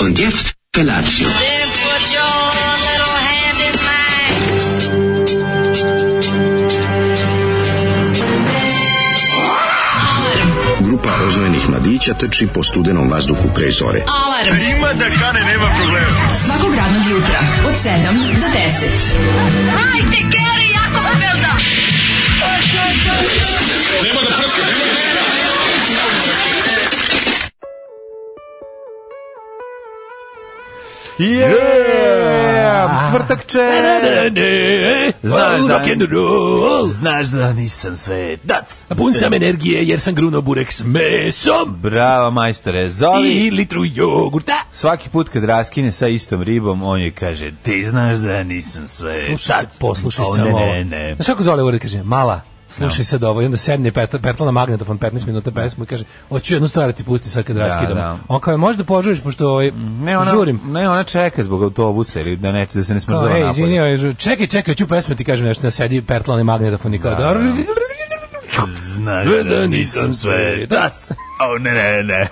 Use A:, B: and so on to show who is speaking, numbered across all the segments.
A: Und jetzt Felatio.
B: Then put your little hand in mine.
C: Grupa oznojenih mladića trči po studenom vazduhu pre zore.
D: Alarm.
E: Ima da kane, nema problema.
D: Svakog radnog jutra od 7 do 10.
B: Hajde, Geri, jako se velda.
F: Yeah! Tvrtak će! Znaš da,
G: Rock and roll.
F: znaš da nisam svetac.
G: Pun sam energije jer sam gruno burek s mesom
F: Bravo, majstore. Zoli,
G: i litru jogurta.
F: svaki put kad raskine sa istom ribom, on je kaže, ti znaš da nisam svetac.
G: Slušaj, sad, poslušaj
F: E, O,
G: samo
F: Ne,
G: ovo.
F: ne, ne.
G: Znaš kako zove uvori, kaže, mala, slušaj sad ovo. I onda sedne pet, pertla na magnetofon 15 minuta pesmu i kaže, hoću jednu stvar da ti pusti sad kad raskidamo.
F: da. Mm,
G: On kao, možda požuriš, pošto ovaj,
F: Ne, ona,
G: žurim.
F: ne, ona čeka zbog autobusa ili da neće da se ne
G: Kao,
F: smrzava
G: ej,
F: napolje.
G: izvini, ovaj, žu- čekaj, čekaj, hoću pesmu ti kažem nešto, na sedi pertla na magnetofon i kao, dobro,
F: Znaš
G: da nisam svetac.
F: O, ne, ne, ne.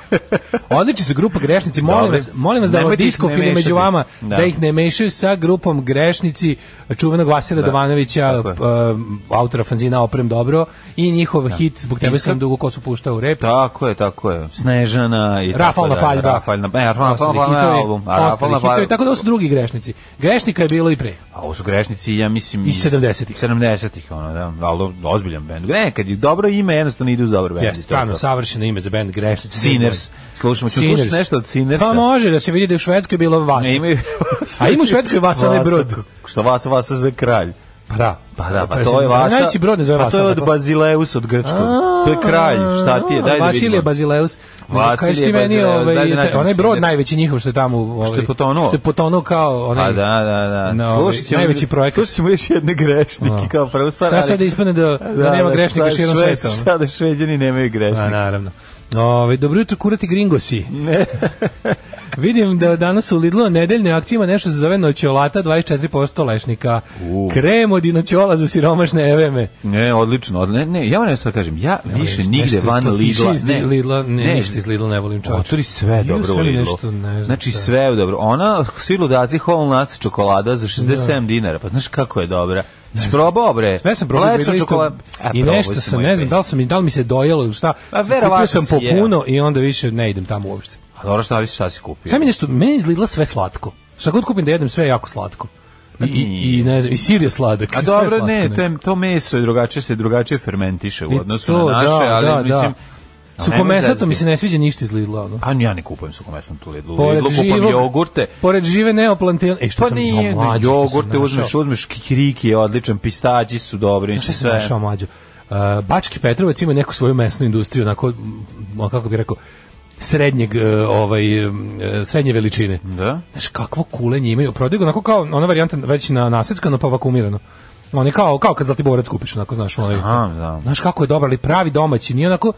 G: Odlični su grupa grešnici, molim
F: Dobre.
G: vas, molim vas da ovo
F: Nemojte ih
G: diskofili
F: ne mešati.
G: među vama, da.
F: Da.
G: ih ne mešaju sa grupom grešnici čuvenog Vasila Dovanovića,
F: Tako je.
G: p- um, autora fanzina Oprem Dobro i njihov hit Zbog tebe
F: Iskra-
G: sam dugo kosu puštao u rep.
F: Tako je, tako je. Snežana i
G: Rafalna
F: tako da,
G: paljba.
F: Rafalna, ne, Rafalna
G: Ostali
F: paljba je
G: hitovi,
F: album. a
G: ostali
F: Rafalna
G: hitovi,
F: paljba-
G: Tako da ovo su drugi grešnici. Grešnika je bilo i pre.
F: A ovo su grešnici, ja mislim...
G: Iz 70-ih.
F: 70-ih, ono, da, ali ozbiljan bend. Ne, kad je dobro ime, jednostavno ide uz dobar bend.
G: Jeste, stvarno, savršeno ime za band Grešnici.
F: Sinners. Slušamo, ću
G: Sinners.
F: slušati nešto od Sinnersa.
G: Pa može da se vidi da je u Švedskoj bilo vas.
F: Ne, imaju...
G: A ima u Švedskoj Vasa, onaj brod.
F: Što Vasa, Vasa za kralj.
G: Pa da.
F: Pa da, pa
G: se-
F: to je Vasa.
G: Najveći brod ne zove
F: Pa to je
G: Vasa,
F: od
G: tako.
F: Bazileus, od Grčkog. To je kralj, šta ti je, daj da vidimo.
G: Vasilije Bazileus.
F: Vasilije
G: Kaži ti meni,
F: Bazileus,
G: ovaj,
F: daj da
G: te-
F: nađemo
G: onaj brod
F: Sinners.
G: najveći njihov što je tamo... Ovaj,
F: Što je potonuo.
G: Što je potonuo kao onaj...
F: Pa da, da, da.
G: Na,
F: No,
G: ovaj,
F: slušat ćemo,
G: najveći projekat.
F: Slušat ćemo još jedne grešnike
G: No.
F: kao prvu stvar.
G: Šta
F: ali-
G: sad da ispane da, da, nema grešnika
F: šta
G: širom
F: Šved-
G: sveta? ono?
F: Šta da šveđani nemaju
G: Pa
F: grešnika?
G: naravno. Ove, dobro jutro, kurati gringosi. Vidim da danas u Lidlu na nedeljnoj akciji ima nešto se zove noćolata 24% lešnika. Krem od noćola za siromašne eveme.
F: Ne, odlično. Od, ne, ne, ja moram nešto da kažem. Ja više
G: nešto
F: nigde
G: iz
F: van
G: slatkiša
F: Lidla.
G: iz Lidla, ne, ništa iz Lidla ne volim, čoveče.
F: Otvori sve
G: Ili
F: dobro u
G: sve
F: Lidlu.
G: nešto, ne znam
F: znači
G: šta.
F: sve je dobro. Ona, svi ludaci, whole nuts čokolada za 67 dinara. Pa znaš kako je dobra. Sprobao bre.
G: Sve sam probao
F: Mlečna
G: Lidla isto
F: čokolada. E,
G: i
F: probao
G: nešto
F: si
G: sam,
F: moj
G: ne znam,
F: prijatelj.
G: da li, sam, da li mi se dojelo ili šta.
F: A verovatno
G: Kupio sam
F: si jeo.
G: popuno i onda više ne idem tamo uopšte.
F: A dobro šta li si šta si kupio?
G: Sve mi nešto, meni iz Lidla sve slatko. Šta god kupim da jedem, sve je jako slatko. I, i, i ne znam, i sir je sladak.
F: Mm. A
G: i sve je
F: dobro,
G: slatko,
F: ne, to, je, to meso je drugačije se drugačije fermentiše u
G: I
F: odnosu
G: to,
F: na naše,
G: da,
F: ali
G: da,
F: mislim...
G: da.
F: ali nemoj
G: Suhomeslato
F: zezati. Pa,
G: mi se ne sviđa ništa iz Lidla, ono.
F: A ja ne kupujem suhomesnato tu Lidlu. u Lidlu kupam pa, jogurte.
G: Pored žive neoplantil... E, što
F: Pa
G: sam,
F: nije,
G: o,
F: ne,
G: mlađe, što sam
F: jogurte
G: našao.
F: uzmeš, uzmeš kikiriki je odličan, pistaći su dobri,
G: Znaš
F: znači
G: Šta sam
F: sve.
G: našao mlađo? Uh, Bački Petrovac ima neku svoju mesnu industriju, onako, m, ono, kako bih rekao, srednjeg, e, ovaj, e, srednje veličine.
F: Da?
G: Znaš, kakvo kulenje imaju. Prodaju ga onako kao ona varijanta već na naseckano pa vakumirano. On je kao, kao kad Zlatiborac kupiš, onako, znaš, onaj.
F: Znam, znam.
G: Znaš kako je dobar, ali pravi domaći, nije onako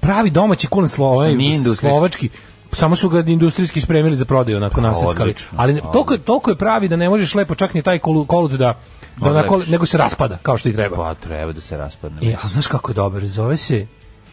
G: pravi domaći kulen slo, onaj
F: nije industrijski? Pa,
G: slovački. Samo su ga industrijski spremili za prodaju, onako naseckali.
F: odlično,
G: Ali ne- toliko, je- toliko je pravi da ne možeš lepo čak ni taj kolu- kolut da, da onako,
F: Odlepiš.
G: nego se raspada, kao što i treba.
F: Pa treba da se raspadne.
G: E, a znaš kako je dobar? Zove se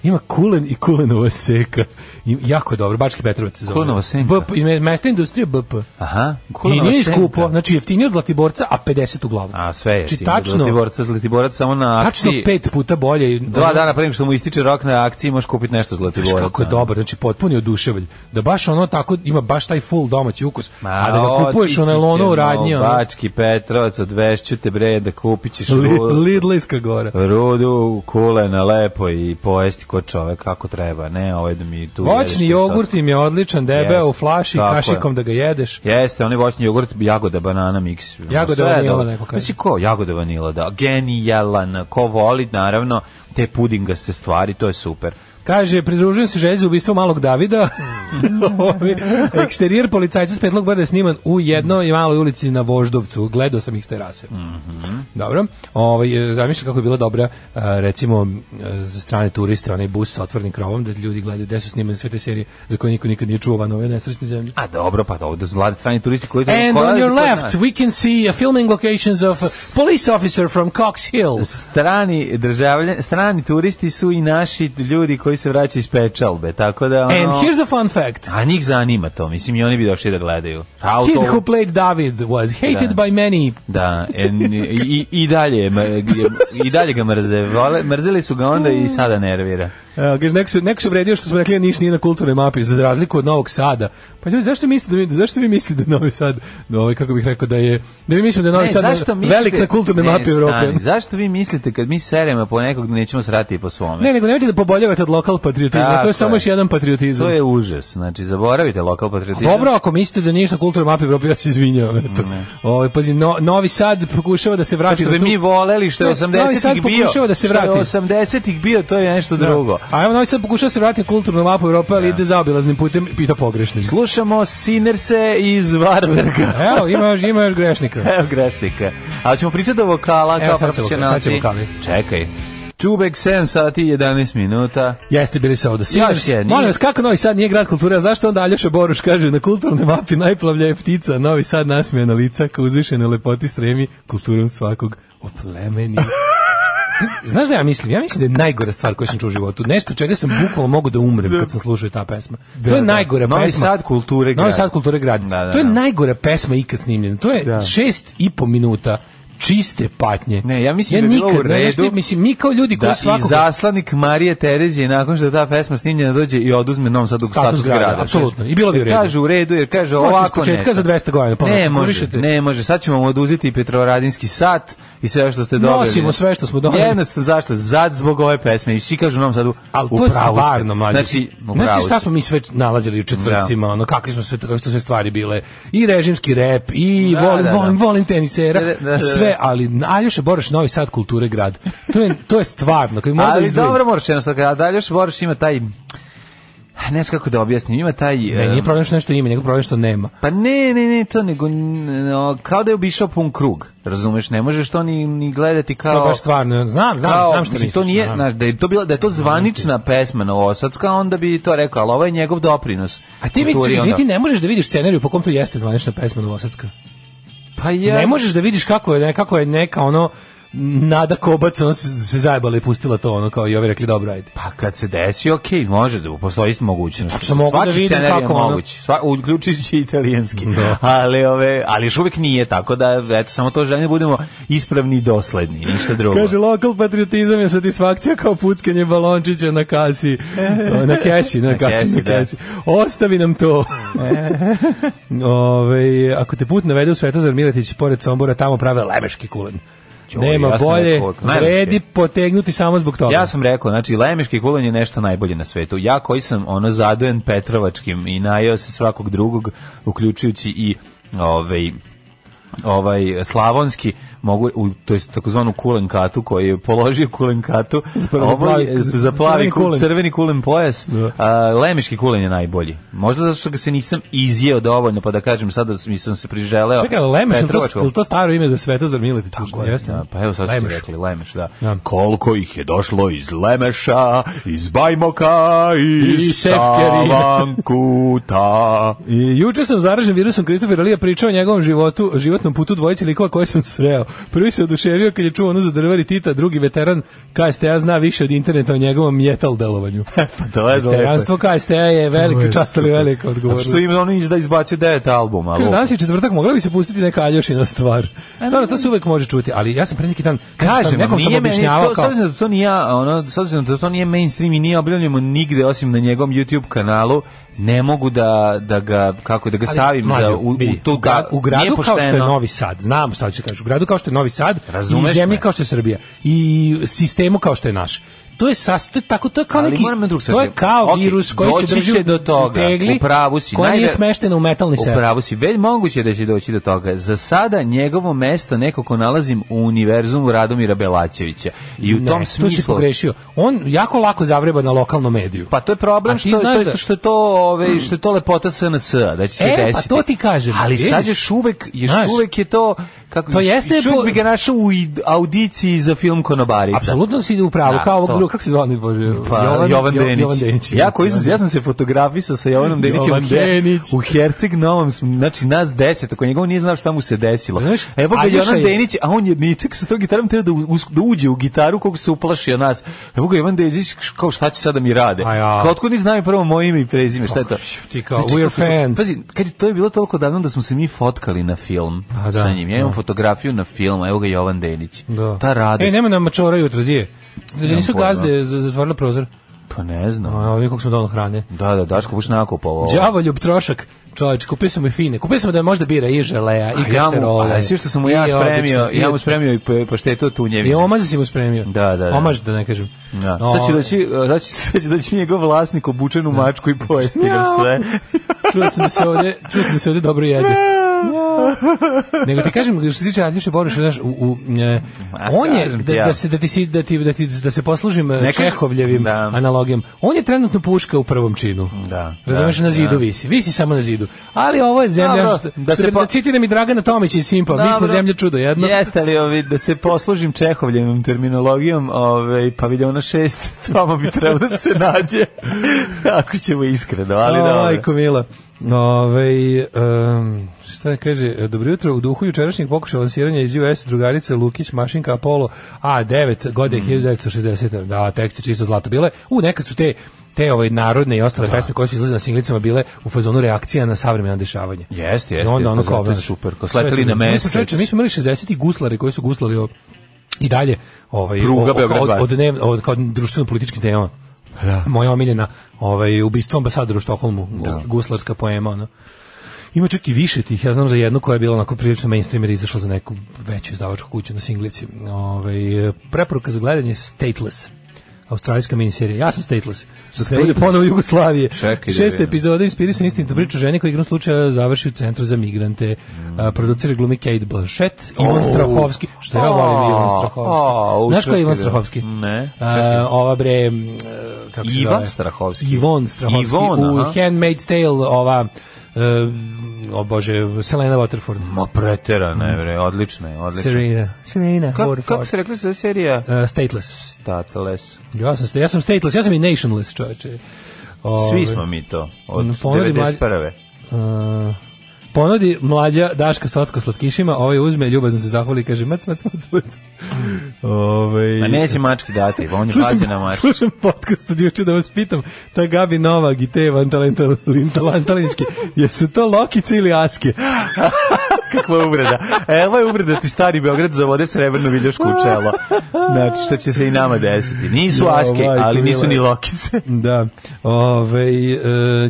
G: Ima Kulen i Kulenova seka. I, jako je dobro, Bački Petrovac se zove.
F: Kulenova senka.
G: BP, ime- mesna industrija BP.
F: Aha,
G: I
F: kulenova
G: nije
F: senka.
G: skupo, znači jeftinije od Latiborca, a 50 uglavnom.
F: A sve je.
G: Znači,
F: jeftinije.
G: tačno,
F: Zlatiborac, Zlatiborac samo na
G: tačno
F: akciji.
G: pet puta bolje. i- ono,
F: Dva dana pre nego što mu ističe rok na akciji, možeš kupiti nešto Zlatiborac.
G: Znaš kako je dobar, znači potpuni oduševalj. Da baš ono tako ima baš taj full domaći ukus. a da ga kupuješ u
F: otići
G: nailonu
F: ćemo
G: u radnji,
F: u
G: ono,
F: Bački Petrovac, odvešću te bre da kupit ćeš
G: Li-
F: ru-
G: Lidlijska gora.
F: rudu kulena lepo i pojesti kod čovek kako treba. Ne, ovaj da mi tu... jedeš
G: Voćni
F: ti
G: jogurt im je odličan, debeo
F: Jeste,
G: u flaši,
F: tako je.
G: kašikom da ga jedeš.
F: sad. Jeste, onaj voćni jogurt, jagoda, banana miks. ono,
G: Jagoda,
F: sve je
G: vanila,
F: dobro.
G: neko kaže.
F: Mislim, ko? Jagoda, vanila, da. Genijalan, ko voli, naravno, te pudingaste stvari, to je super.
G: Kaže, pridružujem se želji za ubistvo malog Davida. Ovi, Eksterijer policajca s petlog brda je sniman u jednoj maloj ulici na Voždovcu. Gledao sam ih s terase.
F: Mhm.
G: Dobro. Ovaj, e, Zamišljam kako je bila dobra, e, recimo, e, za strane turiste, onaj bus sa otvornim krovom, da ljudi gledaju gde su snimane sve te serije za koje niko nikad nije čuo van ove nesrećne zemlje.
F: A dobro, pa ovde su vlade strani turisti koji...
G: And
F: koji
G: on
F: dolaze
G: your
F: kod
G: left,
F: nas.
G: we can see uh, filming locations of a police officer from Cox Hill.
F: strani državljan, strani turisti su i naši ljudi koji se vraća iz pečalbe, tako da... Ono,
G: And here's a fun fact.
F: A njih zanima to, mislim, i oni bi došli da gledaju.
G: Kid who
F: Auto,
G: played David was hated
F: Da.
G: by many.
F: da, en, i, i, dalje, je mr- je- i dalje ga mrze. Vole, mrzeli su ga onda i sada nervira.
G: Evo, kaže, neko su, neko su vredio što smo rekli da Niš nije na kulturnoj mapi, za razliku od Novog Sada. Pa ljudi, zašto, mislite da, vi- zašto vi mislite da je Novi Sad, da ovaj, kako bih rekao, da je, da vi mislimo da je Novi Sad velik na kulturnoj
F: ne,
G: mapi Evrope?
F: stani, zašto vi mislite kad mi seremo po nekog da nećemo srati po svome?
G: Ne, nego nemojte da poboljavate od lokal patriotizma,
F: Tako
G: to je
F: je.
G: samo još jedan patriotizam.
F: To je užas, znači zaboravite lokal patriotizam.
G: Dobro, ako mislite da ništa kulturno mapi Evrope, ja se izvinjavam. Eto. Ovaj pazi, no, Novi Sad pokušava da se
F: Pa
G: vrati
F: što
G: na
F: bi
G: tu-
F: mi voleli što je
G: Ne, Novi Sad
F: 80-ih bio.
G: pokušava da se
F: što je
G: vrati.
F: 80-ih bio, to je nešto
G: Da.
F: drugo.
G: A evo Novi Sad pokušava da se vrati na kulturnu mapu Evrope, ali ide zaobilaznim putem i to pogrešnim.
F: Slušamo Sinerse iz Varberga.
G: Evo, ima još, ima još grešnika.
F: Evo grešnika. A ćemo pričati o vokala
G: Evo,
F: kao
G: sad ćemo- sad
F: profesionalci.
G: ćemo vokali.
F: Čekaj. Čubek 7 sati i 11 minuta.
G: Jeste bili sa ovde.
F: Još je, nije.
G: Molim vas, kako Novi Sad nije grad kulture, a zašto onda Aljoša Boruš kaže na kulturnoj mapi najplavlja je ptica, Novi Sad nasmije na lica, kao uzvišene lepoti stremi kulturom svakog oplemeni. Znaš da ja mislim? Ja mislim da je najgora stvar koju sam čuo u životu. Nešto čega sam bukvalno mogu da umrem kad sam slušao ta pesma. to
F: da.
G: je najgora
F: Novi
G: pesma.
F: Sad kulture grad.
G: Novi Sad kulture grad.
F: Da, da,
G: to je
F: da.
G: najgora pesma ikad snimljena. To je
F: Da.
G: šest i po minuta čiste patnje.
F: Ne, ja mislim da je bilo u
G: nikad, ne, znaš
F: redu
G: ti, mislim, mi kao ljudi koji
F: Da, i
G: svakog...
F: zaslanik Marije Terezije nakon što je ta pesma snimljena dođe i oduzme Novom Sadu
G: Status
F: status
G: grada,
F: grada.
G: apsolutno. I bilo bi u
F: Jer
G: redu.
F: Kaže u redu jer kaže
G: Možete
F: ovako
G: ispočetka
F: nešto.
G: za 200 godina, pa
F: Ne
G: možete,
F: može,
G: kurišete.
F: ne može. Sad ćemo vam oduzeti i Petrovaradinski sat i sve ovo što ste dobili.
G: Nosimo sve što smo dobili.
F: Jednostavno zašto? Zad zbog ove pesme i svi kažu u Novom Sadu.
G: Ali
F: u
G: to je
F: pravu ste.
G: stvarno mlađe.
F: Znači, u
G: Znaš ti
F: pravu ste.
G: šta smo mi sve nalazili u četvrcima, ono kakve smo sve kakve su sve stvari bile. I režimski rep i
F: Da,
G: volim
F: da, da.
G: volim volim tenisera,
F: Da, da, da, da.
G: i sve, ali Aljoša Boroš Novi Sad kulture grad. To je to je stvarno, kad moram da
F: Ali
G: izdvojim.
F: dobro moraš jednostavno. A dalje još moraš ima taj ne znam kako da objasnim, ima taj...
G: Ne,
F: em,
G: nije problem što nešto ima, nego problem što nema.
F: Pa ne, ne, ne, to nego n- no, kao da je obišao pun krug, razumeš, ne možeš to ni, ni gledati
G: To
F: kao...
G: je baš stvarno, znam, znam,
F: kao,
G: znam što
F: mislim, to
G: misliš.
F: nije,
G: znam.
F: znaš, da je to bila da je to zvanična pesma Novosadska, onda bi to rekao, ali ovo je njegov doprinos.
G: A ti
F: kulturi,
G: misliš, izvini,
F: onda.
G: ti ne možeš da vidiš scenariju po kom to jeste zvanična pesma Novosadska.
F: pa ja,
G: Ne možeš da vidiš kako je, ne, kako je neka ono Nada Kobac ono, se se zajebala i pustila to ono kao i ovi rekli dobro ajde.
F: Pa kad se desi, okej, može da postoji isto mogućnost.
G: Tačno mogu
F: Svaki
G: da vidim
F: scenarij je
G: kako ono-
F: moguć, sva, uključujući i italijanski.
G: Da.
F: Ali, ove, ali još uvijek nije, tako da eto, samo to želim da budemo ispravni i dosledni, ništa drugo.
G: Kaže, lokal patriotizam je satisfakcija kao puckanje balončića na kasi. O, Na kesi, na, kasi,
F: kesi,
G: na
F: da.
G: kesi. Ostavi nam to. Ove, ako te put navede u Svetozar Miletić, pored Sombora, tamo prave lemeški kulen.
F: Joj,
G: Nema
F: ja sam
G: bolje,
F: rekao, lemeški.
G: vredi potegnuti samo zbog toga.
F: Ja sam rekao, znači lemiški kulen je nešto najbolje na svetu. Ja koji sam ono zadojen Petrovačkim i najeo se svakog drugog, uključujući i ovaj ovaj slavonski mogu u to jest takozvanu kulenkatu koji je položio kulenkatu
G: Zapravo za
F: ovaj,
G: plavi-
F: za plavi
G: crveni
F: kulen.
G: kulen.
F: crveni kulen pojas a, lemiški kulen je najbolji možda zato što ga se nisam izjeo dovoljno pa da kažem sad da sam- sam se priželeo
G: Čekaj, Lemeš, je li to,
F: Petrovačkom.
G: je li to staro ime za Svetozar Miletić?
F: E, Tako je,
G: Jeste?
F: da, pa evo sad ste
G: Lemeš.
F: rekli Lemeš, da.
G: Da.
F: Koliko ih je došlo iz Lemeša, iz Bajmoka, iz,
G: I Sefkerija.
F: Stavankuta.
G: I juče sam zaražen virusom Kristofer Alija pričao o njegovom životu, životnom putu dvojice likova koje sam sreo. Prvi se oduševio kad je čuo ono za drvari Tita, drugi veteran KSTA zna više od interneta o njegovom metal delovanju.
F: pa to je lepo.
G: Veteranstvo KSTA je
F: To
G: velika
F: je
G: čast, ali
F: super.
G: velika
F: Zato
G: odgovornost.
F: što im oni izda izbacio devet albuma.
G: Kaže,
F: lupa.
G: danas je četvrtak, mogla bi se pustiti neka aljošina stvar. Stvarno, to se uvek može čuti, ali ja sam pre neki dan, kažem,
F: Kažem,
G: nekom sam
F: nije meni,
G: objašnjavao
F: to, s
G: kao...
F: obzirom da to nije, ono, s obzirom da to nije mainstream i nije objavljeno nigde osim na njegovom YouTube kanalu, ne mogu da, da ga, kako, da ga stavim
G: mlađe,
F: za, u, u
G: vidi,
F: tu,
G: u gra- u gradu
F: nije
G: kao što je
F: pošteno.
G: Novi Sad, znam šta ću kažem, u gradu kao što je Novi Sad,
F: Razumeš
G: i zemlji
F: me.
G: kao što je Srbija, i sistemu kao što je naš. To je sas, to je tako, to je kao
F: Ali
G: neki,
F: moram na drug
G: to je
F: srce.
G: kao
F: Ok,
G: virus koji
F: doći
G: se drži
F: će do toga,
G: u tegli,
F: u pravu si,
G: koja nije
F: najver-
G: smeštena u metalni sef.
F: Upravo si, već moguće da će doći do toga. Za sada njegovo mesto neko ko nalazim u univerzumu Radomira Belačevića. I u
G: Ne,
F: tom
G: Tu si
F: smislu...
G: pogrešio. On jako lako zavreba na lokalnom mediju.
F: Pa to je problem
G: A ti
F: što,
G: znaš
F: to,
G: da-
F: što je to ove što je to lepota SNS -a, da će se
G: E, pa
F: desiti.
G: to ti kažem,
F: Ali
G: vidiš?
F: sad još uvek još
G: Znaš,
F: uvek je to kako
G: to
F: još-
G: jeste
F: još uvek
G: po-
F: bi ga našao u id- audiciji za film Konobarica.
G: Apsolutno si u pravu,
F: Da,
G: kao ovog
F: to.
G: drugog kako se zvao, bože,
F: Pa, Jovan, Denić.
G: Jovan Denić.
F: Ja, koji sam, ja sam se fotografisao sa Jovanom Denićem
G: Jovan
F: u, Her,
G: Denić.
F: u Herceg Novom, smo- znači nas deset, ako njegov nije znao šta mu se desilo.
G: Znaš,
F: Evo ga
G: Aljoša
F: Jovan
G: je-
F: Denić, a on je ničak sa tom gitarom teo da, us- da uđe u gitaru kog se uplašio nas. Evo ga Jovan Denić, kao šta će sada mi rade?
G: A ja.
F: Kao otkud ni znaju prvo moje ime i prezime, šta je to?
G: Ti kao, we are
F: Znači, kako su-
G: fans.
F: Pazi, kad je, to je bilo toliko davno da smo se mi fotkali na film
G: A, Pa da,
F: sa njim. Ja imam
G: da.
F: fotografiju na film, a evo ga Jovan Denić.
G: Da. E,
F: Ta radost.
G: Ej, nema nam mačora jutro, di je? Da ga nisu
F: pojma.
G: gazde za- zatvorili prozor.
F: Pa ne znam.
G: A, ovi kako smo donali hrane.
F: Da, da, Daško Buš nakupovao. ovo.
G: Đavoljub trošak. Čovječ, kupili smo i fine. Kupili smo da možda bira i želeja, i
F: A ja mu,
G: kaserole.
F: a sve što sam mu ja
G: i
F: spremio,
G: odlično,
F: ja
G: i
F: mu spremio i pa- paštetu tunjevine.
G: I omaze si mu spremio.
F: Da, da, da.
G: Omaž, da ne kažem. Ovaj,
F: Da. Sad će
G: O,
F: doći, e, sad će, sad će doći njegov vlasnik obučen u mačku i pojesti nam
G: Njau.
F: sve.
G: čuo sam da se ovde, čuo sam da se ovde dobro jede. Nego ti kažem što se tiče Aljoše Boriša, znaš, u, u e,
F: Ma,
G: on je
F: kažem ti
G: da,
F: ja.
G: da se da ti si- da ti da ti da se poslužim e,
F: Ne kažem-
G: Čehovljevim
F: da.
G: analogijom. On je trenutno puška u prvom činu.
F: Da,
G: Razumeš
F: da,
G: na zidu
F: da.
G: visi. Visi samo na zidu. Ali ovo je zemlja
F: Dobro,
G: što-
F: da
G: što
F: se
G: da,
F: po-
G: da citiram i Dragana Tomića i Simpa. Pa Mi smo
F: Dobro.
G: zemlja čudo jedno.
F: Jeste li ovi, da se poslužim čehovljenom terminologijom, ovaj, paviljona šest, tamo bi trebalo da se nađe, ako ćemo iskreno, ali dobro.
G: Ajko Mila. Ove, um, šta kaže, dobro jutro, u duhu jučerašnjeg pokušaja lansiranja iz US drugarice Lukić Mašinka Apollo A9
F: Mm.
G: godine 1960. Da, tekst je čisto zlato. Bile, u, nekad su te te ovaj narodne i ostale pesme koje su izlazile na singlicama bile u fazonu reakcija na savremena dešavanja.
F: Jeste, jeste,
G: I onda
F: jeste,
G: ono
F: zato
G: kao,
F: je
G: znaš,
F: super, kao
G: sve
F: sleteli
G: to-
F: na
G: Mi smo,
F: mesec.
G: čovječe, mi smo imali 60 guslare koji su guslali o, i dalje ovaj,
F: Pruga
G: o- o-
F: Beograd
G: od,
F: dva.
G: od, dnev- od, kao društveno-političkim temama. Da. Moja omiljena, ovaj, ubistvo ambasadora u Štokholmu, guslarska poema, ono. Ima čak i više tih, ja znam za jednu koja je bila onako prilično mainstream jer je izašla za neku veću izdavačku kuću na singlici. Ovaj, preporuka za gledanje je Stateless. Australijska miniserija. Ja sam Stateless. Dok ne bude ponovo Jugoslavije.
F: Čekaj da
G: Šesta
F: vidim.
G: epizoda inspirisan istinito priču ženi koja igrom slučaja završi u centru za migrante. A, producira glumi Kate Blanchett, Ivan Strahovski. Što ja volim Ivan
F: O, o,
G: Strahovski. Znaš ko je Ivan
F: čekaj da-
G: Strahovski?
F: Ne,
G: A,
F: čekaj.
G: ova bre... m, e, kako se
F: Ivan
G: zove?
F: Strahovski.
G: Ivon Strahovski.
F: Ivon,
G: u
F: aha.
G: Handmaid's Tale ova e, o bože, Selena Waterford.
F: Ma preterano je, bre, odlično je, odlično.
G: Serena. Serena
F: Kako,
G: Waterford.
F: kako se rekli za serija?
G: E, stateless.
F: Stateless.
G: Ja sam, ja sam stateless, ja sam i nationless, čoveče. Ove,
F: Svi smo mi to, od
G: Mm, ponudi mlađi-
F: 91.
G: Uh, ponudi mlađa Daška sotko slatkišima, ovaj uzme, ljubazno se zahvali i kaže mac, mac, mac, mac. Ove...
F: Ma neće mački dati, pa on je pađen na mački.
G: slušam podcast od juče da vas pitam, ta Gabi Novak i te Van Talental- Lintal- Antalinski, jesu to lokice ili aske?
F: Kakva je uvreda. Evo je uvreda da ti stari Beograd zavode srebrnu viljošku u čelo. Znači, što će se i nama desiti. Nisu
G: Jo,
F: aske,
G: majko
F: ali nisu
G: mila.
F: ni lokice.
G: Da. Ove, e,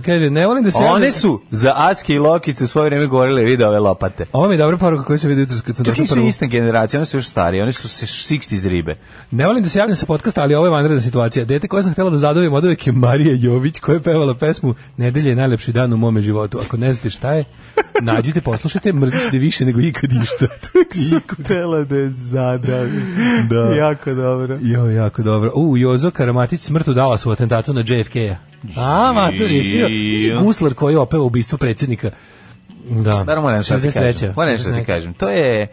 G: kaže, ne volim da se...
F: One su za aske i lokice u svoje vreme govorile, vidi ove lopate.
G: Ovo mi je dobra poruka koju sam vidio jutros kad sam
F: Čak
G: došao
F: nisu
G: prvu.
F: ista generacija, one su još starije, one su se 60 ribe.
G: Ne volim da se javljam sa podcasta, ali ovo je vanredna situacija. Dete koje sam htjela da zadovim od uvek je Marija Jović, koja je pevala pesmu Nedelje je najlepši dan u mome životu. Ako ne znate šta je, nađite, poslušajte, mrzit ćete više nego ikad išta.
F: Htela da je zadavi.
G: Da.
F: Jako dobro.
G: Jo, jako dobro. U, Jozo Karamatić smrt udala su u atentatu na JFK-a. A, matur, jesi, jesi guslar koji je opeva ubistvo predsjednika. Da,
F: Naravno, moram nešto da ti
G: 63..
F: kažem. Moram nešto da ti kažem. To je...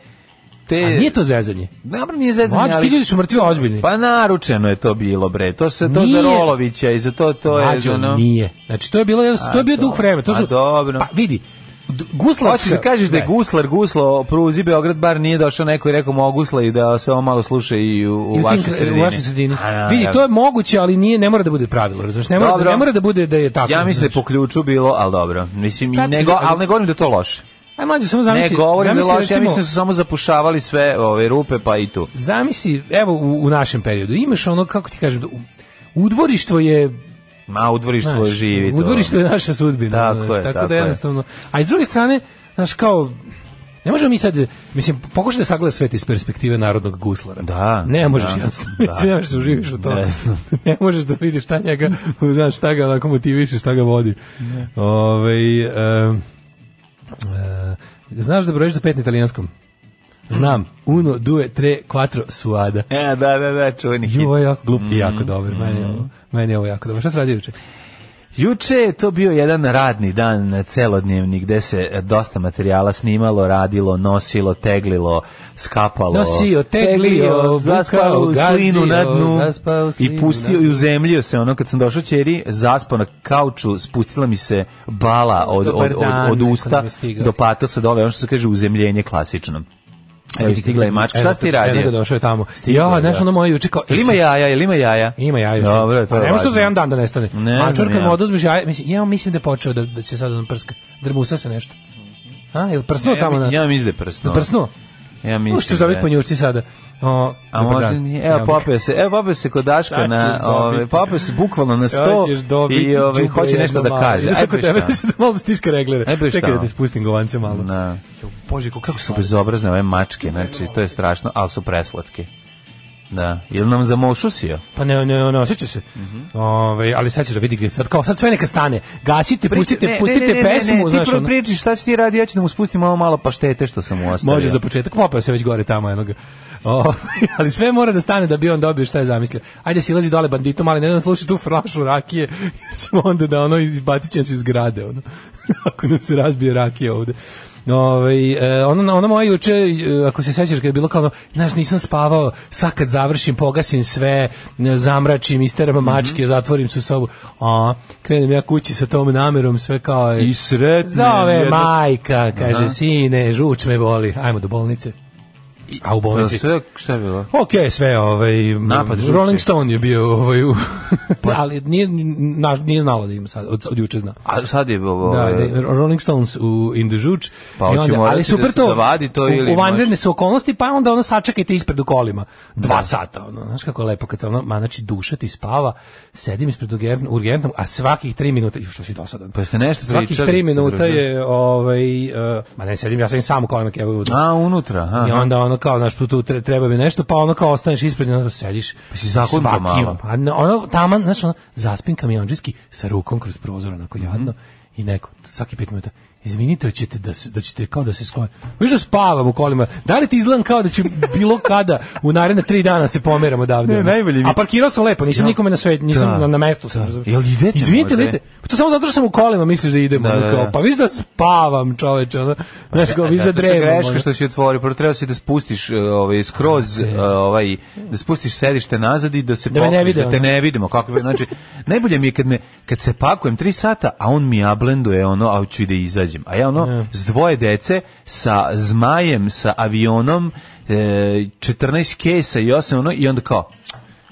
F: Te,
G: A nije to zezanje.
F: Dobro, nije zezanje,
G: Mlađi, ti
F: ali-
G: ljudi su mrtvi ozbiljni.
F: Pa naručeno je to bilo bre. To se to
G: Nije.
F: za Rolovića i za to to je
G: Mlađo,
F: ono.
G: nije. Znači to je bilo jednostavno- to je bio
F: A,
G: duh
F: do-
G: vremena. To
F: a,
G: su
F: dobro.
G: Pa vidi. d- Guslarska.
F: Hoćeš da kažeš da je
G: Ne.
F: Guslar guslo pruzi Beograd bar nije došao neko i rekao mo Gusla i da se ovo malo sluša i u, u,
G: I u
F: vašoj
G: tim-
F: sredini.
G: U vašoj sredini.
F: A, da,
G: Vidi,
F: ja-
G: to je moguće, ali nije, ne mora da bude pravilo, razumiješ? Ne mora, da,
F: Dobro.
G: ne mora da bude da je tako.
F: Ja mislim da je po
G: znaš.
F: ključu bilo, ali dobro. Mislim, i
G: Tačno,
F: nego,
G: ali-
F: ali ne govorim da je to loše.
G: Aj, mlađe, samo
F: Ne
G: zamisli.
F: govorim da je
G: zamisli,
F: loše, ja
G: recimo-
F: mislim da su samo zapušavali sve ove rupe, pa i tu.
G: Zamisli, evo, u, u našem periodu, imaš ono, kako ti kažem, da u- udvorištvo je
F: Ma, u dvorištu
G: Znaš,
F: živi to.
G: U dvorištu je naša sudbina.
F: Tako
G: znaš,
F: je,
G: tako,
F: tako
G: da
F: je.
G: jednostavno. A iz druge strane, znaš kao Ne možemo mi sad, mislim, pokušaj da sagledaš svet iz perspektive narodnog guslara.
F: Da,
G: Ne možeš
F: da,
G: jednostavno,
F: da.
G: mislim, ne možeš da uživiš ono u tome.
F: Ne znam.
G: Ne možeš da vidiš šta njega, znaš, šta ga onako motiviše, šta ga vodi. Ovaj em, e, znaš da brojiš do pet na italijanskom?
F: Mm.
G: Znam. Uno, due, tre, quattro, suada.
F: E, da, da, da, čuveni hit. Mm-hmm.
G: Ju, ovo je jako glup i jako dobar. Meni, je ovo- meni je ovo jako dobro. Šta se radi juče?
F: Juče je to bio jedan radni dan celodnevni gde se e, dosta materijala snimalo, radilo, nosilo, teglilo, skapalo.
G: Nosio, teglio, vukao,
F: zaspao u slinu
G: gazio,
F: na dnu
G: zaspao u slinu
F: i pustio
G: na
F: i uzemljio se. Ono kad sam došao ćeri, zaspao na kauču, spustila mi se bala od, od,
G: Dobar
F: od,
G: dan,
F: od
G: neko
F: usta
G: nam je stigao.
F: do patosa dole, ono što se kaže uzemljenje klasično. Evo E, ti stigla je mačka. Šta si ti radio?
G: Evo ga došao je tamo.
F: Stigla je,
G: Ja, znaš
F: da.
G: ono moje juče kao...
F: Jel ima jaja, jel ima jaja?
G: Ima jaja.
F: Dobro, to je
G: Nema što
F: važno.
G: za jedan dan da nestane.
F: Ne znam
G: Mačor kad
F: ja.
G: mu oduzmeš jaja, mislim, ja mislim da je počeo da, da će sad da nam prska. Drmusa se nešto. A, jel prsnuo
F: Ja,
G: tamo na...
F: ja Mhm. mislim da je prsno.
G: Jel prsnuo?
F: Ja mislim.
G: Možete zabiti
F: da je.
G: ponjušci sada. O, pa
F: A
G: dobar
F: možda
G: dan.
F: mi,
G: Ja,
F: evo popeo se, evo popeo se kod Daška
G: Sad
F: na,
G: ćeš
F: ovaj
G: dobiti.
F: popeo se bukvalno na
G: Sad
F: sto
G: ćeš dobiti
F: i ovaj
G: đubre
F: hoće nešto
G: jedno
F: da
G: malo.
F: kaže.
G: Ili sad kod
F: Ajde,
G: tebe
F: šta?
G: sad malo da stiska reglere.
F: Ajde, pa
G: Čekaj
F: šta?
G: da ti spustim govance malo.
F: Na,
G: Jo, Bože, kako
F: kako su bezobrazne ove mačke, znači to je strašno, ali su preslatke. Da, ili nam zamošusio?
G: Pa ne, ne, ne, osjeća se.
F: Mhm.
G: Ove, ali sad ćeš da vidi gdje sad kao, sad sve neka stane. Gasite, pustite,
F: Priča- ne,
G: pustite
F: ne, ne, ne,
G: pesmu,
F: ne, ne,
G: znaš
F: Ti prvo
G: ono.
F: priči šta si ti radi, ja ću da mu spustim ovo malo paštete što sam mu ostavio.
G: Može za početak, popao se već gore tamo jednog. O, ali sve mora da stane da bi on dobio šta je zamislio. Ajde silazi dole banditom, ali ne da sluši tu flašu rakije, jer ćemo onda da ono izbacit će nas iz grade, ono. ako nam se razbije rakije ovde. Ove, e, ono, ono moje juče, e, ako se sećaš, kad je bilo kao ono, znaš, nisam spavao, sad kad završim, pogasim sve, ne, zamračim, isteram
F: Mhm.
G: mačke, zatvorim se u sobu, a, krenem ja kući sa tom namerom, sve kao... e,
F: I sretne.
G: Zove
F: jedno-
G: majka, kaže,
F: Aha.
G: sine, žuč me boli, ajmo do bolnice. A u bolnici...
F: Sve, šta je bilo?
G: Ok, sve, ovaj, m,
F: Napad žuči. Pa-
G: Rolling Stone je bio, ovaj, u, ali nije, na, nije znalo da ima sad, od, od juče zna.
F: A sad je bilo...
G: Da,
F: ovaj,
G: da, Rolling Stones u In the Žuč.
F: Pa
G: I
F: hoće
G: onda,
F: morati
G: ali
F: da
G: super
F: se
G: to,
F: zavadi to
G: u,
F: ili
G: u vanredne su okolnosti, pa onda ono sačekajte ispred u kolima. Dva sata, ono, znaš kako je lepo, kad ono, ma znači duša ti spava, sedim ispred urgentnog, urgentnog a svakih tri minuta, još što si dosadan.
F: Pa jeste nešto
G: Svakih
F: pričali,
G: tri
F: ste se
G: minuta
F: družili?
G: je, ovaj, uh, ma ne, sedim, ja sedim sam u kolima kevoj unutra.
F: A, unutra, aha.
G: I onda ono kao, znaš, tu, tu tre- treba mi nešto, pa ono kao ostaneš ispred i onda sediš. Pa
F: si zakunta malo.
G: Pa ne, ono, taman, znaš, ono, zaspin kamionđiski sa rukom kroz prozor, onako
F: Mhm.
G: jadno, i neko, svaki pet minuta, izvinite, hoćete da, se, da ćete kao da se sklonite. Viš da spavam u kolima, da li ti izgledam kao da ću bilo kada u naredne tri dana se pomeram odavde?
F: Ne,
G: ono?
F: najbolje mi-
G: A parkirao sam lepo, nisam
F: Ja.
G: nikome na svetu, nisam
F: Da.
G: na, na mestu. Sam,
F: Da.
G: razumeš?
F: Jel idete
G: Izvinite,
F: možda?
G: da idete? Pa to samo zato što sam u kolima, misliš da idemo.
F: Da,
G: ono
F: da,
G: kao,
F: da.
G: Pa viš da spavam, čoveče, ono, znaš, kao, viš da
F: to je
G: drevam.
F: greška
G: ono.
F: što si otvorio, prvo treba si da spustiš e, ovaj skroz e, ovaj da spustiš sedište nazad i da se
G: Da me ne
F: pokriješ,
G: vide,
F: da te
G: ono.
F: ne vidimo kako bi znači najbolje mi je kad me kad se pakujem 3 sata, a on mi ablenduje ono, a hoću i da izađem. A ja ono s dvoje dece sa zmajem, sa avionom e, 14 kesa i osam ono i onda kao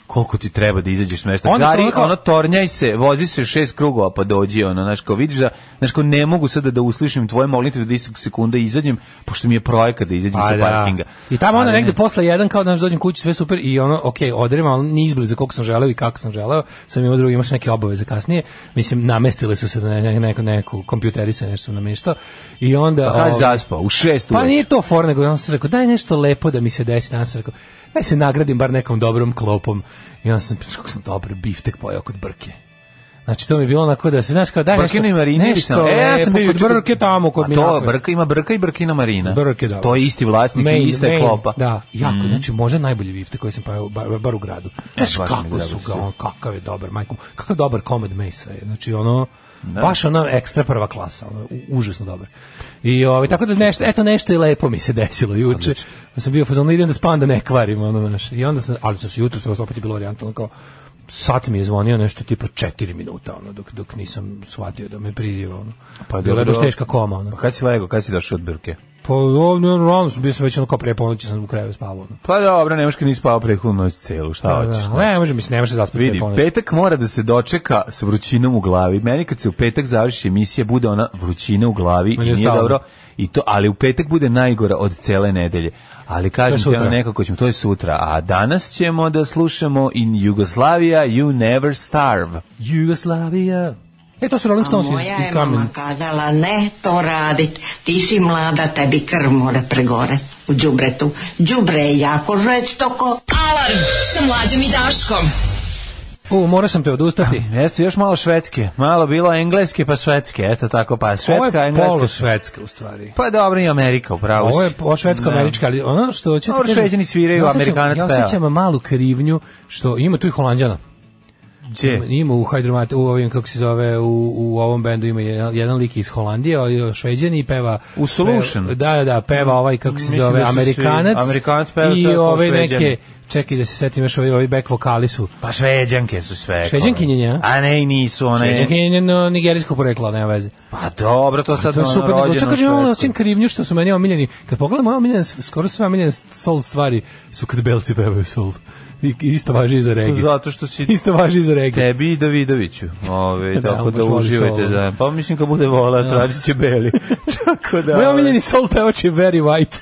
F: koliko ti treba da izađeš s mesta.
G: Onda sam
F: Gari,
G: ono
F: ono,
G: kao-
F: tornjaj se, vozi se šest krugova pa dođi, ono, znaš, kao vidiš da, znaš, kao ne mogu sada da uslišim tvoje molitve da istog sekunda izađem, pošto mi je projekat da izađem
G: Pa
F: sa
G: da.
F: parkinga.
G: I tamo onda
F: Ali
G: negde
F: ne.
G: posle jedan kao znaš dođem kući sve super i ono ok, odrema, ali ni izbliza koliko sam želeo i kako sam želeo. Sam imao drugi, imaš neke obaveze kasnije. Mislim namestile su se na ne- neko neko kompjuterisanje nešto sam nameštao. I onda
F: Pa kad
G: ovaj,
F: zaspao, u šest
G: Pa
F: uveče.
G: nije to for, nego on se rekao, daj nešto lepo da mi se desi. Danas sam rekao, daj se nagradim bar nekom dobrom klopom. I onda sam, znaš kako sam dobro biftek pojao kod brke. Znači, to mi je bilo onako da se, znaš, kao daj
F: Brkino i
G: nešto,
F: Marina.
G: nešto
F: e, ja sam bio
G: lepo, kod
F: juče
G: brke tamo, kod
F: A
G: Minakove.
F: To, brka, ima brka i brkina Marina.
G: Brke, da.
F: To je isti vlasnik i
G: Main,
F: ista je
G: main,
F: klopa. Mhm.
G: Da, jako, znači možda najbolji bifte koji sam pojao bar, bar u gradu. Znaš
F: E, baš mi
G: kako
F: je
G: su
F: dobro.
G: ga, on, kakav je dobar, majkom, kakav dobar komad mesa je. Znači ono, baš ono ekstra prva klasa, ono, u- užasno dobar. I ovaj tako da nešto, eto nešto i lepo mi se desilo juče. Da sam bio u fazonu idem da spavam da ne kvarim, ono znaš. I onda sam, ali sam se jutros opet je bilo orijentalno kao sat mi je zvonio nešto tipa 4 minuta ono dok dok nisam shvatio da me priziva ono. Pa bilo je
F: dobro.
G: baš teška koma ono.
F: Pa kad si lego, kad si došao od brke?
G: Pa ovdje normalno sam bio sam već ono kao pre ponoći sam u krevu spavao. Ono. Pa,
F: Pa dobro, nemaš kad nisi spavao prehudnu noć celu, šta
G: Da,
F: hoćeš?
G: da.
F: ne?
G: Ne, može mi se, ne može zaspati.
F: Vidi,
G: pre ponoći.
F: petak mora da se dočeka s vrućinom u glavi. Meni kad se u petak završi emisija, bude ona vrućina u glavi
G: Meni
F: i
G: je
F: nije
G: stalno.
F: dobro. I to, ali u petak bude najgora od cele nedelje. Ali kažem ti,
G: sutra.
F: ono nekako ćemo, to je sutra. A danas ćemo da slušamo In Jugoslavia, You Never Starve.
G: Jugoslavija. E, to su Rolling Stones iz,
A: Moja
G: iz
A: je
G: kamena.
A: mama kazala ne to radit, ti si mlada, tebi krv mora pregore u džubretu. Džubre je jako žveć toko.
D: Alarm sa mlađom i Daškom.
G: U, morao sam te odustati.
F: Jeste još malo švedske. Malo bilo engleske pa švedske. Eto tako pa švedska,
G: Ovo je
F: engleska.
G: polu švedska, u stvari.
F: Pa dobro i Amerika, upravo.
G: Ovo je
F: si.
G: po švedsko-američka, ali ono što hoću ti
F: Dobro, Šveđani sviraju,
G: ja osjećam-
F: Amerikanac
G: Ja
F: peva.
G: osjećam malu krivnju što ima tu i Holandjana.
F: Gdje?
G: Ima- Ima u Hydromat, u ovim, kako se zove, u, u ovom bendu ima jedan, jedan lik iz Holandije, ali je šveđan i peva...
F: U Solution?
G: peva- da, da, da, peva ovaj, kako se
F: Mislim
G: zove,
F: da su svi-
G: Amerikanac.
F: Amerikanac peva sve
G: I
F: ostalo
G: ove
F: Šveđani.
G: neke, čekaj da se setim još ovi, ovi back vokali su.
F: Pa šveđanke su sve.
G: Šveđankinje, nje, a?
F: A ne, i nisu one.
G: Šveđanke je njeno nigerijsko poreklo, nema veze.
F: Pa dobro, to sad
G: To je
F: ono
G: super, nego
F: rođeno
G: čak
F: u
G: kažem imamo
F: Švedskoj.
G: na svim krivnju što su meni omiljeni. Kad pogledam moje omiljene, skoro sve omiljene soul stvari su kad belci pevaju soul. I, isto važi i za reggae.
F: Zato što si
G: Isto važi i za reggae.
F: tebi i Davidoviću. Ove,
G: Da,
F: tako
G: on
F: da
G: baš voli
F: uživajte.
G: solo.
F: Da. Pa mislim kad bude vola, tražit će beli. tako da...
G: Moj
F: ove,
G: omiljeni soul pevač je Very White.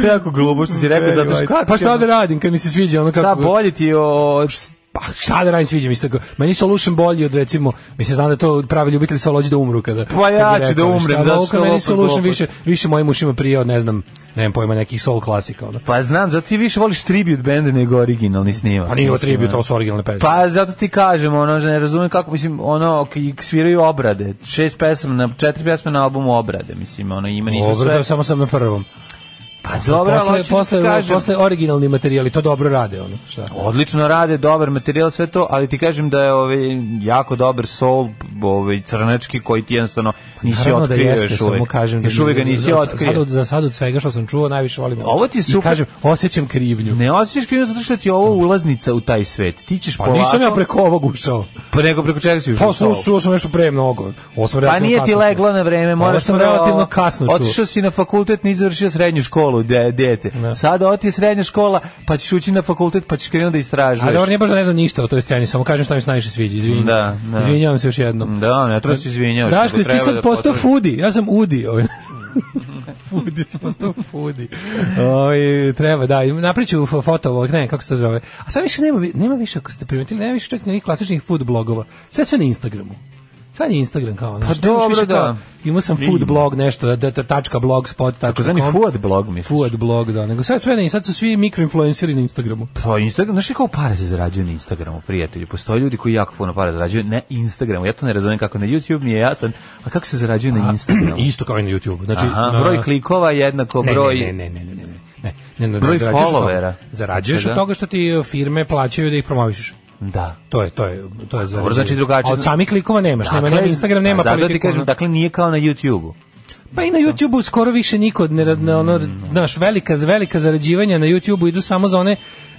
F: To je jako glupo što si rekao, zato što kako
G: pa
F: će-
G: šta da radim kad mi se sviđa ono kako...
F: Šta bolje ti je od...
G: Pa šta da radim sviđa mi se tako. Meni Solution bolji od recimo, mislim znam da to pravi ljubitelj solo hoće da umru kada.
F: Pa ja
G: kad
F: ću
G: bi
F: da
G: rekao,
F: umrem,
G: šta, ali
F: zato
G: ovo
F: što
G: kad
F: je
G: meni
F: opet
G: Solution
F: glupo.
G: više, više mojim ušima prije od ne znam, nemam pojma nekih soul klasika ono.
F: Pa znam, zato ti više voliš tribute bende nego originalni snimak.
G: Pa nije ovo
F: Mislim,
G: tribut,
F: ono.
G: to su originalne pesme.
F: Pa zato ti kažem, ono, ne razumem kako, mislim, ono, k- sviraju obrade, šest pesama, na, četiri pesme na albumu obrade, mislim, ono, ima nisu
G: Dobro,
F: sve.
G: to samo sam na prvom.
F: Pa dobro, ali
G: posle,
F: hoću ti
G: posle,
F: kažem,
G: posle originalni materijali, to dobro rade, ono, šta?
F: Odlično rade, dobar materijal, sve to, ali ti kažem da je ovaj, jako dobar soul, ovaj, crnački, koji ti jednostavno nisi
G: Pa Naravno
F: otkrio
G: da jeste,
F: još uvek.
G: samo kažem da
F: još uvek ga nisi
G: za,
F: otkrio.
G: Sad od, za sad od svega što sam čuo najviše volim.
F: Ovo ti je
G: I
F: super.
G: kažem, osjećam krivnju.
F: Ne osjećaš krivno zato što ti je ovo ulaznica u taj svet. Ti ćeš
G: pa
F: polako...
G: nisam ja preko ovog ušao.
F: Pa nego preko čega si ušao u
G: Pa
F: soul?
G: slušao čuo sam nešto pre mnogo. Ovo sam
F: Pa
G: relativno
F: nije ti
G: kasno
F: leglo
G: čuo.
F: na vreme,
G: Ovo
F: moraš
G: sam
F: prvo-
G: relativno kasno čuo.
F: Otišao si na fakultet, nisi završio srednju školu, de, dete. Sada oti je srednja škola, pa ćeš ući na fakultet, pa ćeš krenuti da istražuješ.
G: A dobro, nije baš da ne znam ništa o toj sceni, samo kažem šta mi se najviše sviđa, izvinjam.
F: Da, da.
G: Izvinjavam se još jednom.
F: Da, ne treba se izvinjavaš.
G: Daško,
F: nego
G: jesi
F: treba
G: ti sad
F: da
G: postao
F: potvrdiš.
G: fudi, ja sam udi. Ovaj. fudi, si postao fudi. Oj, treba, da, i napriču fo- foto ovog, ne, kako se to zove. A sad više nema, vi- nema više, ako ste primetili, nema više čak ni onih klasičnih food blogova. Sve sve na Instagramu. Sad je Instagram kao, znaš, nemaš
F: Pa dobro,
G: više kao,
F: da.
G: Imao sam food blog, nešto, da, da, da, tačka blogspot, tačka
F: Tako zvani
G: com.
F: Fuad blog, misliš?
G: Fuad blog, da, nego sve sve, ne, sad su svi mikroinfluenceri na Instagramu.
F: Pa Instagram, znaš li kako pare se zarađuju na Instagramu, prijatelji? Postoje ljudi koji jako puno para zarađuju na Instagramu. Ja to ne razumem kako na YouTube mi je jasan, a kako se zarađuju na Instagramu?
G: Isto kao i na YouTube. Znači,
F: Aha,
G: na-
F: broj klikova jednako
G: ne,
F: broj...
G: Ne, ne, ne, ne, ne, ne. Ne, ne, ne,
F: Broj
G: ne, zarađuješ od toga.
F: followera. Znači,
G: Zarađuješ
F: Da.
G: od toga što ti e, firme plaćaju da ih promoviš.
F: Da.
G: To je, to je, to je zarađivanje.
F: znači drugačije. Dakle,
G: A Od samih klikova nemaš, nema, nema Instagram, nema
F: Zato ti
G: politiku,
F: kažem,
G: ono.
F: dakle nije kao na YouTube-u.
G: Pa i na YouTubeu skoro više niko ne rad- ne ono naš velika velika zarađivanja na YouTubeu idu samo za one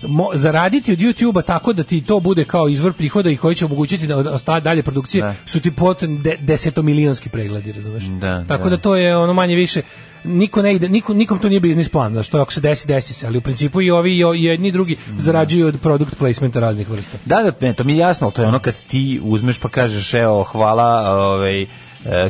G: mo, zaraditi od YouTubea tako da ti to bude kao izvor prihoda i koji će omogućiti da osta dalje produkcije
F: Da.
G: su ti potom de, desetomilionski pregledi, razumeš?
F: Da,
G: tako
F: da.
G: da. to je ono manje više niko ne ide, niko, nikom to nije biznis plan, znaš, to ako se desi, desi se, ali u principu i ovi i o- i jedni i drugi zarađuju od product placementa raznih vrsta.
F: Da, da, ne, to mi je jasno, ali to je ono kad ti uzmeš pa kažeš, evo, hvala, ovaj, e,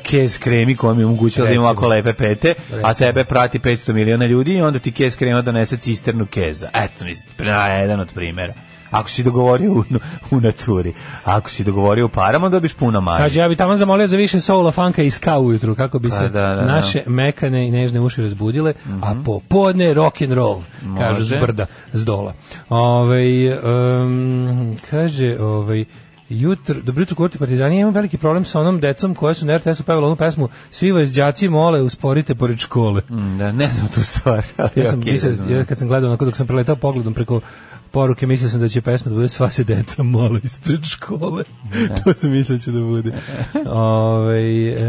F: kez kremi koja mi je omogućila da imam
G: Recimo.
F: ovako lepe pete, a
G: Recimo.
F: tebe prati 500 miliona ljudi i onda ti kez krema donese cisternu keza. Eto, mislim, na, jedan od primjera. Ako si dogovorio u, u naturi, ako si dogovorio u parama, dobiš puno manje.
G: Kaže, Znači, ja bi tamo zamolio za više soula, fanka i ska ujutru, kako bi se
F: Pa, da, da, da.
G: naše mekane i nežne uši razbudile, a popodne rock and roll, kažu s
F: Može.
G: brda, s dola. Ovaj, em, kaže, ovaj, jutro, dobro jutro, kurti partizani, ja imam veliki problem sa onom decom koja su na RTS-u pevala onu pesmu Svi vas đaci mole, usporite pored škole.
F: Mm, Da, ne znam tu stvar. Ali
G: Ja sam
F: okej,
G: mislio,
F: ne znam.
G: ja kad sam gledao onako dok sam preletao pogledom preko poruke, mislio sam da će pesma da bude sva se deca mole ispred škole. to sam mislio će da bude. Ovaj,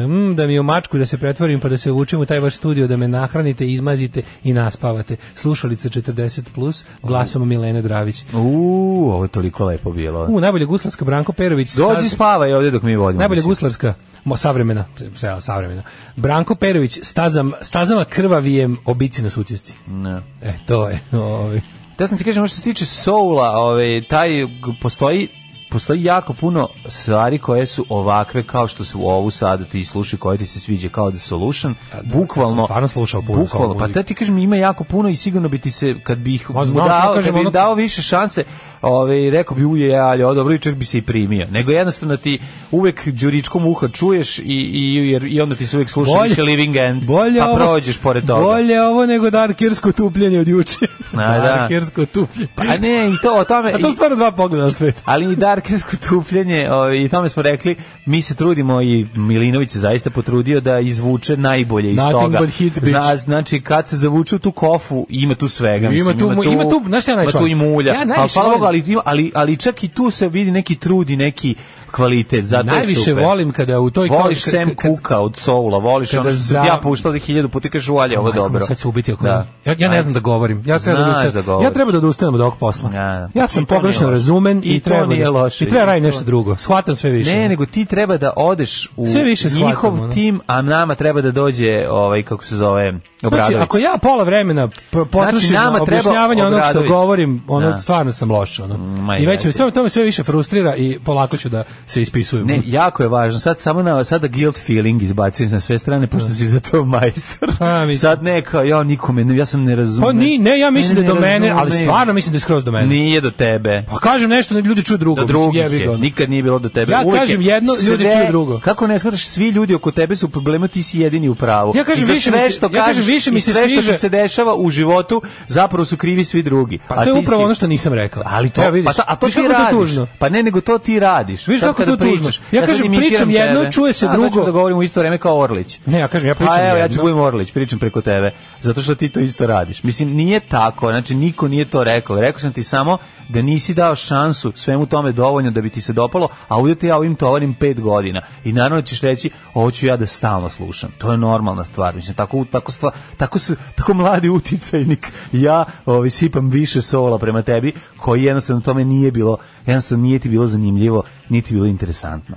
G: mm, da mi u mačku da se pretvorim pa da se uvučem u taj vaš studio, da me nahranite, izmazite i naspavate. Slušalica 40+, plus, glasom Milene Dravić.
F: U, ovo je toliko lepo bilo.
G: U, najbolja guslarska Branko Perović.
F: Dođi
G: Staz-
F: spavaj ovdje dok mi vodimo.
G: Najbolja
F: emisiju.
G: guslarska, mo, savremena, sa- savremena. Branko Perović, stazam, stazama krvavijem obici na sutjesci.
F: Ne.
G: E, to je. Ovaj.
F: Da sam ti kažem, ono što se tiče soula, ovaj, taj, g- postoji postoji jako puno stvari koje su ovakve kao što su ovu sada ti slušaj koje ti se sviđa kao The Solution
G: da, ja
F: bukvalno
G: sam stvarno slušao puno
F: bukvalno
G: soul
F: pa
G: muzike.
F: da ti kažem ima jako puno i sigurno bi ti se kad bi ih
G: Ma,
F: mu
G: znam,
F: dao,
G: samo
F: kad
G: kažem,
F: bi im
G: ono-
F: dao više šanse ovaj rekao bi uje ali ovo dobro i čovjek bi se i primio nego jednostavno ti uvek đuričkom uha čuješ i i jer i onda ti se uvek sluša
G: Bolje-
F: više Living End
G: Bolje
F: pa
G: ovo-
F: prođeš pored toga
G: Bolje ovo nego darkersko tupljenje od juče.
F: A, da.
G: darkersko tupljenje.
F: pa ne i to o tome
G: A to
F: i-
G: stvarno dva pogleda na svet.
F: Ali i Dark parkersko tupljenje o, i tome smo rekli, mi se trudimo i Milinović se zaista potrudio da izvuče najbolje iz
G: Nothing
F: toga.
G: but hits, bitch.
F: Zna- znači, kad se zavuče u tu kofu, ima tu svega.
G: Ima
F: mislim,
G: tu mu- ima tu- znaš šta je
F: ima
G: najčudnije?
F: tu i mulja.
G: Ja
F: ali,
G: najviše
F: hvala
G: volim-
F: Bogu, ali, ima- ali, ali čak i tu se vidi neki trud i neki kvalitet. Zato je
G: Najviše
F: super.
G: volim kada u toj...
F: Voliš
G: kad-
F: Sam
G: kad- kad-
F: Kuka od Soula, voliš
G: kada
F: ono što
G: za-
F: za... ja puštao da hiljadu puta kažeš uvalje, ovo je
G: Majko mi,
F: dobro.
G: Sad se ubiti oko
F: Da.
G: Ja, ja ne
F: Ajde.
G: znam da govorim. Ja treba da,
F: Znaš
G: ustanem.
F: da govoriš.
G: ja treba da odustanem od ovog posla.
F: Ja, da.
G: Ja
F: I
G: sam
F: to nije
G: pogrešno
F: loše.
G: razumen i,
F: I to
G: treba
F: nije
G: da,
F: loše.
G: I treba
F: I
G: raditi
F: to-
G: nešto drugo. Shvatam sve više.
F: Ne, nego ti treba da odeš u
G: Sve više shvatam,
F: njihov
G: ono.
F: tim, a nama treba da dođe ovaj kako se zove Obradović.
G: Znači, ako ja pola vremena pro- potrošim
F: Znači, nama
G: na
F: treba
G: objašnjavanje onog što
F: Obradović.
G: govorim, ono
F: Da.
G: stvarno sam loš. Ono.
F: ma
G: I već
F: jeste.
G: me, to, to me sve više frustrira i polako ću da se ispisujem.
F: Ne, jako je važno. Sad samo na sada guilt feeling izbacujem na sve strane pošto si za to majstor.
G: Pa, mislim.
F: Sad neka ja nikome ne, ja sam ne razumem.
G: pa ni, ne, ja mislim da je
F: Mene
G: do
F: ne
G: mene, ali
F: razume.
G: stvarno mislim da je skroz do mene.
F: Nije do tebe.
G: Pa kažem nešto, ljudi čuju drugo.
F: Do
G: mislim,
F: drugih
G: jebi ga,
F: je.
G: ono.
F: Nikad nije bilo do tebe.
G: Ja
F: Uvijek
G: kažem
F: je
G: jedno, ljudi
F: sve-
G: čuju drugo.
F: Kako ne shvataš, svi ljudi oko tebe su u problemu, ti si jedini u pravu.
G: Ja kažem,
F: I za
G: više mi
F: sve
G: se-
F: što
G: ja kažem,
F: kažeš
G: više mi
F: i
G: se
F: sve što
G: sviđa-
F: ti se dešava u životu, zapravo su krivi svi drugi.
G: Pa
F: A
G: to je
F: ti
G: upravo
F: si-
G: ono što nisam rekao.
F: Ali to,
G: Evo, vidiš,
F: pa sa- a to
G: vidiš
F: ti
G: kako je
F: radiš.
G: tužno.
F: Pa ne, nego to ti radiš.
G: Vidiš
F: Sad
G: kako je
F: kada
G: to tužno.
F: pričaš.
G: Ja
F: sad
G: kažem,
F: imitiram
G: pričam
F: tebe.
G: jedno, čuje se
F: A, znači
G: drugo.
F: da govorim u isto vreme kao Orlić.
G: Ne, ja kažem, ja pričam
F: A Pa evo, ja
G: jedno.
F: ću budem Orlić, pričam preko tebe, zato što ti to isto radiš. Mislim, nije tako, znači niko nije to rekao. Rekao sam ti samo da nisi dao šansu svemu tome dovoljno da bi ti se dopalo, a ovdje te ja ovim tovarim pet godina. I naravno ćeš reći, ovo ću ja da stalno slušam. To je normalna stvar. Mislim, tako, tako, stva, tako, su, tako mladi uticajnik. Ja ovaj, sipam više sola prema tebi, koji jednostavno tome nije bilo, jednostavno nije ti bilo zanimljivo, niti bilo interesantno.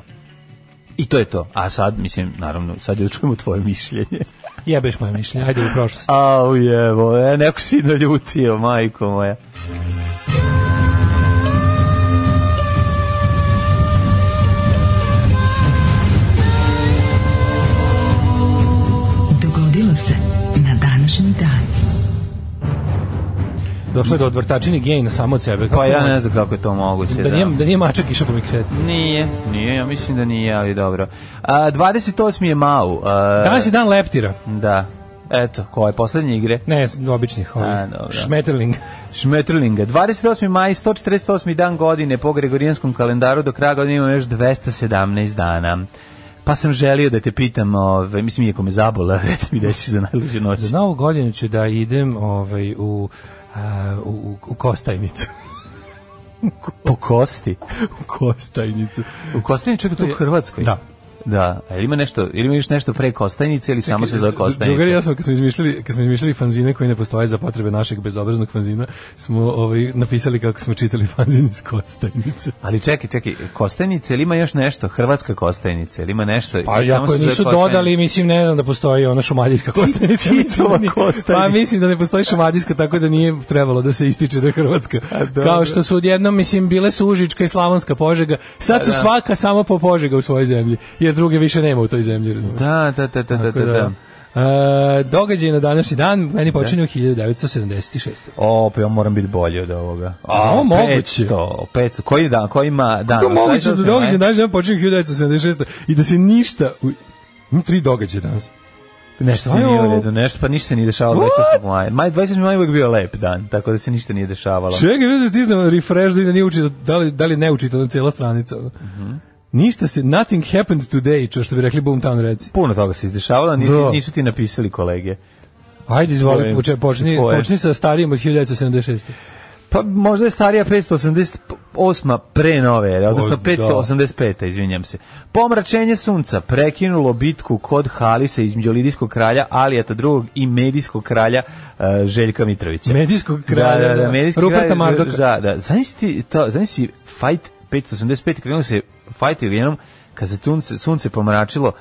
F: I to je to. A sad, mislim, naravno, sad je da čujemo tvoje mišljenje.
G: Jebeš moje mišljenje, ajde u prošlost.
F: Au jevo, e, neko si naljutio, majko moja.
D: Dogodilo se na današnji dan.
G: Došlo je do odvrtačini gejna samo od sebe. Kako
F: Pa ja
G: može?
F: ne znam kako je to moguće.
G: Da nije, da nije mačak išao po miksetu.
F: Nije, nije, ja mislim da nije, ali dobro. A, 28. je Mau. A,
G: Danas je dan leptira.
F: Da. Eto, koje poslednje igre?
G: Ne, s- običnih
F: A,
G: ovih.
F: dobro.
G: Šmeterling.
F: Šmetrlinga. 28. maj, 148. dan godine po Gregorijanskom kalendaru, do kraja godine imamo još 217 dana. Pa sam želio da te pitam, ove, mislim, iako me zabola, reci mi da ćeš za najluđu noć.
G: Za novu godinu ću da idem ovaj, u, a, u, u, u Kostajnicu.
F: Po kosti.
G: u Kostajnicu.
F: U Kostajnici čak tu u Hrvatskoj.
G: Da.
F: Da, a jel ima nešto, ili ima još nešto pre Kostajnice ili samo se zove Kostajnica?
G: Drugari, ja sam, kad smo izmišljali, kad smo izmišljali fanzine koji ne postoje za potrebe našeg bezobraznog fanzina, smo ovaj, napisali kako smo čitali fanzin iz Kostajnice.
F: Ali čekaj, čekaj, Kostajnice ili ima još nešto? Hrvatska Kostajnica, ili ima nešto?
G: Pa
F: ili samo
G: ako
F: se
G: je
F: zove
G: nisu
F: Kostajnica?
G: dodali, mislim, ne znam da postoji ona šumadijska kostanica.
F: Titova Kostajnica.
G: Pa mislim da ne postoji šumadijska, tako da nije trebalo da se ističe da je Hrvatska.
F: dobro.
G: Kao što su odjednom, mislim, bile su Užička i Slavonska požega. Sad su svaka samo po požega u svojoj zemlji, jer druge više nema u toj zemlji, razumiješ?
F: Da, da, da, da, da,
G: Tako
F: da. da.
G: E, događaj na današnji dan meni počinje u 1976.
F: O, pa ja moram biti bolji od ovoga.
G: A, moguće.
F: 500, 500. Koji dan, koji ima dan?
G: Kako je moguće da
F: 28.
G: događaj na
F: maj?
G: današnji dan počinje 1976. i da se ništa... U... Imam tri događaja danas.
F: Nešto
G: Šta je
F: nije u
G: ovo?
F: redu, nešto, pa ništa se nije dešavalo
G: What?
F: 28. maja. Maj, 28. maja je uvijek bio lep dan, tako da se ništa nije dešavalo.
G: Čekaj, ljudi, stisnem refresh da vidim da nije učito, da li, da li ne učito na cijela stranica. ono.
F: Mhm.
G: Ništa se, nothing happened today, čo što bi rekli Boomtown Reci.
F: Puno toga se izdešavalo,
G: Da.
F: nisu, nisu ti napisali kolege.
G: Ajde, izvoli,
F: Tvoje.
G: poče, počni,
F: Tvoje.
G: počni sa starijim od 1976.
F: Pa možda je starija 588 pre nove ere,
G: O,
F: odnosno
G: da.
F: 585, izvinjam se. Pomračenje sunca prekinulo bitku kod Halisa između Lidijskog kralja Alijata II i Medijskog kralja e, Željka Mitrovića.
G: Medijskog kralja,
F: da, da,
G: da.
F: da, Medijski
G: Ruperta
F: kralj,
G: Mardoka.
F: Da, da. Znaš ti, to, znaš si fight 585, krenuo se fight u jednom kad se sunce, sunce pomračilo,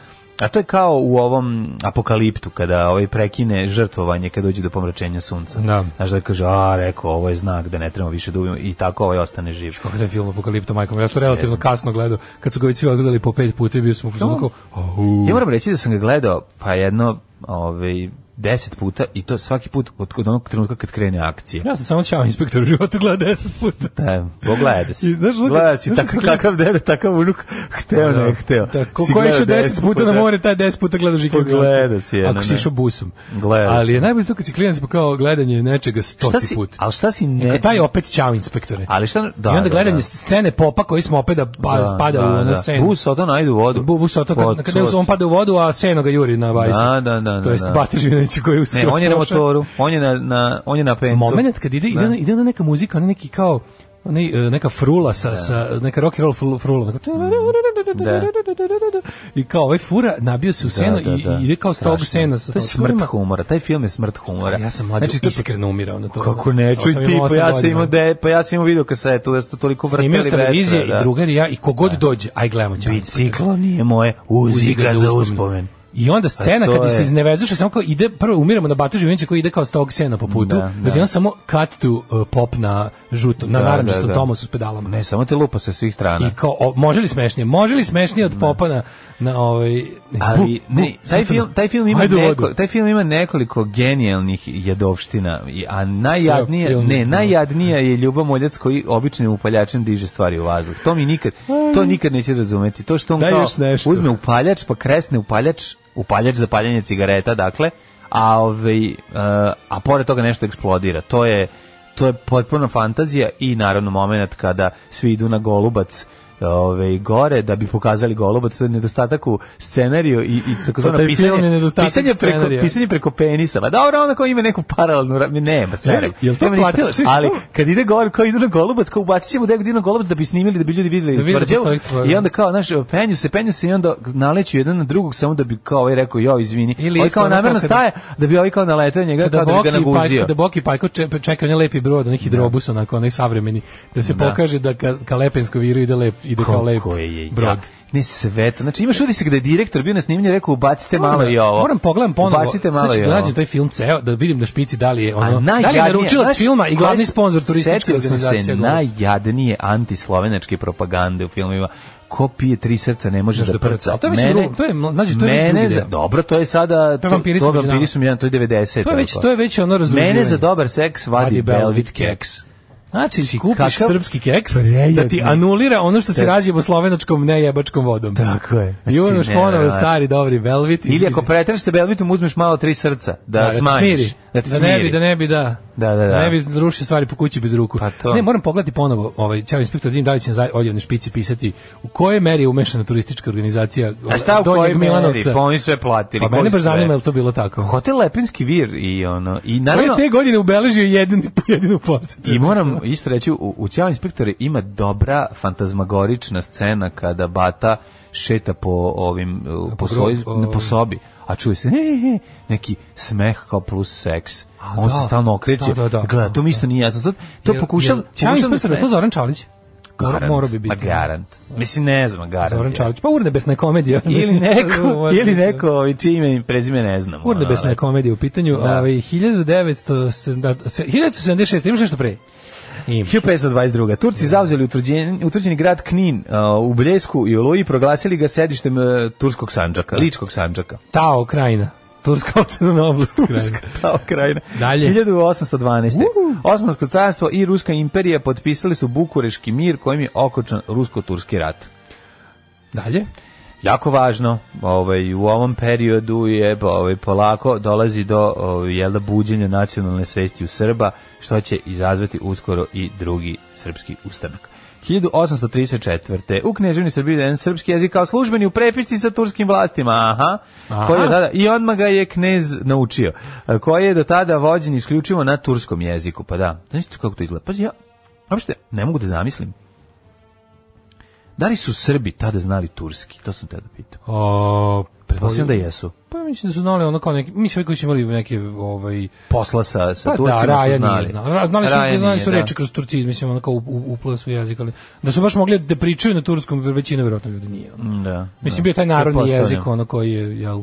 F: a to je kao u ovom apokaliptu kada ovaj prekine žrtvovanje kad dođe do pomračenja sunca.
G: Da.
F: Znaš da kaže, a, rekao, ovo je znak da ne trebamo više da ubijemo i tako ovaj ostane živ.
G: Kako je film Apokalipto, majkom, ja sam to relativno kasno gledao, kad su ga već svi odgledali po pet puta i bio sam u fazonu
F: To-
G: kao, au.
F: Ja moram reći da sam ga gledao, pa jedno, ovaj, 10 puta i to svaki put od od onog trenutka kad krene akcija.
G: Ja sam samo čao inspektor u životu gleda deset puta.
F: Da, pogledaj se.
G: I znaš, ono kad-
F: Gledaj si, tak,
G: znaš kad-
F: kakav dede, takav unuk, hteo ne, hteo.
G: Tako,
F: Si
G: ko je
F: gledao
G: išao
F: 10
G: deset puta na more, taj deset puta gledaš i kako
F: Pogledao si jedno,
G: Ako si
F: ne.
G: išao busom.
F: Gledao
G: Ali je
F: si.
G: najbolje to kad si klinac pa kao gledanje nečega
F: Šta
G: stoti
F: si,
G: put.
F: ali šta si ne...
G: E, taj opet čao inspektore.
F: Ali šta, da,
G: I onda
F: da,
G: gledanje
F: da.
G: scene popa koji smo opet da pa,
F: Da,
G: spada
F: da,
G: u ono
F: da.
G: senu.
F: Bus otan, ajde u vodu.
G: Bu, bus, a to
F: Od-
G: kad, kad on pada u vodu, a seno ga juri na bajsu.
F: Da, da, da,
G: To
F: da,
G: jest
F: da.
G: Bata Živinović koji je uskoro
F: Ne, on je na
G: prošao.
F: motoru, on je na, na, on je na pencu.
G: Moment kad ide, ide, ona- ide ona neka muzika, ona neki kao onaj, e, neka frula sa, sa neka rock and roll fru- frula. Onako,
F: Da.
G: I kao ovaj fura nabio se u seno
F: Mm. Da, da, da.
G: i, i ide kao
F: Strašno.
G: stog sena sa
F: To je
G: tom
F: smrt
G: furama.
F: humora, taj film je smrt humora.
G: Ja sam mlađe
F: Znači, to-
G: iskreno umirao na to.
F: Kako ne,
G: Sa
F: čuj
G: osam i
F: ti, pa
G: osam
F: ja sam
G: godina.
F: imao de, pa ja sam imao video kasetu, da ste toliko vrteli
G: Snimio s televizije
F: vestra,
G: i drugar i ja i kogod dođe, aj gledamo ćemo.
F: Biciklo nije moje, uzi ga za uspomen.
G: I onda scena
F: to
G: kada
F: je-
G: se iznevezuše samo kao ide prvo umiramo na Batu Živinovića koji ide kao stog sena po putu,
F: Da,
G: da,
F: da.
G: da. on samo cut to uh, pop na žuto, na
F: Da, da,
G: narančastom
F: da.
G: Tomasu s pedalama.
F: Ne, E, samo te lupa sa svih strana.
G: I kao o, može li smešnije? Može li smešnije od popa na na ovaj
F: ali
G: Bu, bu,
F: ne, taj
G: sutra.
F: film taj film ima
G: Ajde u vodu.
F: neko, taj film ima nekoliko genijalnih jedovština i- a najjadnija
G: Ceo film.
F: ne najjadnija je ljubomoljac koji običnim upaljačem diže stvari u vazduh to mi nikad to nikad neće razumeti to što on
G: Daj
F: kao
G: još nešto.
F: uzme upaljač pa kresne upaljač upaljač za paljenje cigareta dakle a ovaj e, a pored toga nešto eksplodira to je to je potpuna fantazija i naravno momenat kada svi idu na golubac ove, gore da bi pokazali golubac to je nedostatak u scenariju i, i takozvano
G: To Pa taj film je
F: pisanje,
G: nedostatak
F: pisanje, preko,
G: scenarija.
F: pisanje preko penisa. Ma dobro, onda kao ima neku paralelnu, ra- nema, stvarno.
G: Ne, jel to
F: Nema ništa.
G: platila? Šta je
F: Ali
G: to?
F: kad ide gore, kao idu na golubac, kao ubacit ćemo da idu na golubac da bi snimili, da bi ljudi videli
G: Da vide da
F: tvrđavu.
G: postoji tvrđava.
F: I onda kao, znaš, penju se, penju se i onda naleću jedan na drugog samo da bi kao ovaj rekao, jo, izvini.
G: Ili
F: ovaj
G: isto
F: kao
G: ono
F: namerno
G: kao kada-
F: staje, da bi ovaj kao naletao na njega,
G: Kada
F: kao da bi
G: Boki,
F: ga
G: i Pajko,
F: naguzio.
G: kada Boki i Pajko če- čeka onaj lepi brod, onaj hidrobus, onako, onaj savremeni, da se pokaže da ka, ka Lepensko viru ide, lep, ide kao lep
F: Kako je
G: brod.
F: jak. Ne sve to. Znači imaš utisak da je direktor bio na snimljenju i rekao ubacite malo i ovo.
G: Moram pogledam ponovo.
F: Ubacite malo
G: Sad
F: i
G: ću
F: ovo.
G: da nađem taj film ceo, da vidim na špici da li je
F: A
G: ono, da li je
F: najjadnije,
G: naručilac
F: znaš,
G: filma i
F: koje-
G: glavni sponsor turističke
F: setio sam se
G: organizacije. Naj...
F: najjadnije antislovenačke propagande u filmovima. Ko pije tri srca ne može
G: Može
F: da
G: da prca.
F: prca.
G: Ali to je već drugo, to je mla- znači, to je već
F: mene
G: drugi
F: za,
G: deo.
F: dobro, to je sada to,
G: vampiri
F: to
G: su među
F: vampiri
G: nama.
F: su jedan, to je 90.
G: To je već,
F: tako.
G: to je već ono razdruživanje.
F: Mene za dobar seks vadi
G: Vadi
F: Belvit
G: Velvet
F: keks.
G: keks. Znači,
F: kakav
G: kupiš srpski keks, da ti
F: prejedni-
G: anulira ono što
F: Da.
G: se razjebo slovenačkom nejebačkom vodom.
F: Tako je.
G: I ono
F: Znači,
G: što ono,
F: nevjerovatno.
G: stari, dobri velvit.
F: Ili
G: iz-
F: ako pretreš sa Belvitom uzmeš malo tri srca da,
G: ti
F: smanjiš,
G: smiri.
F: da ti
G: da
F: smiri.
G: ne bi, da ne bi, da.
F: Da, da, da.
G: ne bi rušio stvari po kući bez ruku.
F: Pa to.
G: Ne, moram pogledati ponovo, ovaj, ćao inspektor Dim, da li će na odjevne špici pisati u kojoj meri je umešana turistička organizacija
F: A šta u
G: Donjeg
F: kojoj meri?
G: Milanovca?
F: Pa oni sve platili.
G: Pa mene
F: koji
G: baš
F: sve?
G: zanima je li to bilo tako.
F: Hotel Lepinski vir i ono i
G: Ko je
F: naravno
G: te godine ubeležio jedin, jedinu posetu?
F: I moram isto reći, u, u Ćao inspektore ima dobra fantazmagorična scena kada Bata šeta po ovim uh, po,
G: po
F: svoj,
G: grob-
F: ne, po sobi, a čuje se he, he, he, neki smeh kao plus seks.
G: A,
F: On se
G: da.
F: stalno okreće.
G: Da, da, da.
F: Gleda, to mi isto nije jasno. Sad, to
G: Jel-
F: pokušam,
G: jel- Ćao
F: pokušam da
G: inspektor, je to
F: smeh-
G: Zoran Čalić?
F: Garant,
G: Morao bi
F: Ma
G: biti.
F: garant. Mislim, ne znam, garant.
G: Zoran
F: jeste.
G: Čalić, pa urnebesna komedija.
F: Ili neko,
G: Možda-
F: ili neko ovaj, čije ime i prezime ne znam. ono,
G: Urnebesna
F: ali-
G: je komedija u pitanju.
F: Da.
G: Ovaj, 1970, 1976, imaš nešto pre?
F: 1522. Turci zauzeli utvrđeni, utvrđeni grad Knin uh, u Bljesku i Oluji i proglasili ga sedištem uh, turskog sanđaka, ličkog sanđaka.
G: Tao krajina. Turska autonomna oblast krajina.
F: Ta krajina.
G: Dalje.
F: 1812. Osmansko carstvo i Ruska imperija potpisali su Bukureški mir kojim je okočan rusko-turski rat.
G: Dalje.
F: Jako važno, ovaj, u ovom periodu je ovaj, polako dolazi do ovaj, jel da, buđenja nacionalne svesti u Srba, što će izazvati uskoro i drugi srpski ustanak. 1834. U Kneževini Srbiji uveden srpski jezik kao službeni u prepisci sa turskim vlastima. Aha.
G: Aha.
F: Koji je tada, I odmah ga je knez naučio. e, Koji je do tada vođen isključivo na turskom jeziku. Pa da. Znaš kako to izgleda? Pazi, ja uopšte ne mogu da zamislim. Da li su Srbi tada znali turski? To sam tada pitao.
G: O,
F: Pretpostavljam da jesu.
G: Pa mislim da su znali ono kao neki, mislim koji su imali neke, ovaj,
F: Posla sa, sa
G: pa
F: Turcima
G: da, Raja
F: su znali.
G: nije znala. Ra- Znali su,
F: Raja
G: znali
F: nije,
G: su
F: da.
G: reči kroz Turciji, mislim ono kao u, u, upleo su jezik, ali da su baš mogli da pričaju na turskom, većina vjerojatno ljudi nije. Ono.
F: Da.
G: Mislim, bio je taj narodni
F: Pretpostavljam.
G: jezik, ono koji je, jel,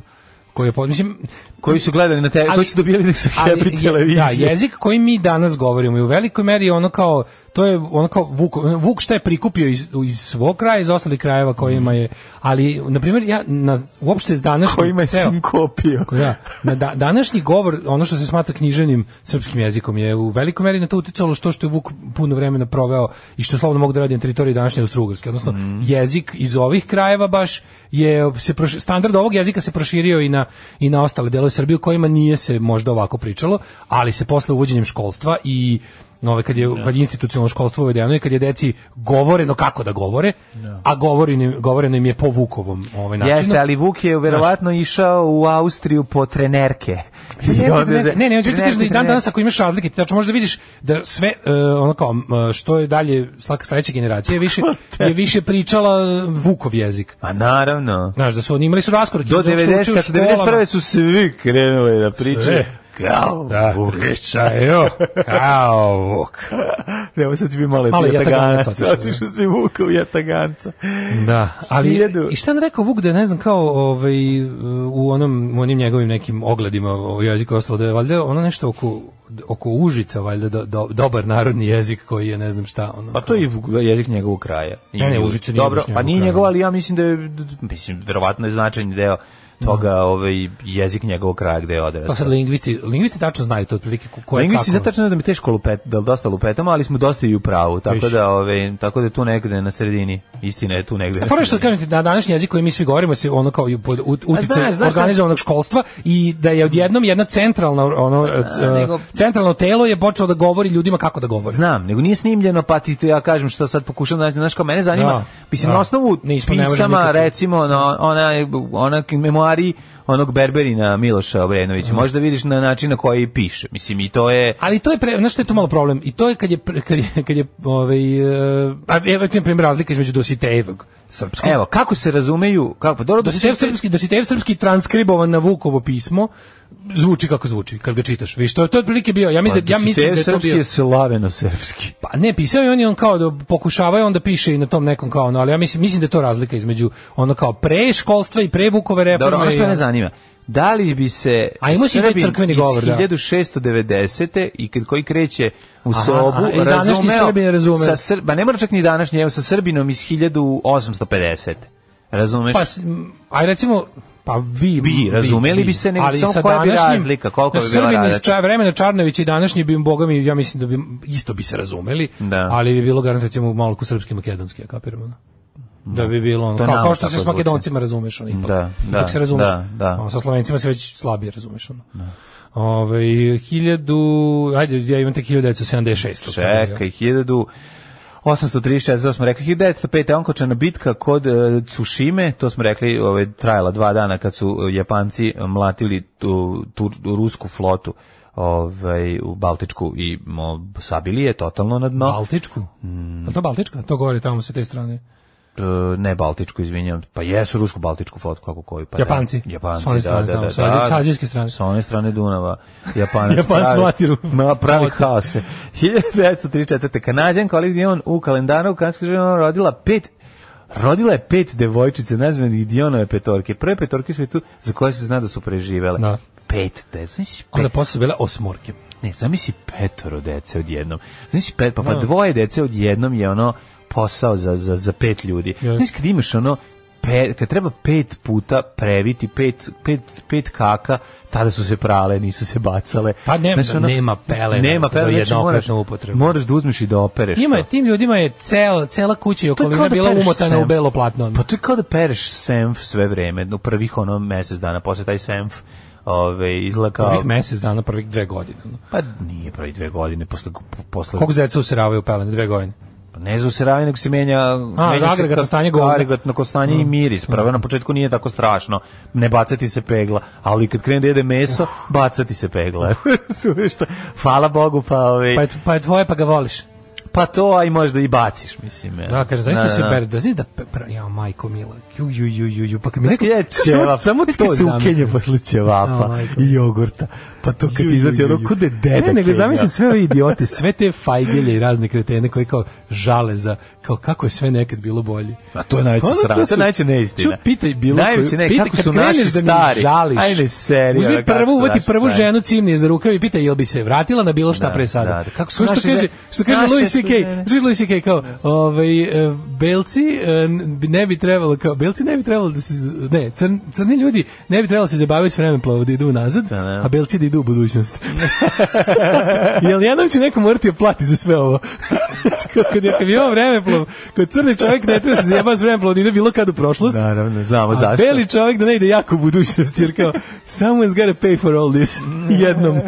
G: koji je pod, mislim,
F: Koji su gledali na te,
G: ali-
F: koji su dobijali sa
G: ali
F: Happy
G: je-
F: televizije.
G: Da, jezik koji mi danas govorimo i u velikoj meri je ono kao to je ono kao Vuk, Vuk šta je prikupio iz, iz svog kraja, iz ostalih krajeva kojima je, ali na primjer ja na, uopšte danas
F: kojima je sin kopio.
G: Da, na da, današnji govor, ono što se smatra knjiženim srpskim jezikom je u velikoj meri na to uticalo što što je Vuk puno vremena proveo i što slobodno mogu da radi na teritoriji današnje Austrougarske, odnosno
F: Mhm.
G: jezik iz ovih krajeva baš je se proši- standard ovog jezika se proširio i na i na ostale delove Srbije u kojima nije se možda ovako pričalo, ali se posle uvođenjem školstva i nove kad je kad je institucionalno školstvo uvedeno i kad je deci govoreno kako da govore, a govoreno govoreno im je po Vukovom ovaj načinu.
F: Jeste, ali Vuk je verovatno išao u Austriju po trenerke. I
G: Ne,
F: onda-
G: Pa ne, ne, ne, ne, hoću ti
F: trenerke,
G: kažem da i dan
F: trenerke.
G: danas ako imaš razlike, ti tačno možeš da vidiš da sve e, ono kao m, što je dalje slaka sledeća generacija je više je više pričala e, Vukov jezik.
F: A Pa naravno.
G: Znaš, da su oni imali su raskorak.
F: Do
G: zato što
F: 90,
G: uče Znači, u
F: kad su 91.
G: školama.
F: su svi krenuli da pričaju.
G: Sve.
F: Kao
G: Da,
F: Vuk.
G: pričaju kao Vuk.
F: Ne, ovo sad će biti malo,
G: Malo je
F: jataganac.
G: jataganac otišao, Mm.
F: Otišao si Vukov jataganca.
G: Da, ali
F: Hiljadu.
G: i šta je on rekao Vuk da je, ne znam kao ovaj u onom u onim njegovim nekim ogledima o jeziku i ostalo da je valjda ono nešto oko oko Užica valjda do, do, dobar narodni jezik koji je ne znam šta ono.
F: Pa to je Vuk- jezik njegovog kraja. I
G: Ne, ne, Užice nije
F: Dobro,
G: baš njegov
F: pa nije
G: kraj.
F: njegov, ali ja mislim da je, d- d- mislim, verovatno je značajni deo toga, ovaj, jezik njegovog kraja gde je Pa
G: Pa sad
F: odrastao.
G: lingvisti, lingvisti tačno znaju to otprilike ko- ko
F: E
G: je
F: Lingvisti
G: kako.
F: sad tačno znaju da mi je teško lupet, da dosta lupetamo, ali smo dosta i u pravu, tako
G: Više.
F: da, ovaj, tako da je tu negde na sredini, istina je tu negde.
G: A
F: na
G: fora što
F: sredini.
G: kažem ti, na današnji jezik koji mi svi govorimo se ono kao i pod ut- utice
F: znaš, znaš šta-
G: organizovanog školstva i da je odjednom jedna centralna ono c-
F: nego-
G: centralno telo je počelo da govori ljudima kako da govore.
F: Znam, nego nije snimljeno, pa ti to ja kažem što sad pokušam da nađem, znaš kao mene zanima,
G: Da,
F: mislim,
G: da.
F: na osnovu
G: Nismo, ne možemo
F: pisama,
G: nikad čuti.
F: recimo, na, ona, ona memoari onog Berberina Miloša Obrenovića, možda vidiš na način na koji piše, mislim, i to je...
G: Ali to je pre, znaš šta je tu malo problem? I to je kad je pre- kad je kad je ovaj e, a evo ti na primjer razlika između Dositejevog srpskog.
F: Evo, kako se razumeju, kako, pa dobro,
G: Dositejev srpski, Dositejev srpski transkribovan na Vukovo pismo zvuči kako zvuči kad ga čitaš. Vi što je to je otprilike bio? Ja mislim da ja mislim da je
F: Pa,
G: to
F: srpski
G: bio
F: je slaveno-srpski.
G: Pa ne, pisao je on i on kao da pokušava i onda piše i na tom nekom kao ono, ali ja mislim, mislim da je to razlika između ono kao pre školstva i pre Vukove reforme.
F: Dobro, ono što
G: E, pa i-
F: mene zanima, da li bi se
G: A imao si i taj
F: Srbin
G: crkveni govor,
F: iz
G: da.
F: 1690. i kad koji kreće u
G: Aha,
F: sobu,
G: aha, i današnji
F: razumeo,
G: Srbin razume.
F: sa Sr, ba ne mora čak ni današnji, evo sa Srbinom iz 1850. Razumeš?
G: Pa, s- m, aj recimo, pa vi...
F: Bi,
G: vi,
F: razumeli
G: vi.
F: bi se, nego
G: Ali
F: samo
G: sa
F: koja bi
G: današnjim-
F: razlika, koliko
G: na
F: bi bila
G: Srbin iz
F: razlika?
G: ča- vremena Čarnovića i današnji bi, boga mi, ja mislim da bi isto bi se razumeli,
F: Da.
G: ali bi bilo garant recimo malo ko srpski makedonski, ja kapiram, ono. Da bi bilo ono,
F: To
G: kao,
F: nama
G: kao što
F: tako
G: se s
F: zvuči.
G: makedoncima razumeš, ono, ipak,
F: Da, da,
G: ipak se razumeš.
F: da, da.
G: Ono, sa slovencima se već slabije razumeš, ono. Ove, 1000, ajde, ja imam tek 1976.
F: Čekaj, 1834, to smo rekli, 1905. je onkočana bitka kod e, Tsushime, to smo rekli, ove, trajala dva dana kad su e, Japanci mlatili tu, tu rusku flotu ovaj, u Baltičku i mo, sabili je totalno na dno.
G: Baltičku? Mm. to Baltička? To govori tamo sa te strane.
F: E, ne Baltičku, izvinjam, pa jesu rusku Baltičku flotu, kako koji, pa
G: Japanci.
F: Da, Japanci,
G: S one strane,
F: da, da,
G: tamo,
F: da,
G: sa-
F: da,
G: sa azijske strane.
F: Sa one strane Dunava, Japanac
G: Japanci
F: pravi-
G: mlati Ru-
F: Ma, pravi haose. 1934. Kanadjan Colin Dion u kalendaru u kanadskoj žena rodila pet Rodila je pet devojčice nazvanih Dionove petorke. Prve petorke u svetu za koje se zna da su preživele.
G: Da.
F: Pet dece. Znači,
G: Onda posle su bile osmorke.
F: ne, zamisli petoro dece odjednom. Zamisli pet, pa, pa dvoje dece odjednom je ono posao za, za, za pet ljudi.
G: Jeste.
F: Znaš kad imaš ono, pe, kad treba pet puta previti, pet, pet, pet kaka, tada su se prale, nisu se bacale. ono,
G: Pa ne- nema pelena
F: Nema
G: za
F: pelena, znači
G: jednokratnu
F: moraš-
G: upotrebu.
F: Moraš da uzmeš i da opereš.
G: Njima
F: to.
G: je, tim ljudima je cel, cela kuća i
F: E, To je
G: okolina
F: kao da
G: bila
F: pereš
G: umotana
F: senf.
G: u belo platno. ono.
F: Pa to je kao da pereš senf sve vreme, u prvih ono mesec dana, posle taj senf ove, izgleda kao...
G: Prvih mesec dana, prvih dve godine. ono.
F: Pa nije pravi dve godine, posle, posle
G: Koliko se deca useravaju u pelene? Dve godine.
F: Pa Ne za usravanje, nego se menja... menja se
G: agregatno
F: kad-
G: stanje govna. Mm.
F: Agregatno ko stanje i miris. Prvo na početku nije tako strašno. Ne bacati se pegla. Ali kad krene da jede meso, bacati se pegla. Razumeš šta? Hvala Bogu, pa, ovaj, pa,
G: Pa je, pa je tvoje, pa ga voliš.
F: to, a i možda i baciš, mislim. ja.
G: Da, kaže, znaš
F: Da,
G: da, se
F: da.
G: bere, da znaš da, pe- pra, ja, majko mila, ju, ju, ju, ju, ju, pa kad mi
F: Znaš kad je
G: Samo-
F: ćevap,
G: samo
F: znaš kad
G: to
F: cukenje
G: zamislim.
F: posle ćevapa
G: A, majko.
F: i jogurta.
G: Pa to
H: Ju, ju, ju,
F: ono
H: ju.
G: kude
H: Ne,
G: E, Ne,
H: nego
G: nego
H: zamislim
G: zamislim sve ove idiote, sve te fajdelje i razne kretene koji kao žale za, kao kako je sve nekad bilo bolje.
F: A Pa to je najveća
G: Ono, to
F: sranje, to
G: su-
F: je najveća neistina.
G: Ču, pitaj bilo
F: Najveća
G: koju-
F: ne,
G: pitaj,
F: kako
G: kad
F: su
G: kreneš
F: naši
G: da mi
F: stari.
G: Žališ,
F: Ajde, seri, ono,
G: Uzmi
F: kako
G: prvu,
F: su
G: uvati
F: naši
G: prvu
F: stari.
G: ženu cimnije za rukav i pitaj jel bi se vratila na bilo šta
F: Da,
G: pre sada.
F: da, da. Kako su
G: Kao što
F: naše
G: kaže,
F: ze-
G: što kaže
F: naše
G: Louis
F: su
G: CK,
F: žene.
G: Znaš Louis CK kao, ovaj, e, belci e, n- ne bi trebalo, kao, belci ne bi trebalo da se, ne, crn, crni ljudi ne bi trebalo da se zabaviti s vremenom plovo da idu nazad,
F: Da, da.
G: a belci da idu u budućnost. Jel jednom će neko morati da plati za sve ovo? Kad- kad, kad imam vremeplov, kad crni čovjek ne treba se zajebati s vremeplovom, da ide bilo kad u prošlost,
F: Naravno, znamo
G: a
F: zašto.
G: beli čovjek da ne ide jako u budućnost, jer kao, someone's gotta pay for all this, jednom.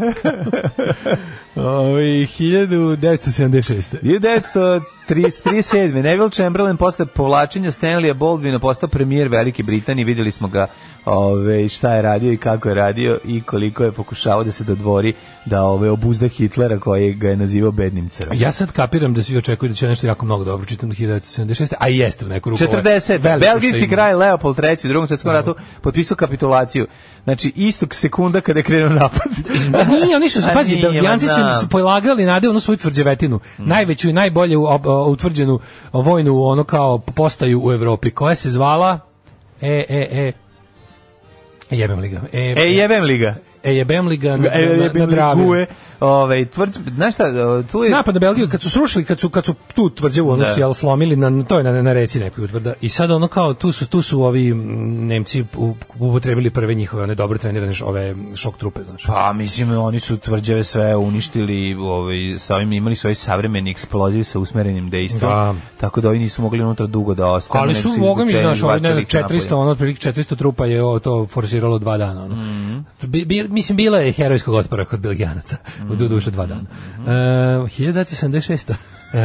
G: Ovaj, Ovo, 1976.
F: 1937. Neville Chamberlain posle povlačenja Stanleya Baldwina postao premijer Velike Britanije. Vidjeli smo ga ove, šta je radio i kako je radio i koliko je pokušavao da se dodvori da ove, obuzda Hitlera koji ga je nazivao bednim crvom.
G: Ja sad kapiram da svi očekuju da će nešto jako mnogo dobro čitam 1976. A i jeste u neku ruku. ovo
F: 40.
G: je veliko što
F: Belgijski
G: ima.
F: kralj Leopold III u drugom svjetskom ratu potpisao kapitulaciju. Znači, istog sekunda kada je krenuo napad.
G: Pa nije, oni su,
F: A
G: pazi,
F: nije, ma
G: Belgijanci
F: znam. Mm.
G: su, su polagali nade onu svoju tvrđevetinu, najveću i najbolje u- ob- o, utvrđenu vojnu, ono kao postaju u Evropi, koja se zvala, e, e, e, e, jebem li ga, e,
F: E, jebem li ga.
G: e, jebem li ga na,
F: E,
G: na,
F: jebem
G: na
F: li
G: Dravi.
F: gue. Ovaj, tvrd, znaš šta, o, tu je...
G: Napad na Belgiju, kad su srušili, kad su, kad su tu tvrđevu, ono
F: Da.
G: su jel slomili, na, to je na, na reci nekoj utvrda. I sad ono kao, tu su, tu su ovi mm, Nemci u- upotrebili prve njihove, one dobro trenirane š- ove šok trupe, znaš.
F: Pa mislim oni su tvrđave sve uništili, ovaj sa ovim imali su ovaj savremeni eksploziv sa usmerenim dejstvom.
G: Da.
F: Tako da oni nisu mogli unutra dugo da ostanu.
G: Ali
F: nego
G: su,
F: ih
G: boga mi,
F: izbucali,
G: znaš, ovaj, ne
F: izbacili
G: znam,
F: ih napolje.
G: 400, ono, otprilike 400 trupa je ovo to forsiralo dva dana, ono.
F: Mhm.
G: Bi, bi- mislim, bila je herojskog otpora kod Belgijanaca,
F: Mhm.
G: u do duše dva dana. Mm -hmm. 1976.
F: E,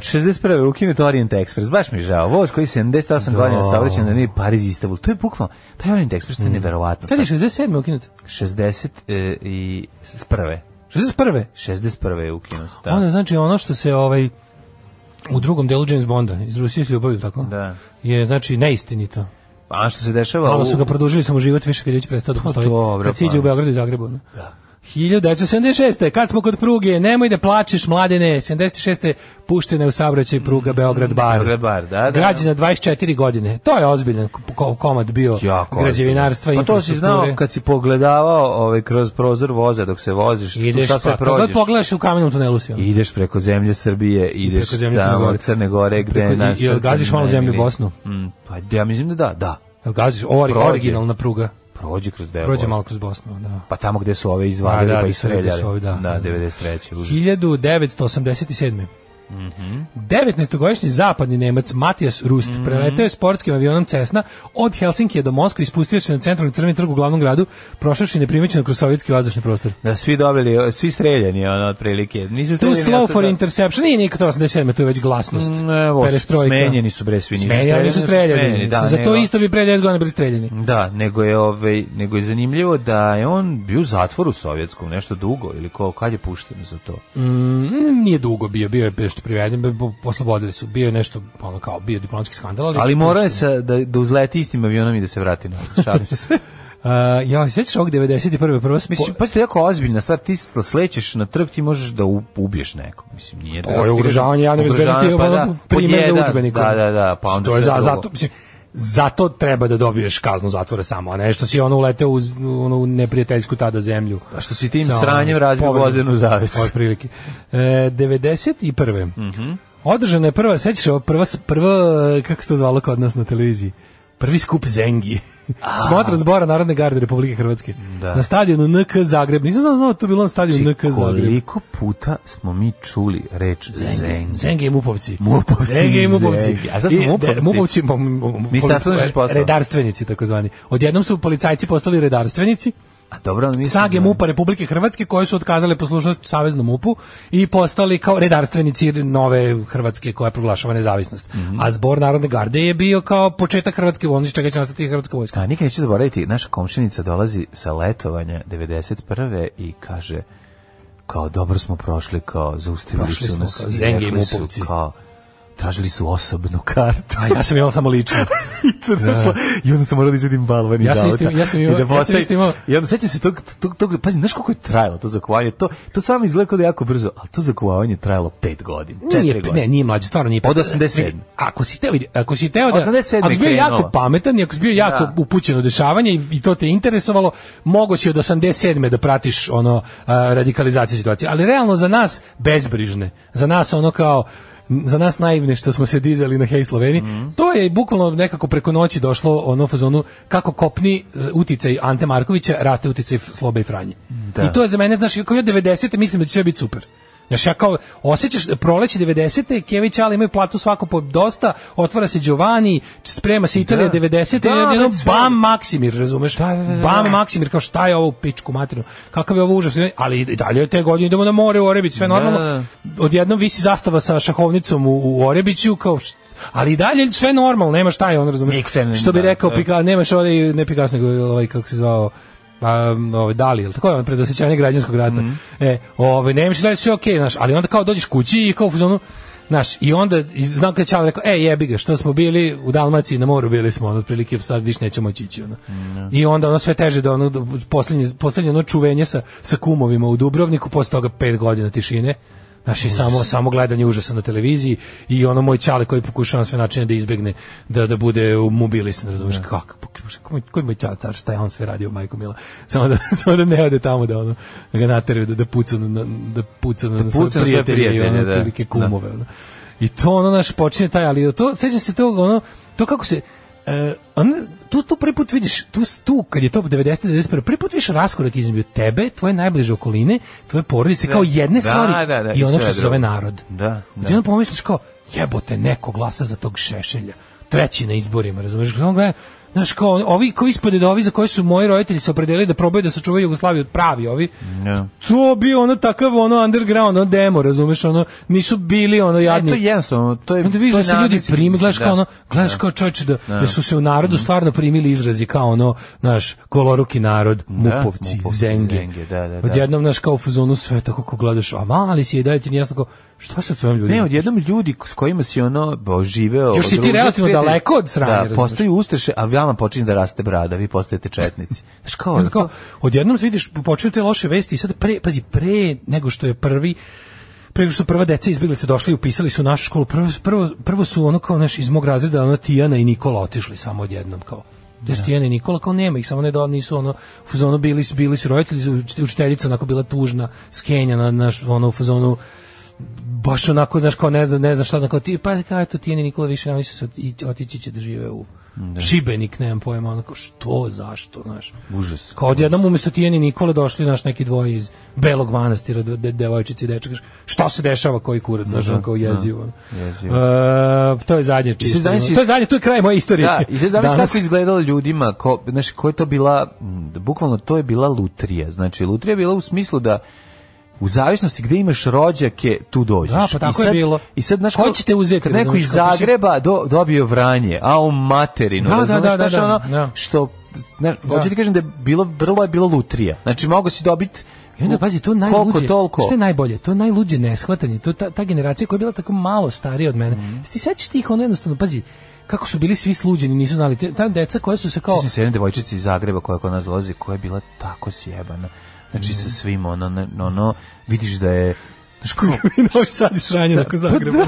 F: 61. je ukinut Orient Express, baš mi je žao. Voz koji 78 godina saobraćen na nije Pariz i Istanbul. To je bukvalno, taj Orient Express to
G: Mm.
F: je neverovatno.
G: Sad je 67. ukinut.
F: 60 e, i s prve.
G: 61.
F: 61. je ukinut. Da.
G: Onda znači ono što se ovaj u drugom delu James Bonda iz Rusije s ljubavlju tako
F: Da.
G: je znači neistinito.
F: A ono što se dešava
G: Malo
F: u- Pa
G: su ga produžili samo život više kad je već prestao da postoji.
F: dobro,
G: kad siđe
F: pa.
G: u Beogradu i Zagrebu. ono. 1976. Kad smo kod pruge, nemoj da plačeš mladene. 76. puštena je u saobraćaj pruga Beograd-Bar.
F: Beograd-Bar, da, da.
G: Građena 24 godine. To je ozbiljan ko- ko- komad bio
F: Jako
G: građevinarstva i
F: ozbiljno. Pa to si
G: infrastrukture.
F: znao kad si pogledavao ovaj, kroz prozor voza dok se voziš,
G: Ideš,
F: šta se
G: pa, kad god
F: prođeš.
G: pogledaš u kamenom tunelu si ono.
F: Ideš preko zemlje Srbije, ideš
G: preko zemlje Crne
F: tamo
G: Gore.
F: od Crne Gore, gde
G: Preko-
F: je naš...
G: i- i odgaziš malo zemlju u Bosnu.
F: Mm, pa ja mislim da da, da.
G: Jel gaziš? Ori-
F: Prođe.
G: originalna pruga.
F: Prođe kroz deo
G: Prođe
F: Bosne.
G: malo kroz Bosnu, ono, da.
F: Pa tamo gde su ove izvadili
G: Da, da,
F: pa
G: gde
F: ih
G: su rekli da
F: streljali.
G: su ovi, da.
F: da, 93. užas.
G: 1987.
F: Mhm.
G: Mm 19-godišnji zapadni Nemac Matijas Rust preleteo je sportskim avionom Cessna od Helsinkija do Moskve i spustio se na centralni crveni trg u glavnom gradu, prošavši neprimećeno kroz sovjetski vazdušni prostor.
F: Da, svi dobili, svi streljani, ono, otprilike. Nisu
G: Tu
F: streljani, ja
G: slow
F: sam
G: for
F: da-
G: interception, nije niko to 87, tu je već glasnost.
F: Ne, ovo su-
G: Perestrojka.
F: smenjeni su, bre, svi nisu
G: Smenjeni, oni su
F: streljani,
G: streljani.
F: smenjeni, da,
G: Za to
F: nego-
G: isto bi pre 10 godina bili streljani.
F: Da, nego je ovaj nego je zanimljivo da je on bio u zatvoru sovjetskom nešto dugo ili ko kad je pušten za to.
G: Mm, nije dugo bio, bio je nešto priveden, poslobodili su, bio je nešto, ono kao, bio je diplomatski skandal.
F: Ali morao je sa, da, da uzleti istim avionom i da se vrati na šalim se.
G: Uh, ja, sjećaš ovog 91. prvo spo...
F: Mislim, pa to je jako ozbiljna stvar, ti sl- slećeš na trg, ti možeš da u- ubiješ nekog. Mislim, nije da...
G: To Pa je ugrožavanje javne bezbednosti,
F: Ugrožavanje,
G: pa da, primjer za
F: jedan,
G: udžbenik.
F: Da, da, da, pa onda
G: to je
F: sve
G: za,
F: drugo.
G: zato, mislim, zato treba da dobiješ kaznu zatvora samo, a ne što si ono uleteo uz ono, u neprijateljsku tada zemlju.
F: A što si tim
G: Sa onom
F: sranjem razbio
G: povredom.
F: vodenu zavesu. Mhm.
G: Od prilike. E, 91. Održana je prva, sećaš ovo, prva, prva, e, kako se to zvalo kod nas na televiziji? Prvi skup Zengi. Smotra zbora Narodne garde Republike Hrvatske.
F: Da.
G: Na stadionu NK Zagreb. Nisam znao, znao, to bilo na stadionu NK Zagreb.
F: Koliko puta smo mi čuli reč Zeng?
G: Zenge i Mupovci.
F: Mupovci,
G: Zenge i Mupovci.
F: Zenge. A šta su
G: I,
F: Mupovci?
G: de- Mupovci, mo- mo- mo-
F: Ministarstvo unutrašnjih poslova.
G: redarstvenici takozvani. Odjednom su policajci postali redarstvenici,
F: A dobro, ali mislim...
G: snage
F: da-
G: MUPA Republike Hrvatske koje su otkazale poslušnost Saveznom MUPu i postali kao redarstvenici nove Hrvatske koja proglašava nezavisnost.
F: Mhm.
G: A zbor Narodne garde je bio kao početak Hrvatske vojske, čega će nastati Hrvatska vojska.
F: A nikad neću zaboraviti, naša komšinica dolazi sa letovanja 91. i kaže kao dobro smo prošli, kao zaustavili
G: Prošli
F: su
G: smo,
F: nas.
G: kao,
F: i
G: zenge i
F: rekli su,
G: mupovci.
F: Kao, Tražili su osobnu kartu.
G: A ja sam imao samo lično.
F: I to došla. I onda sam morao da izvedim balvan iz
G: Ja sam
F: auta.
G: isto- ja sam
F: I
G: imao-
F: da
G: ja sam
F: postavim-
G: isto imao-
F: I onda sećam se tog, tog, tog, pazi, znaš koliko je trajalo to zakuvanje? To, to samo izgleda kao da je jako brzo, ali to zakuvanje je trajalo pet godina, četiri
G: Nije,
F: godine.
G: ne, nije mlađe, stvarno nije. pa-
F: Od 87.
G: Ako si teo, ako si teo da,
F: 87
G: ako si bio
F: je krenula.
G: jako pametan i ako si bio jako
F: Da.
G: upućen u dešavanje i, i to te interesovalo, mogo si od 87. da pratiš ono a, radikalizaciju situacije. Ali realno za nas bezbrižne, za nas ono kao za nas naivne što smo se dizali na Hej Sloveni,
F: Mhm.
G: to je bukvalno nekako preko noći došlo ono u fazonu kako kopni e, uticaj Ante Markovića, raste uticaj F- Slobe i Franje.
F: Da.
G: I to je za mene, znaš, kao ja 90. mislim da će sve biti super. Znaš, ja kao, osjećaš proleće 90. Kević Ali imaju platu svako po dosta, otvara se Giovanni, č- sprema se Italija
F: Da.
G: 90.
F: Da,
G: i
F: da,
G: jedno,
F: sve.
G: bam, Maksimir, razumeš? Bam, Maksimir, kao šta je ovo u pičku materinu? Kakav je ovo užas? Ali i dalje te godine idemo na more u Orebić, sve normalno.
F: da.
G: Odjednom visi zastava sa šahovnicom u, u Orebiću, kao št- Ali i dalje sve normalno, nema šta je on, razumeš?
F: Nikte ne-
G: Što bi
F: da,
G: rekao
F: da.
G: Pika, nemaš onaj, ne Pikas, nego ovaj, kako se zvao, um, ovaj, Dali, ili tako je on predosećanje građanskog rata.
F: Mhm.
G: E, ovaj, nemaš da je sve okej, znaš, ali onda kao dođeš kući i kao u fazonu, znaš, i onda, i znam kada je Čale rekao, e, jebi ga, što smo bili u Dalmaciji na moru, bili smo, ono, otprilike, sad više nećemo moći ići, ono. I onda ono sve teže da ono, da poslednje, poslednje ono čuvenje sa, sa kumovima u Dubrovniku, posle toga pet godina tišine, Znaš, i samo, samo gledanje užasa na televiziji i ono moj čale koji pokušava na sve načine da izbegne, da, da bude mobilisan, pa, razumiješ, kako, koji, koji moj čale car, šta je on sve radio, majko mila, samo da, samo da ne ode tamo da ono, da ga nateraju, da, da puca na- na, da puca na, na svoje
F: puca na svoje
G: prijatelje, i ono,
F: prijatelje, da.
G: otprilike kumove, ono. I to ono naš počinje taj, ali to, sećam se tog, ono, to kako se, e, on, tu, tu prvi put vidiš, tu, tu kad je to 90. 91. prvi put vidiš raskorak između tebe, tvoje najbliže okoline, tvoje porodice, kao jedne
F: Da,
G: stvari
F: da, da,
G: i
F: i
G: ono
F: sve
G: što se
F: drugo.
G: zove narod.
F: Da,
G: I
F: da.
G: ti onda pomisliš kao, jebote, neko glasa za tog šešelja. Treći na izborima, razumeš? Samo gleda, Znaš, kao, ovi koji ispade da ovi za koje su moji roditelji se opredelili da probaju da sačuvaju Jugoslaviju od pravi ovi,
F: Da.
G: to bi ono takav ono underground, ono demo, razumeš, ono, nisu bili ono jadni.
F: E, to je jednostavno, to je...
G: Onda vidiš
F: to
G: da
F: je
G: se ljudi
F: namjenski,
G: primi,
F: mislim,
G: gledaš kao
F: da.
G: ono, gledaš
F: Da. Mm.
G: kao čovječe da, da su se u narodu stvarno primili izrazi kao ono, naš, goloruki narod, mupovci,
F: mupovci,
G: zenge.
F: zenge, da, da, da.
G: Odjednom, naš, kao u fazonu sve tako ko gledaš, a mali si je i dalje ti nije jasno kao, šta se od svojom ljudima?
F: Ne, odjednom ljudi s kojima si ono bo, živeo...
G: Još si ti
F: družio,
G: relativno
F: prijatelj-
G: daleko od sranja,
F: Da,
G: razumeš?
F: postaju ustaše, a vama počinje da raste brada, vi postajete četnici. Znaš kao,
G: Onda kao, odjednom vidiš, počinju te loše vesti i sad pre, pazi, pre nego što je prvi pre nego što su prva deca izbjeglice došli i upisali su u našu školu, prvo, prvo, prvo su ono kao naš iz mog razreda, ono Tijana i Nikola otišli samo odjednom kao. Da. Tijana i Nikola kao nema ih, samo ne da nisu ono u fazonu bili, su- bili su roditelji, uč- učiteljica onako bila tužna, skenjana, naš, ono u fazonu baš onako, znaš, kao ne znam, ne znam šta, onako, ti, pa kao, eto, Tijana i Nikola više ne su se oti- otići će da žive u Šibenik, nemam pojma, onako, što, zašto, znaš.
F: Užas.
G: Kao odjednom umjesto Tijene i Nikole došli naš neki dvoje iz Belog manastira, de, de, devojčici i dečak. Šta se dešava, koji kurac, znaš, on kao jezivo.
F: jezivo.
G: E, to je zadnje čisto.
F: zamisli-
G: To je zadnje, to je kraj moje istorije.
F: Da, i sad zamisli
G: Danas.
F: kako je izgledalo ljudima, ko, znaš, ko je to bila, m, bukvalno to je bila lutrija. Znači, lutrija je bila u smislu da u zavisnosti gde imaš rođake, tu dođeš.
G: Da, pa tako
F: I sad,
G: je bilo.
F: I sad, znaš,
G: Ko
F: kao-
G: će te uzeti,
F: Kad neko
G: razumeš,
F: iz
G: kako si-
F: Zagreba do, dobio vranje, a on materinu,
G: Da, da,
F: razumeš,
G: da, da,
F: znaš,
G: da,
F: ono,
G: da.
F: što, znaš,
G: Da.
F: hoću ti kažem da je bilo, vrlo je bilo lutrija. Znači, mogo si dobiti
G: I onda, pazi, to najluđe,
F: koliko, toliko.
G: što je najbolje, to je najluđe neshvatanje, to je ta, ta generacija koja je bila tako malo starija od mene.
F: Mhm.
G: Mm. Ti sećaš tih, ono jednostavno, pazi, kako su bili svi sluđeni, nisu znali, te- ta deca koja su se kao...
F: Sjećam se jedne devojčice iz Zagreba koja kod nas dolazi, koja je bila tako sjebana. Znači
G: Mhm.
F: sa svim ono, ne- ono, vidiš da je Znaš kao,
G: Novi Sad i sranje nakon
F: Pa
G: Zagreba.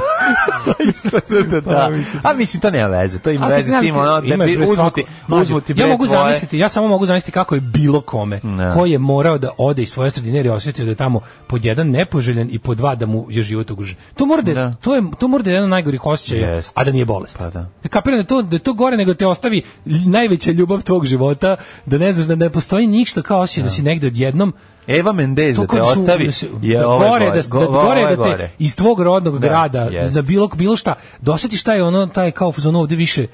F: da, da, da. A Pa, mislim, to nema veze, to ima
G: Ali
F: veze s
G: znam,
F: tim, ono,
G: imaš
F: da bi
G: bre
F: uzmu
G: svako-
F: ti,
G: Mlađe,
F: uzmu ti,
G: Ja
F: bre,
G: mogu
F: tvoje-
G: zamisliti, ja samo mogu zamisliti kako je bilo kome
F: Ne.
G: ko je morao da ode iz svoje sredine jer je osjetio da je tamo pod jedan nepoželjen i pod dva da mu je život ugrožen. To mora da, je-
F: Da.
G: to je to mora da je jedan od najgorih osjećaja,
F: Jest.
G: a da nije bolest.
F: Pa da.
G: Ja kapiram da je to da je to gore nego da te ostavi najveća ljubav tvog života, da ne znaš da ne postoji ništa kao osjećaj da si negde odjednom
F: Eva Mendez da te
G: kad su-
F: ostavi,
G: da se-
F: je
G: da
F: ovo
G: ovaj gore, da,
F: go-
G: da,
F: ovo
G: gore
F: je
G: da te
F: gore.
G: iz tvog rodnog
F: Da,
G: grada,
F: jest.
G: da bilo, bilo šta, da osjetiš taj ono, taj kao ono ovde više,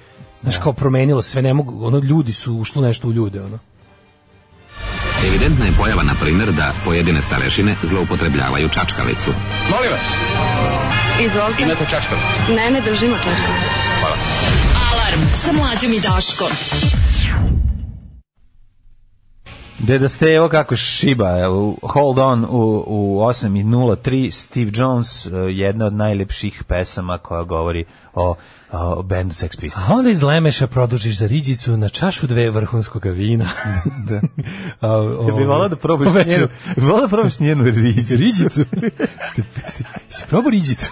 G: znaš, kao promenilo se, sve, ne mogu, ono, ljudi su ušlo nešto u ljude, ono.
H: Evidentna je pojava, na primjer, da pojedine starešine zloupotrebljavaju čačkalicu.
I: Izvolite. Imate čačkalicu? Ne, ne držimo čačkalicu.
D: Alarm sa mlađom i Daškom.
F: Deda Stevo kako šiba, evo, Hold On u, u 8.03, Steve Jones, eh, jedna od najlepših pesama koja govori o, o bendu Sex Pistols.
G: A onda iz Lemeša produžiš za riđicu na čašu dve vrhunskog vina. da. A, ovaj, o,
F: Ja bih volao da probaš
G: po večeru.
F: njenu, volao da probaš njenu riđicu.
G: Riđicu? Ste- ste- Si probao riđicu?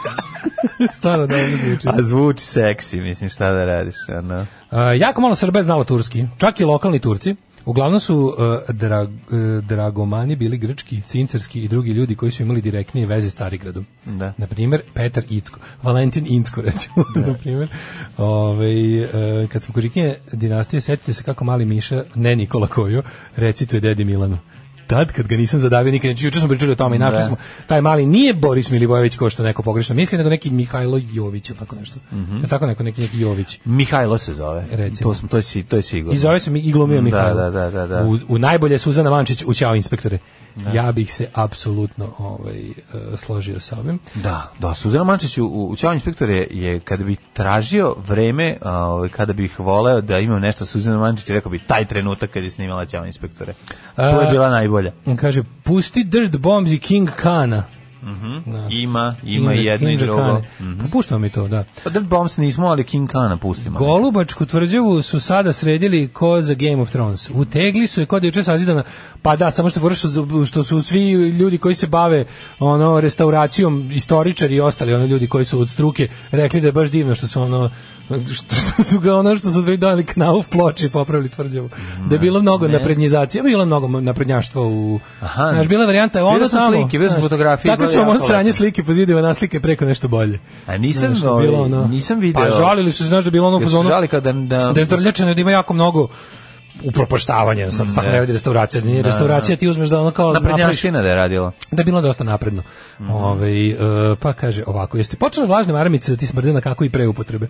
G: Stvarno da ono zvuči.
F: A zvuči seksi, mislim, šta da radiš, ano.
G: A, E, jako malo Srba je znalo turski, čak i lokalni Turci. Uglavnom su e, dra- e, dragomani bili grčki, cincarski i drugi ljudi koji su imali direktnije veze s Carigradom.
F: Da.
G: Na primjer, Petar Incko, Valentin Incko recimo, na primjer. Ovaj, e, kad smo kod Žikinje dinastije, setite se kako mali Miša, ne Nikola Kojo, recituje dedi Milanu. Tad kad ga nisam zadavio nikad, znači juče smo pričali o tome i našli smo taj mali nije Boris Milivojević ko što neko pogrešno misli, nego neki Mihajlo Jović ili tako nešto. Jel tako neko neki neki Jović.
F: Mihajlo se zove.
G: Recimo.
F: To, smo, to, je, si- to je sigurno.
G: I zove se mi Iglomio
F: Da,
G: Mihajlo.
F: da, da, da, da.
G: U, u najbolje Suzana Mančić u Ćao inspektore. Ja bih se apsolutno ovaj, e, složio sa ovim.
F: Da, da, Suzana Mančić u, u Ćao inspektor je, je kada bi tražio vreme, a, ovaj, kada bih voleo da imam nešto sa Suzanom Mančić, rekao bi taj trenutak kad je snimala Ćao inspektore. To je
G: A-
F: bila najbolja.
G: On kaže, pusti Dirt Bombs i King Kana.
F: Ima, ima i
G: King-
F: jedno i
G: King
F: drugo. Mm. Mhm.
G: Kane. Puštao mi to, da.
F: Pa Dirt Bombs nismo, ali King Kana pustimo.
G: Golubačku tvrđavu su sada sredili ko za Game of Thrones. Utegli su je kod juče sazidana. Pa da, samo što vrš su- što su svi ljudi koji se bave ono restauracijom, istoričari i ostali, ono ljudi koji su od struke, rekli da je baš divno što su ono što, što su ga ono što su dve dali knauf ploče i popravili tvrđavu. Da je bilo mnogo naprednjizacije, bilo je mnogo naprednjaštva u...
F: Aha.
G: Znaš, bila je varijanta ono
F: Vidio sam
G: tamo.
F: slike, vidio sam
G: znaš,
F: fotografije,
G: Tako
F: izgleda
G: su vam ono
F: jako
G: sranje
F: lepo.
G: slike po zidima naslike preko nešto bolje.
F: A nisam,
G: Znaš,
F: ovaj,
G: bilo ono-
F: nisam video.
G: Pa žalili su se, znaš da je bilo ono u
F: Jesu
G: fazonu-
F: žali kada- da-
G: da je Drljačina da ima jako mnogo upropaštavanja, sad sad
F: Ne.
G: ne radi restauracija, da nije restauracija, ti uzmeš da ono kao napraviš,
F: Naprednjaština da je radila.
G: da je bilo dosta napredno.
F: Mhm.
G: Ovaj, e, pa kaže ovako, jeste počele vlažne maramice da ti smrde na kako i pre upotrebe?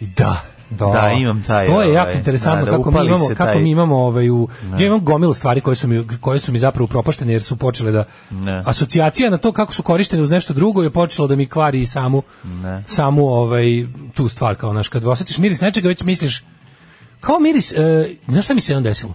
F: Da. Da, imam taj.
G: To je
F: ovaj,
G: jako interesantno
F: da, da,
G: kako mi
F: upali
G: imamo
F: se
G: kako
F: taj-
G: mi imamo ovaj u ja imam gomilu stvari koje su mi koje su mi zapravo propaštene jer su počele da
F: Ne.
G: asocijacija na to kako su korištene uz nešto drugo je počela da mi kvari i samu
F: Ne.
G: samu ovaj tu stvar kao naš kad osetiš miris nečega već misliš kao miris, e, znaš šta mi se jednom desilo?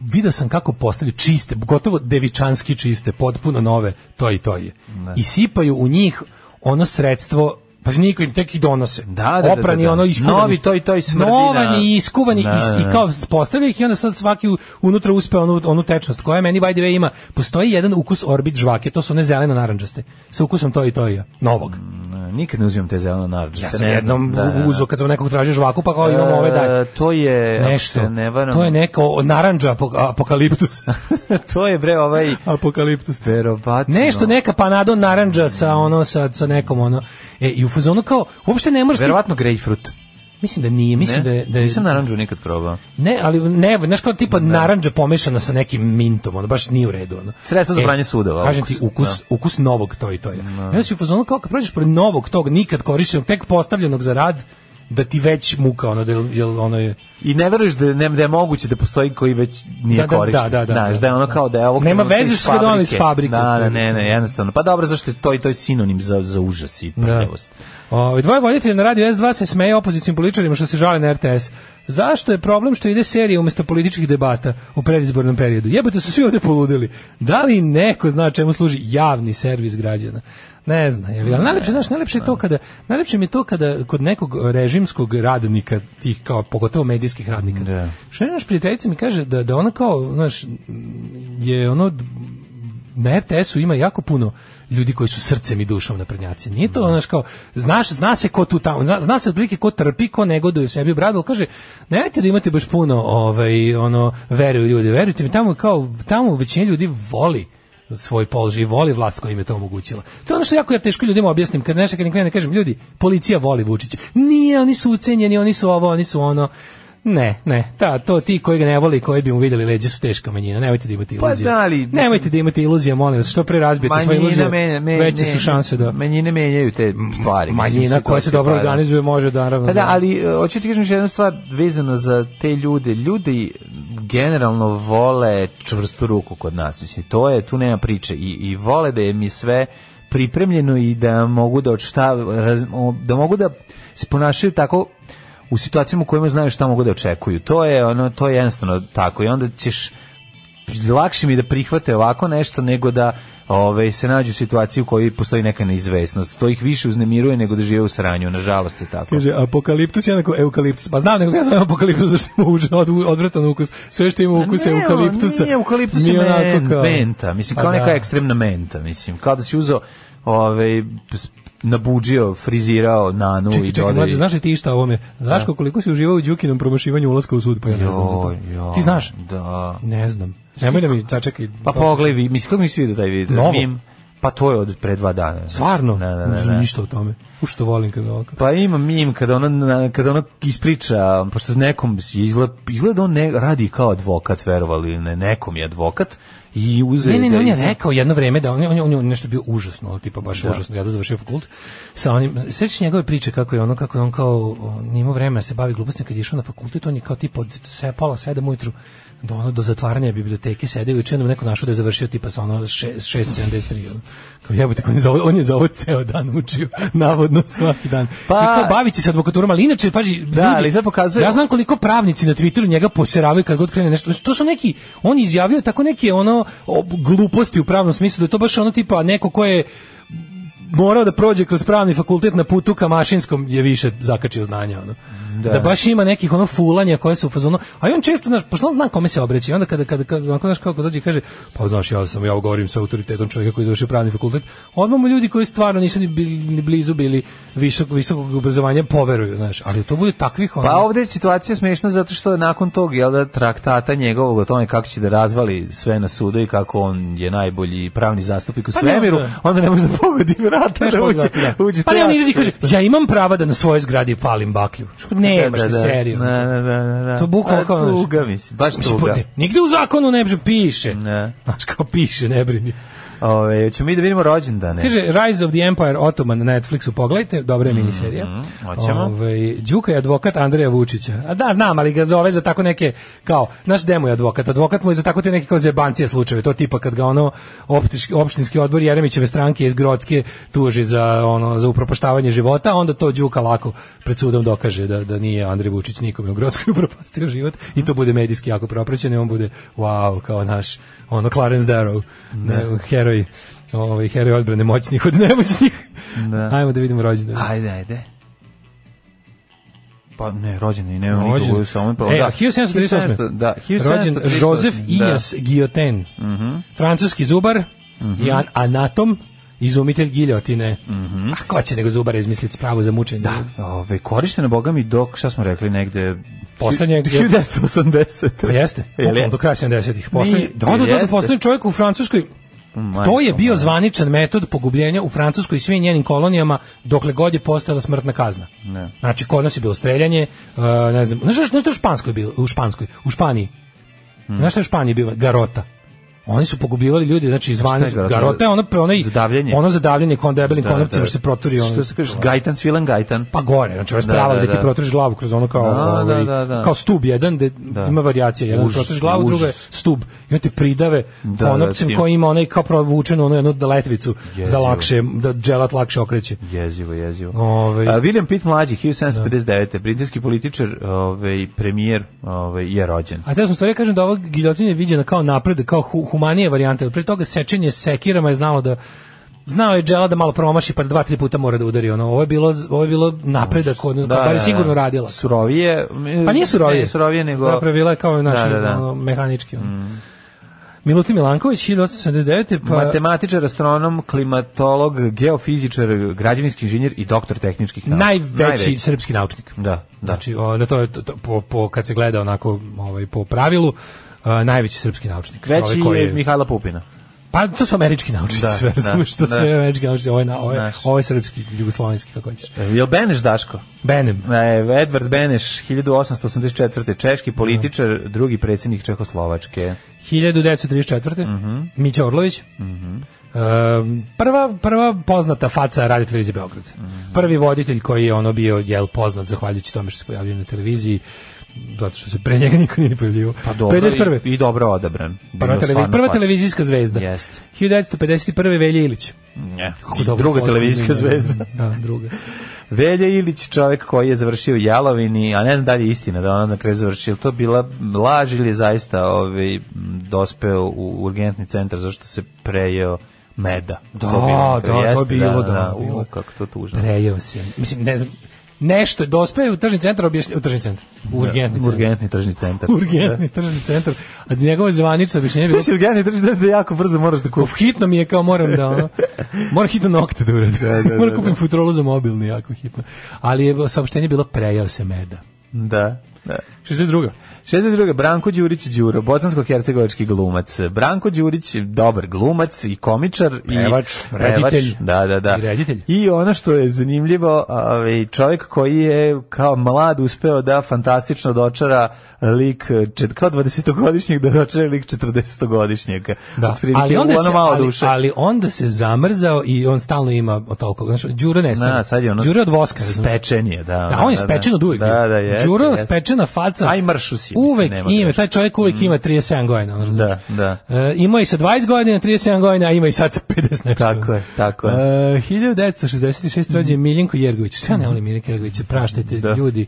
G: Video sam kako postavljaju čiste, gotovo devičanski čiste, potpuno nove, to i to je. I sipaju u njih ono sredstvo Pa niko im tek i donose.
F: Da, da,
G: Oprani
F: da, da.
G: ono iskuvani.
F: Novi to i to i smrdi na-
G: Novani i iskuvani
F: Da,
G: i,
F: da.
G: i kao postavlja ih i onda sad svaki u- unutra uspe onu, onu tečnost koja meni by the way ima. Postoji jedan ukus Orbit žvake, to su one zeleno naranđaste, sa ukusom to i to je, novog.
F: Ne, Nikad ne uzimam te zeleno naranđaste.
G: Ja sam
F: ne
G: jednom
F: znam, da, da, da.
G: uzeo kad sam nekog tražio žvaku, pa kao imamo ove daj.
F: E, To je, ako
G: Nešto.
F: se ne varam,
G: To je neko naranđa apo- apokaliptus.
F: to je bre ovaj
G: apokaliptus.
F: verovatno.
G: Nešto neka panado naranđa sa
F: Mm.
G: ono sa sa nekom ono. E i u fazonu kao uopšte ne možeš ti-
F: Verovatno grejpfrut.
G: mislim da nije, mislim da je, da je
F: Nisam naranđu nikad probao.
G: ne, ali ne, znaš kao tipa naranđa pomešana sa nekim mintom, ono baš nije u redu ono.
F: Sredstvo za pranje sudova,
G: Kažem
F: ukus,
G: ti ukus, ukus novog to i to je. I onda si u fazonu kao kad prođeš pored novog tog nikad korišćenog, tek postavljenog za rad, da ti već muka ono da jel- jel ono je
F: I ne veruješ da, je- ne, da je moguće da postoji koji već nije
G: Da, da,
F: korišten.
G: da, da, da,
F: Znaš,
G: da.
F: da je ono kao da je ovog
G: Nema
F: trenutka
G: veze
F: iz
G: što ga doneli iz
F: fabrike.
G: fabrike.
F: Da, da, ne, ne, jednostavno. Pa dobro, zašto je to i to je sinonim za, za užas i prljavost.
G: Ove, dvoje voditelja na radiju S2 se smeje opozicijim političarima što se žale na RTS. Zašto je problem što ide serija umjesto političkih debata u predizbornom periodu? Jebate su svi ovdje poludili. Da li neko zna čemu služi javni servis građana? Ne zna. Je, ali najlepše, znaš, najlepše je to kada, najlepše mi je to kada kod nekog režimskog radnika, tih kao pogotovo medijskih radnika,
F: Da.
G: što je naš prijateljica mi kaže da, da ona kao, znaš, je ono na RTS-u ima jako puno ljudi koji su srcem i dušom naprednjaci. Nije to ono kao, znaš, zna se ko tu tamo, zna, zna se otprilike ko trpi, ko negoduje sebi u bradu, ali kaže, nemojte da imate baš puno ovaj, ono, vere u ljude, verujte mi, tamo, je kao, tamo većina ljudi voli svoj položaj i voli vlast koja im je to omogućila. To je ono što jako ja teško ljudima objasnim, kad nešto kad im krenem, kažem, ljudi, policija voli Vučića. Nije, oni su ucenjeni, oni su ovo, oni su ono. Ne, ne, ta, to ti koji ga ne voli, koji bi mu vidjeli leđe su teška manjina, nemojte da imate
F: Pa
G: iluzije.
F: da, ali, mislim-
G: Nemojte da imate iluzije, molim vas, što pre razbijete svoje iluzije,
F: menja- me-
G: veće su
F: ne-
G: šanse da
F: Manjine menjaju te stvari. mislim,
G: manjina koja se
F: situacije,
G: dobro
F: pa da.
G: organizuje može da, naravno.
F: Pa da, ali e, hoću ti kažem još jednu stvar vezano za te ljude. Ljudi generalno vole čvrstu ruku kod nas. Mislim, to je, tu nema priče. I, i vole da je mi sve pripremljeno i da mogu da odštav, raz- o, da mogu da se ponašaju tako u situacijama u kojima znaju šta mogu da očekuju. To je ono, to je jednostavno tako i onda ćeš lakše mi je da prihvate ovako nešto nego da ove, se nađu u situaciji u kojoj postoji neka neizvesnost. To ih više uznemiruje nego da žive u sranju, nažalost je tako.
G: Kaže, apokaliptus je onako eukaliptus. Pa znam nego ja zovem apokaliptus, zašto ima užasno od- odvratan ukus. Sve što ima ukus
F: Ne, ovo
G: eukaliptusa.
F: Nije eukaliptus
G: mi
F: je
G: onako
F: men,
G: kao-
F: menta, mislim,
G: Pa
F: kao neka
G: da.
F: ekstremna menta, mislim, kao da si uzeo ove, s- nabuđio, frizirao nanu
G: Čekaj,
F: i
G: čekaj,
F: dodao.
G: mlađe, znaš li ti šta o ovome? Znaš koliko si uživao u Đukinom promašivanju ulaska u sud, pa ja ne znam za to.
F: Joj, joj,
G: Ti znaš?
F: Da.
G: Ne znam. Nemoj da mi, čekaj.
F: Pa pogledaj, vi- mislim, kako nisi vidio taj video?
G: Novo?
F: Mim? Pa to je od pre dva dana.
G: Pa Stvarno?
F: Da, da,
G: Ne
F: da.
G: znam
F: da.
G: ništa o tome. Ušto volim kad ovako.
F: Pa ima mim kada ona na- kada ona ispriča pošto nekom si izgleda, izgleda on ne, radi kao advokat verovali ili ne nekom je advokat i uze
G: Ne, ne, ne,
F: da
G: on je
F: izda-
G: rekao jedno vreme da on je, on je, on je nešto bio užasno, tipa baš užasno, ja da završio fakult. Sa onim, sećaš njegove priče kako je ono, kako je on kao, o, nije imao vremena da se bavi glupostima kad je išao na fakultet, on je kao tipa od se, pola sedam ujutru do, ono, do zatvaranja biblioteke sedeo i čujem da mu neko našao da je završio tipa sa ono še- 6.73. Ono. Kao jebote, kao on, je za ovo, on je za ovo ceo dan učio, navodno svaki dan.
F: Pa-
G: I kao bavit će se advokaturom, ali inače, paži, ljudi,
F: ali sad pokazuje-
G: Ja znam koliko pravnici na Twitteru njega poseravaju kad god krene nešto. Znači, To su neki, on je izjavio tako neke ono ob- gluposti u pravnom smislu, da je to baš ono tipa neko ko je morao da prođe kroz pravni fakultet na putu ka mašinskom je više zakačio znanja ono. Da. baš ima nekih ono fulanja koje su u fazonu. A i on često znaš, pošto on zna kome se obraća, i onda kada kada kada onako, znaš kako dođe i kaže, pa znaš ja sam ja govorim sa autoritetom čovjeka koji je završio pravni fakultet. Odmah mu ljudi koji stvarno nisu ni, bili, ni blizu bili visokog visokog obrazovanja poveruju, znaš. Ali to bude takvih ono.
F: Pa ovde je situacija smešna zato što je nakon tog jel da traktata njegovog o tome kako će da razvali sve na sudu i kako on je najbolji pravni zastupnik u
G: Pa ne,
F: svemiru,
G: da.
F: onda ne može da pogodi vrata
G: Znaš
F: da
G: kako
F: uđe,
G: izgleda, da.
F: uđe
G: pa ne, on
F: teško.
G: izlazi i kaže, ja imam prava da na svojoj zgradi palim baklju. Ne, da, baš da, serio.
F: Da, da, da, da, da.
G: To bukvalno
F: Pa,
G: kao, znaš.
F: tuga, mislim, baš
G: Mislim,
F: tuga.
G: ne, nigde u zakonu ne piše.
F: Ne.
G: Znaš, kao piše, ne brini.
F: Ove, ćemo ovaj, mi da vidimo rođendane.
G: Kaže Rise of the Empire Ottoman na Netflixu, pogledajte, dobra je miniserija.
F: hoćemo.
G: Ovaj, Đuka je advokat Andreja Vučića. A da, znam, ali ga zove za tako neke, kao, naš demo je advokat, advokat mu je za tako te neke kao zebancije slučajeve, to tipa kad ga ono optički, opštinski odbor Jeremićeve stranke iz Grodske tuži za ono za upropaštavanje života, onda to Đuka lako pred sudom dokaže da, da nije Andrej Vučić nikome u Grodskoj upropastio život i to bude medijski jako propraćeno i on bude, wow, kao naš, ono Clarence Darrow, ne. heroj ovaj heroj odbrane moćnih od nemoćnih.
F: Da.
G: Ajmo da vidimo rođendan.
F: Ajde, ajde. Pa ne, rođen i nema
G: Rođen.
F: nikog samo pravo.
G: E, a 1738.
F: pa Da, 1738.
G: Rođen Joseph Ias Guillotin. Francuski zubar i an- anatom, izumitelj giljotine. A ko će nego zubara izmisliti pravu za mučenje? Da.
F: Da. Ove, korišteno, boga mi, dok, šta smo rekli, negde...
G: Poslednje gdje-
F: 1980.
G: Pa jeste.
F: Jel je?
G: Bukvalno do kraja 70-ih. Poslednji,
F: Nije,
G: da, da, da,
F: jeste.
G: poslednji čovjek u Francuskoj
F: Majko
G: To je bio
F: moja.
G: zvaničan metod pogubljenja u Francuskoj i svim njenim kolonijama dokle god je postojala smrtna kazna.
F: Ne.
G: Znači, kod nas je bilo streljanje, uh, ne znam, znaš, znaš šta je u Španskoj bilo, u Španskoj, u Španiji.
F: Hm.
G: Znaš šta je u Španiji bilo? Garota. Oni su pogubljivali ljudi, znači
F: šta
G: zvani
F: je garota?
G: garota je ono pre onaj
F: Zadavljanje?
G: ono zadavljanje kon debelim da, konopcima što se proturi ono.
F: Što se kaže, Gajtan, Svilan Gajtan.
G: Pa gore, znači ovaj
F: Da,
G: sprava
F: da,
G: da, da,
F: da.
G: ti protreš glavu kroz ono kao,
F: Da, da,
G: ovaj,
F: da, da.
G: kao stub jedan, gde ima varijacija, jedan
F: Užas,
G: protreš glavu, druga je
F: užas.
G: stub. I onda te pridave
F: Da,
G: da,
F: da,
G: konopcem
F: tim.
G: koji ima onaj kao provučenu ono jednu da letvicu za
F: Jezivo.
G: lakše, da dželat lakše okreće.
F: Jezivo, jezivo.
G: Ovaj.
F: A, William Pitt mlađi, 1759. Britanski političar, ovaj, premijer, ovaj, je rođen.
G: A te sam stvari kažem da ova giljotina je viđena kao napred, kao hu, humanije varijante, jer pre toga sečenje sekirama je znalo da znao je Džela da malo promaši pa dva tri puta mora da udari ono ovo je bilo ovo je bilo napredak ono, da, bar je sigurno radila
F: Surovije. m,
G: Pa nije surovije.
F: Ne, surovije nego...
G: Zapravo bila je kao naš
F: Da, Mm. da, da.
G: Ono, mehanički. Ono. Milutin Milanković, 1879. Pa,
F: Matematičar, astronom, klimatolog, geofizičar, građevinski inženjer i doktor tehničkih nauka.
G: najveći, srpski naučnik.
F: Da, da.
G: Znači, onda to je to, to- po, po, kad se gleda onako ovaj, po pravilu, a, najveći srpski naučnik.
F: Veći
G: Čovjek koji
F: je Mihajla Pupina.
G: Pa to su američki naučnici,
F: Da,
G: sve
F: da,
G: razumiješ, to
F: da.
G: sve američki naučnici, ovo je, na- ovo je,
F: Naš.
G: ovo je srpski, jugoslovenski, kako hoćeš.
F: E, Jel Beneš Daško?
G: Benem.
F: E, Edward Beneš, 1884. Češki političar, drugi predsjednik Čehoslovačke.
G: 1934.
F: Mhm.
G: Mića Orlović. Ehm, prva, prva poznata faca radio televizije Beograd.
F: Mhm.
G: Prvi voditelj koji je ono bio jel poznat zahvaljujući tome što se pojavljuje na televiziji zato što se pre njega niko nije pojavljivao.
F: Pa dobro
G: 51.
F: i, i dobro odabran.
G: Prva,
F: Bio
G: Pa televi-
F: stvarno
G: prva
F: faca.
G: televizijska zvezda.
F: Jeste.
G: 1951. Velja Ilić.
F: Ne,
G: Kako
F: i
G: dobro
F: druga
G: fotku
F: televizijska
G: snimljena.
F: zvezda.
G: Da, druga.
F: Velja Ilić, čovjek koji je završio u Jalovini, a ne znam da li je istina da ona na kraju završila, to bila laž ili je zaista ovaj, dospeo u urgentni centar zašto se prejeo meda.
G: Da,
F: To bilo,
G: da, to
F: jeste,
G: je bilo, da, bilo.
F: u, kako to tužno.
G: Prejeo se. Mislim, ne znam, nešto je dospe u tržni centar, objašnje, u tržni centar, u urgentni centar.
F: Urgentni tržni centar.
G: Urgentni tržni centar. A njegovo zvanično objašnjenje je bilo
F: Znači, urgentni tržni centar da jako brzo moraš da
G: Uf,
F: kupiš.
G: hitno mi je kao moram da ono, moram hitno nokte da uradim.
F: Da, da, da,
G: moram
F: da.
G: kupim futrolu za mobilni, jako hitno. Ali je saopštenje bilo prejao se meda.
F: Da, da.
G: 62.
F: 62. Branko Đurić Đuro, bosansko-hercegovački glumac. Branko Đurić, dobar glumac i komičar.
G: Pevač,
F: i pevač,
G: reditelj.
F: Da, da, da.
G: I reditelj.
F: I ono što je zanimljivo, ovaj, čovjek koji je kao mlad uspeo da fantastično dočara lik, čet, kao 20-godišnjeg da dočara lik 40-godišnjega.
G: Da.
F: Otprilike,
G: Ali onda
F: ono
G: se
F: malo
G: ali,
F: duše.
G: ali onda se zamrzao i on stalno ima od toliko. Znači, Đuro nestane.
F: Na, sad je ono
G: Đuro od voska. razumeš?
F: Spečen je, da.
G: Da, on je spečen od uvijek.
F: Da,
G: bio.
F: da, jeste,
G: Đuro
F: jeste.
G: spečena faca.
F: Aj, mršu si, mislim,
G: Uvek
F: nema
G: ima,
F: greške.
G: taj čovjek uvek ima 37 godina. ono, razumiješ?
F: Da, da.
G: E, imao je i sa 20 godina, 37 godina, a ima i sad sa 50 nešto.
F: Tako je, tako
G: Uh,
F: je.
G: 1966 rođen je Miljenko Jergović. Sve ne volim Miljenko Jergovića, praštajte
F: Da.
G: ljudi.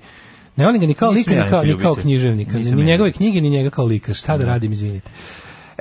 G: Ne volim ga ni kao
F: Nisam
G: lika,
F: ja
G: ni kao, ni
F: ljubitelj.
G: kao književnika.
F: Nisam
G: Ni
F: ja.
G: njegove knjige, ni njega kao lika. Šta da radim, izvinite.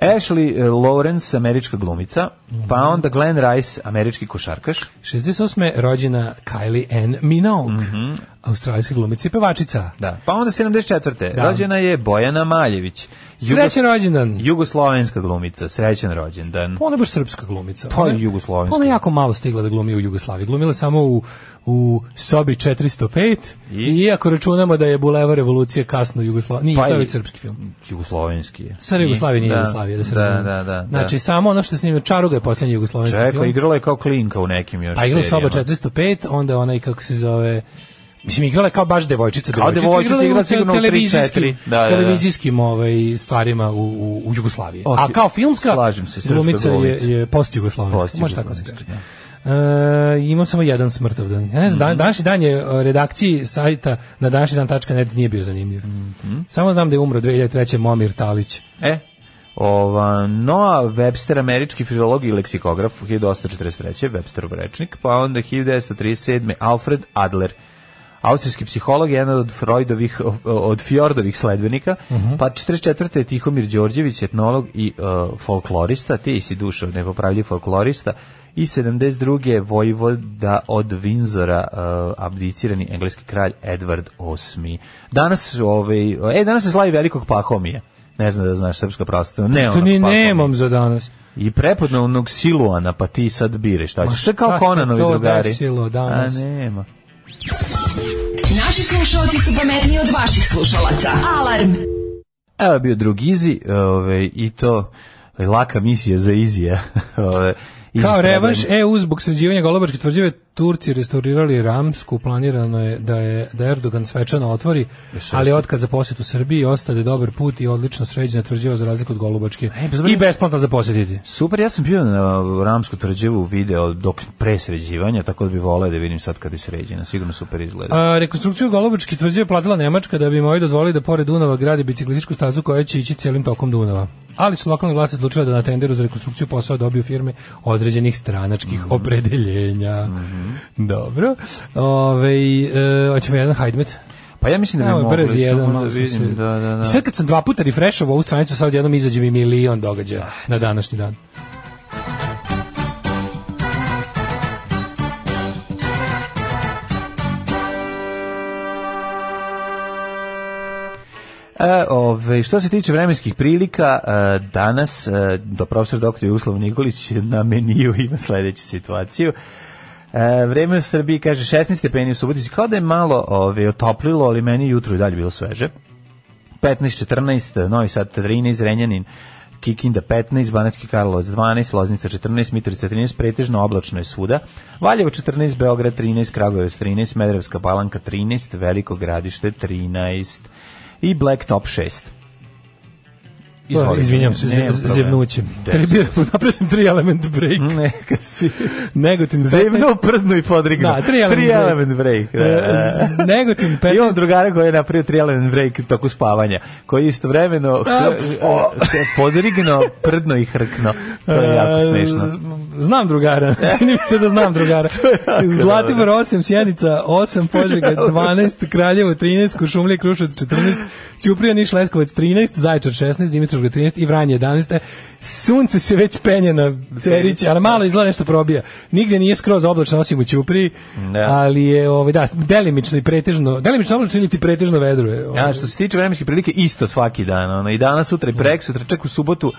F: Ashley eh, Lawrence, američka glumica,
G: Mhm.
F: pa onda Glenn Rice, američki košarkaš.
G: 68. rođena Kylie Ann Minogue.
F: Mhm.
G: Australijska glumica i pevačica.
F: Da. Pa onda 74.
G: Da.
F: Rođena je Bojana Maljević. Jugos-
G: Srećen rođendan.
F: Jugoslovenska glumica, srećen rođendan.
G: Pa ona je baš srpska glumica.
F: Pa
G: Ona-
F: i jugoslovenska.
G: Ona je jako malo stigla da glumi u Jugoslaviji. Glumila je samo u, u sobi 405. I?
F: I?
G: Iako računamo da je Bulevar revolucije kasno u Jugoslaviji. Nije,
F: Pa
G: to je
F: i-
G: već srpski film.
F: Jugoslovenski je.
G: Sara Jugoslavija nije
F: Da,
G: Jugoslavija, da se
F: da,
G: razumemo.
F: da, da,
G: Znači,
F: da.
G: samo ono što se njima Čaruga je poslednji jugoslovenski
F: Čekaj,
G: film.
F: igrala je kao klinka u nekim još
G: Pa igrala je Soba
F: serijama.
G: 405, onda ona i kako se zove... Mislim, igrala je kao baš devojčica.
F: Kao devojčica,
G: je
F: igrala
G: u te-
F: sigurno u tri,
G: televizijskim,
F: četiri. Da, da, da.
G: televizijskim ovaj, stvarima u, u, u Jugoslaviji.
F: Ok,
G: A kao filmska
F: slažem se, srpska
G: glumica je,
F: glumica.
G: je post-jugoslovenska. Može tako se
F: Post-jugoslovenska,
G: kaže. E, imao samo jedan smrtovdan. Ja ne
F: Mhm.
G: znam, dan, današnji dan je e, redakciji sajta na današnji dan.net nije bio zanimljiv.
F: Mhm.
G: Samo znam da je umro 2003. Momir Talić.
F: E, Ova, Noah Webster, američki filolog i leksikograf, 1843. Websterov rečnik, pa onda 1937. Alfred Adler, austrijski psiholog, jedan od Freudovih, od Fjordovih sledbenika, pa 44. Tihomir Đorđević, etnolog i e, folklorista, ti si dušo nepopravljiv folklorista, i 72. Vojvoda od Winzora, e, abdicirani engleski kralj Edward VIII. Danas, ovaj, e, danas se slavi velikog pahomija. Ne znam da znaš srpska pravstva. Ne,
G: Pa Što
F: ono,
G: ni
F: Pahomija.
G: nemam za danas.
F: I prepodnevnog siluana, pa ti sad bire šta
G: Ma
F: ćeš. Sve kao
G: šta se
F: Konanovi
G: to
F: drugari.
G: desilo danas?
F: A nema.
D: Naši slušalci su pametniji od vaših slušalaca. Alarm!
F: Evo je bio drugi izi, ovaj, i to laka misija za izija. Ovaj, Izi
G: Kao
F: Stradlin.
G: revanš e- EU zbog sređivanja Golobačke tvrđave Turci restaurirali Ramsku, planirano je da je da Erdogan svečano otvori, ali otkaz za posjet u Srbiji ostade dobar put i odlično sređena tvrđava za razliku od Golubačke
F: bez-
G: i besplatno za posjetiti.
F: Super, ja sam bio na Ramsku tvrđevu video dok pre sređivanja, tako da bi volao da vidim sad kad je sređena. Sigurno super izgleda.
G: A, rekonstrukciju Golubačke tvrđave platila Nemačka da bi im ovi dozvolili da pored Dunava gradi biciklističku stazu koja će ići cijelim tokom Dunava. Ali su lokalni vlasti odlučili da na tenderu za rekonstrukciju posao dobiju firme određenih stranačkih opredeljenja. Dobro. Ove, e, hoćemo jedan hajdmet.
F: pa ja mislim da bi
G: Evo,
F: mogli.
G: brz jedan,
F: samo
G: malo
F: da
G: smo
F: vidim.
G: se-
F: Da, da,
G: I
F: da.
G: sad kad sam dva puta refrešao ovu stranicu, sad odjednom izađe mi milion događaja na današnji dan.
F: E, ove, što se tiče vremenskih prilika, e, danas e, do profesor doktor Jugoslav Nikolić na meniju ima sledeću situaciju. E, vreme u Srbiji kaže 16 stepeni u Subotici, kao da je malo ove, otoplilo, ali meni je jutro i dalje bilo sveže. 15, 14, Novi Sad 13, Renjanin, Kikinda 15, Banacki Karlovac 12, Loznica 14, Mitrovica 13, pretežno oblačno je svuda, Valjevo 14, Beograd 13, Kragujevac 13, Medrevska Palanka 13, Veliko Gradište 13 i Blacktop 6. Izvolite.
G: Pa, Izvinjam se,
F: Nema problema.
G: zevnućem.
F: Deca.
G: Napravio sam tri element break.
F: Neka si...
G: Negotin 15.
F: Zevno, prdno i podrigno.
G: Da, tri element break.
F: element break. da, da.
G: E, Negotin 15.
F: Imam drugara koji je napravio tri element break toku spavanja, koji je istovremeno
G: A,
F: o, podrigno, prdno i hrkno. To je jako smešno.
G: E, Znam drugara, čini mi se da znam drugara. Zlatibor 8, Sjenica 8, Požega 12, Kraljevo 13, Kuršumlija i Kruševac 14, Ćuprija Niš Leskovac 13, Zaječar 16, Dimitrovgrad 13 i Vranje 11. E, Sunce se već penje na Cerić, ali malo izgleda nešto probija. Nigde nije skroz oblačno osim u Ćupriji,
F: Da.
G: ali je ovaj da delimično i pretežno, delimično oblačno ili ti pretežno vedro je. ovaj.
F: Ja, što se tiče vremenske prilike, isto svaki dan. Ono, I danas, sutra i prek, sutra, čak u subotu.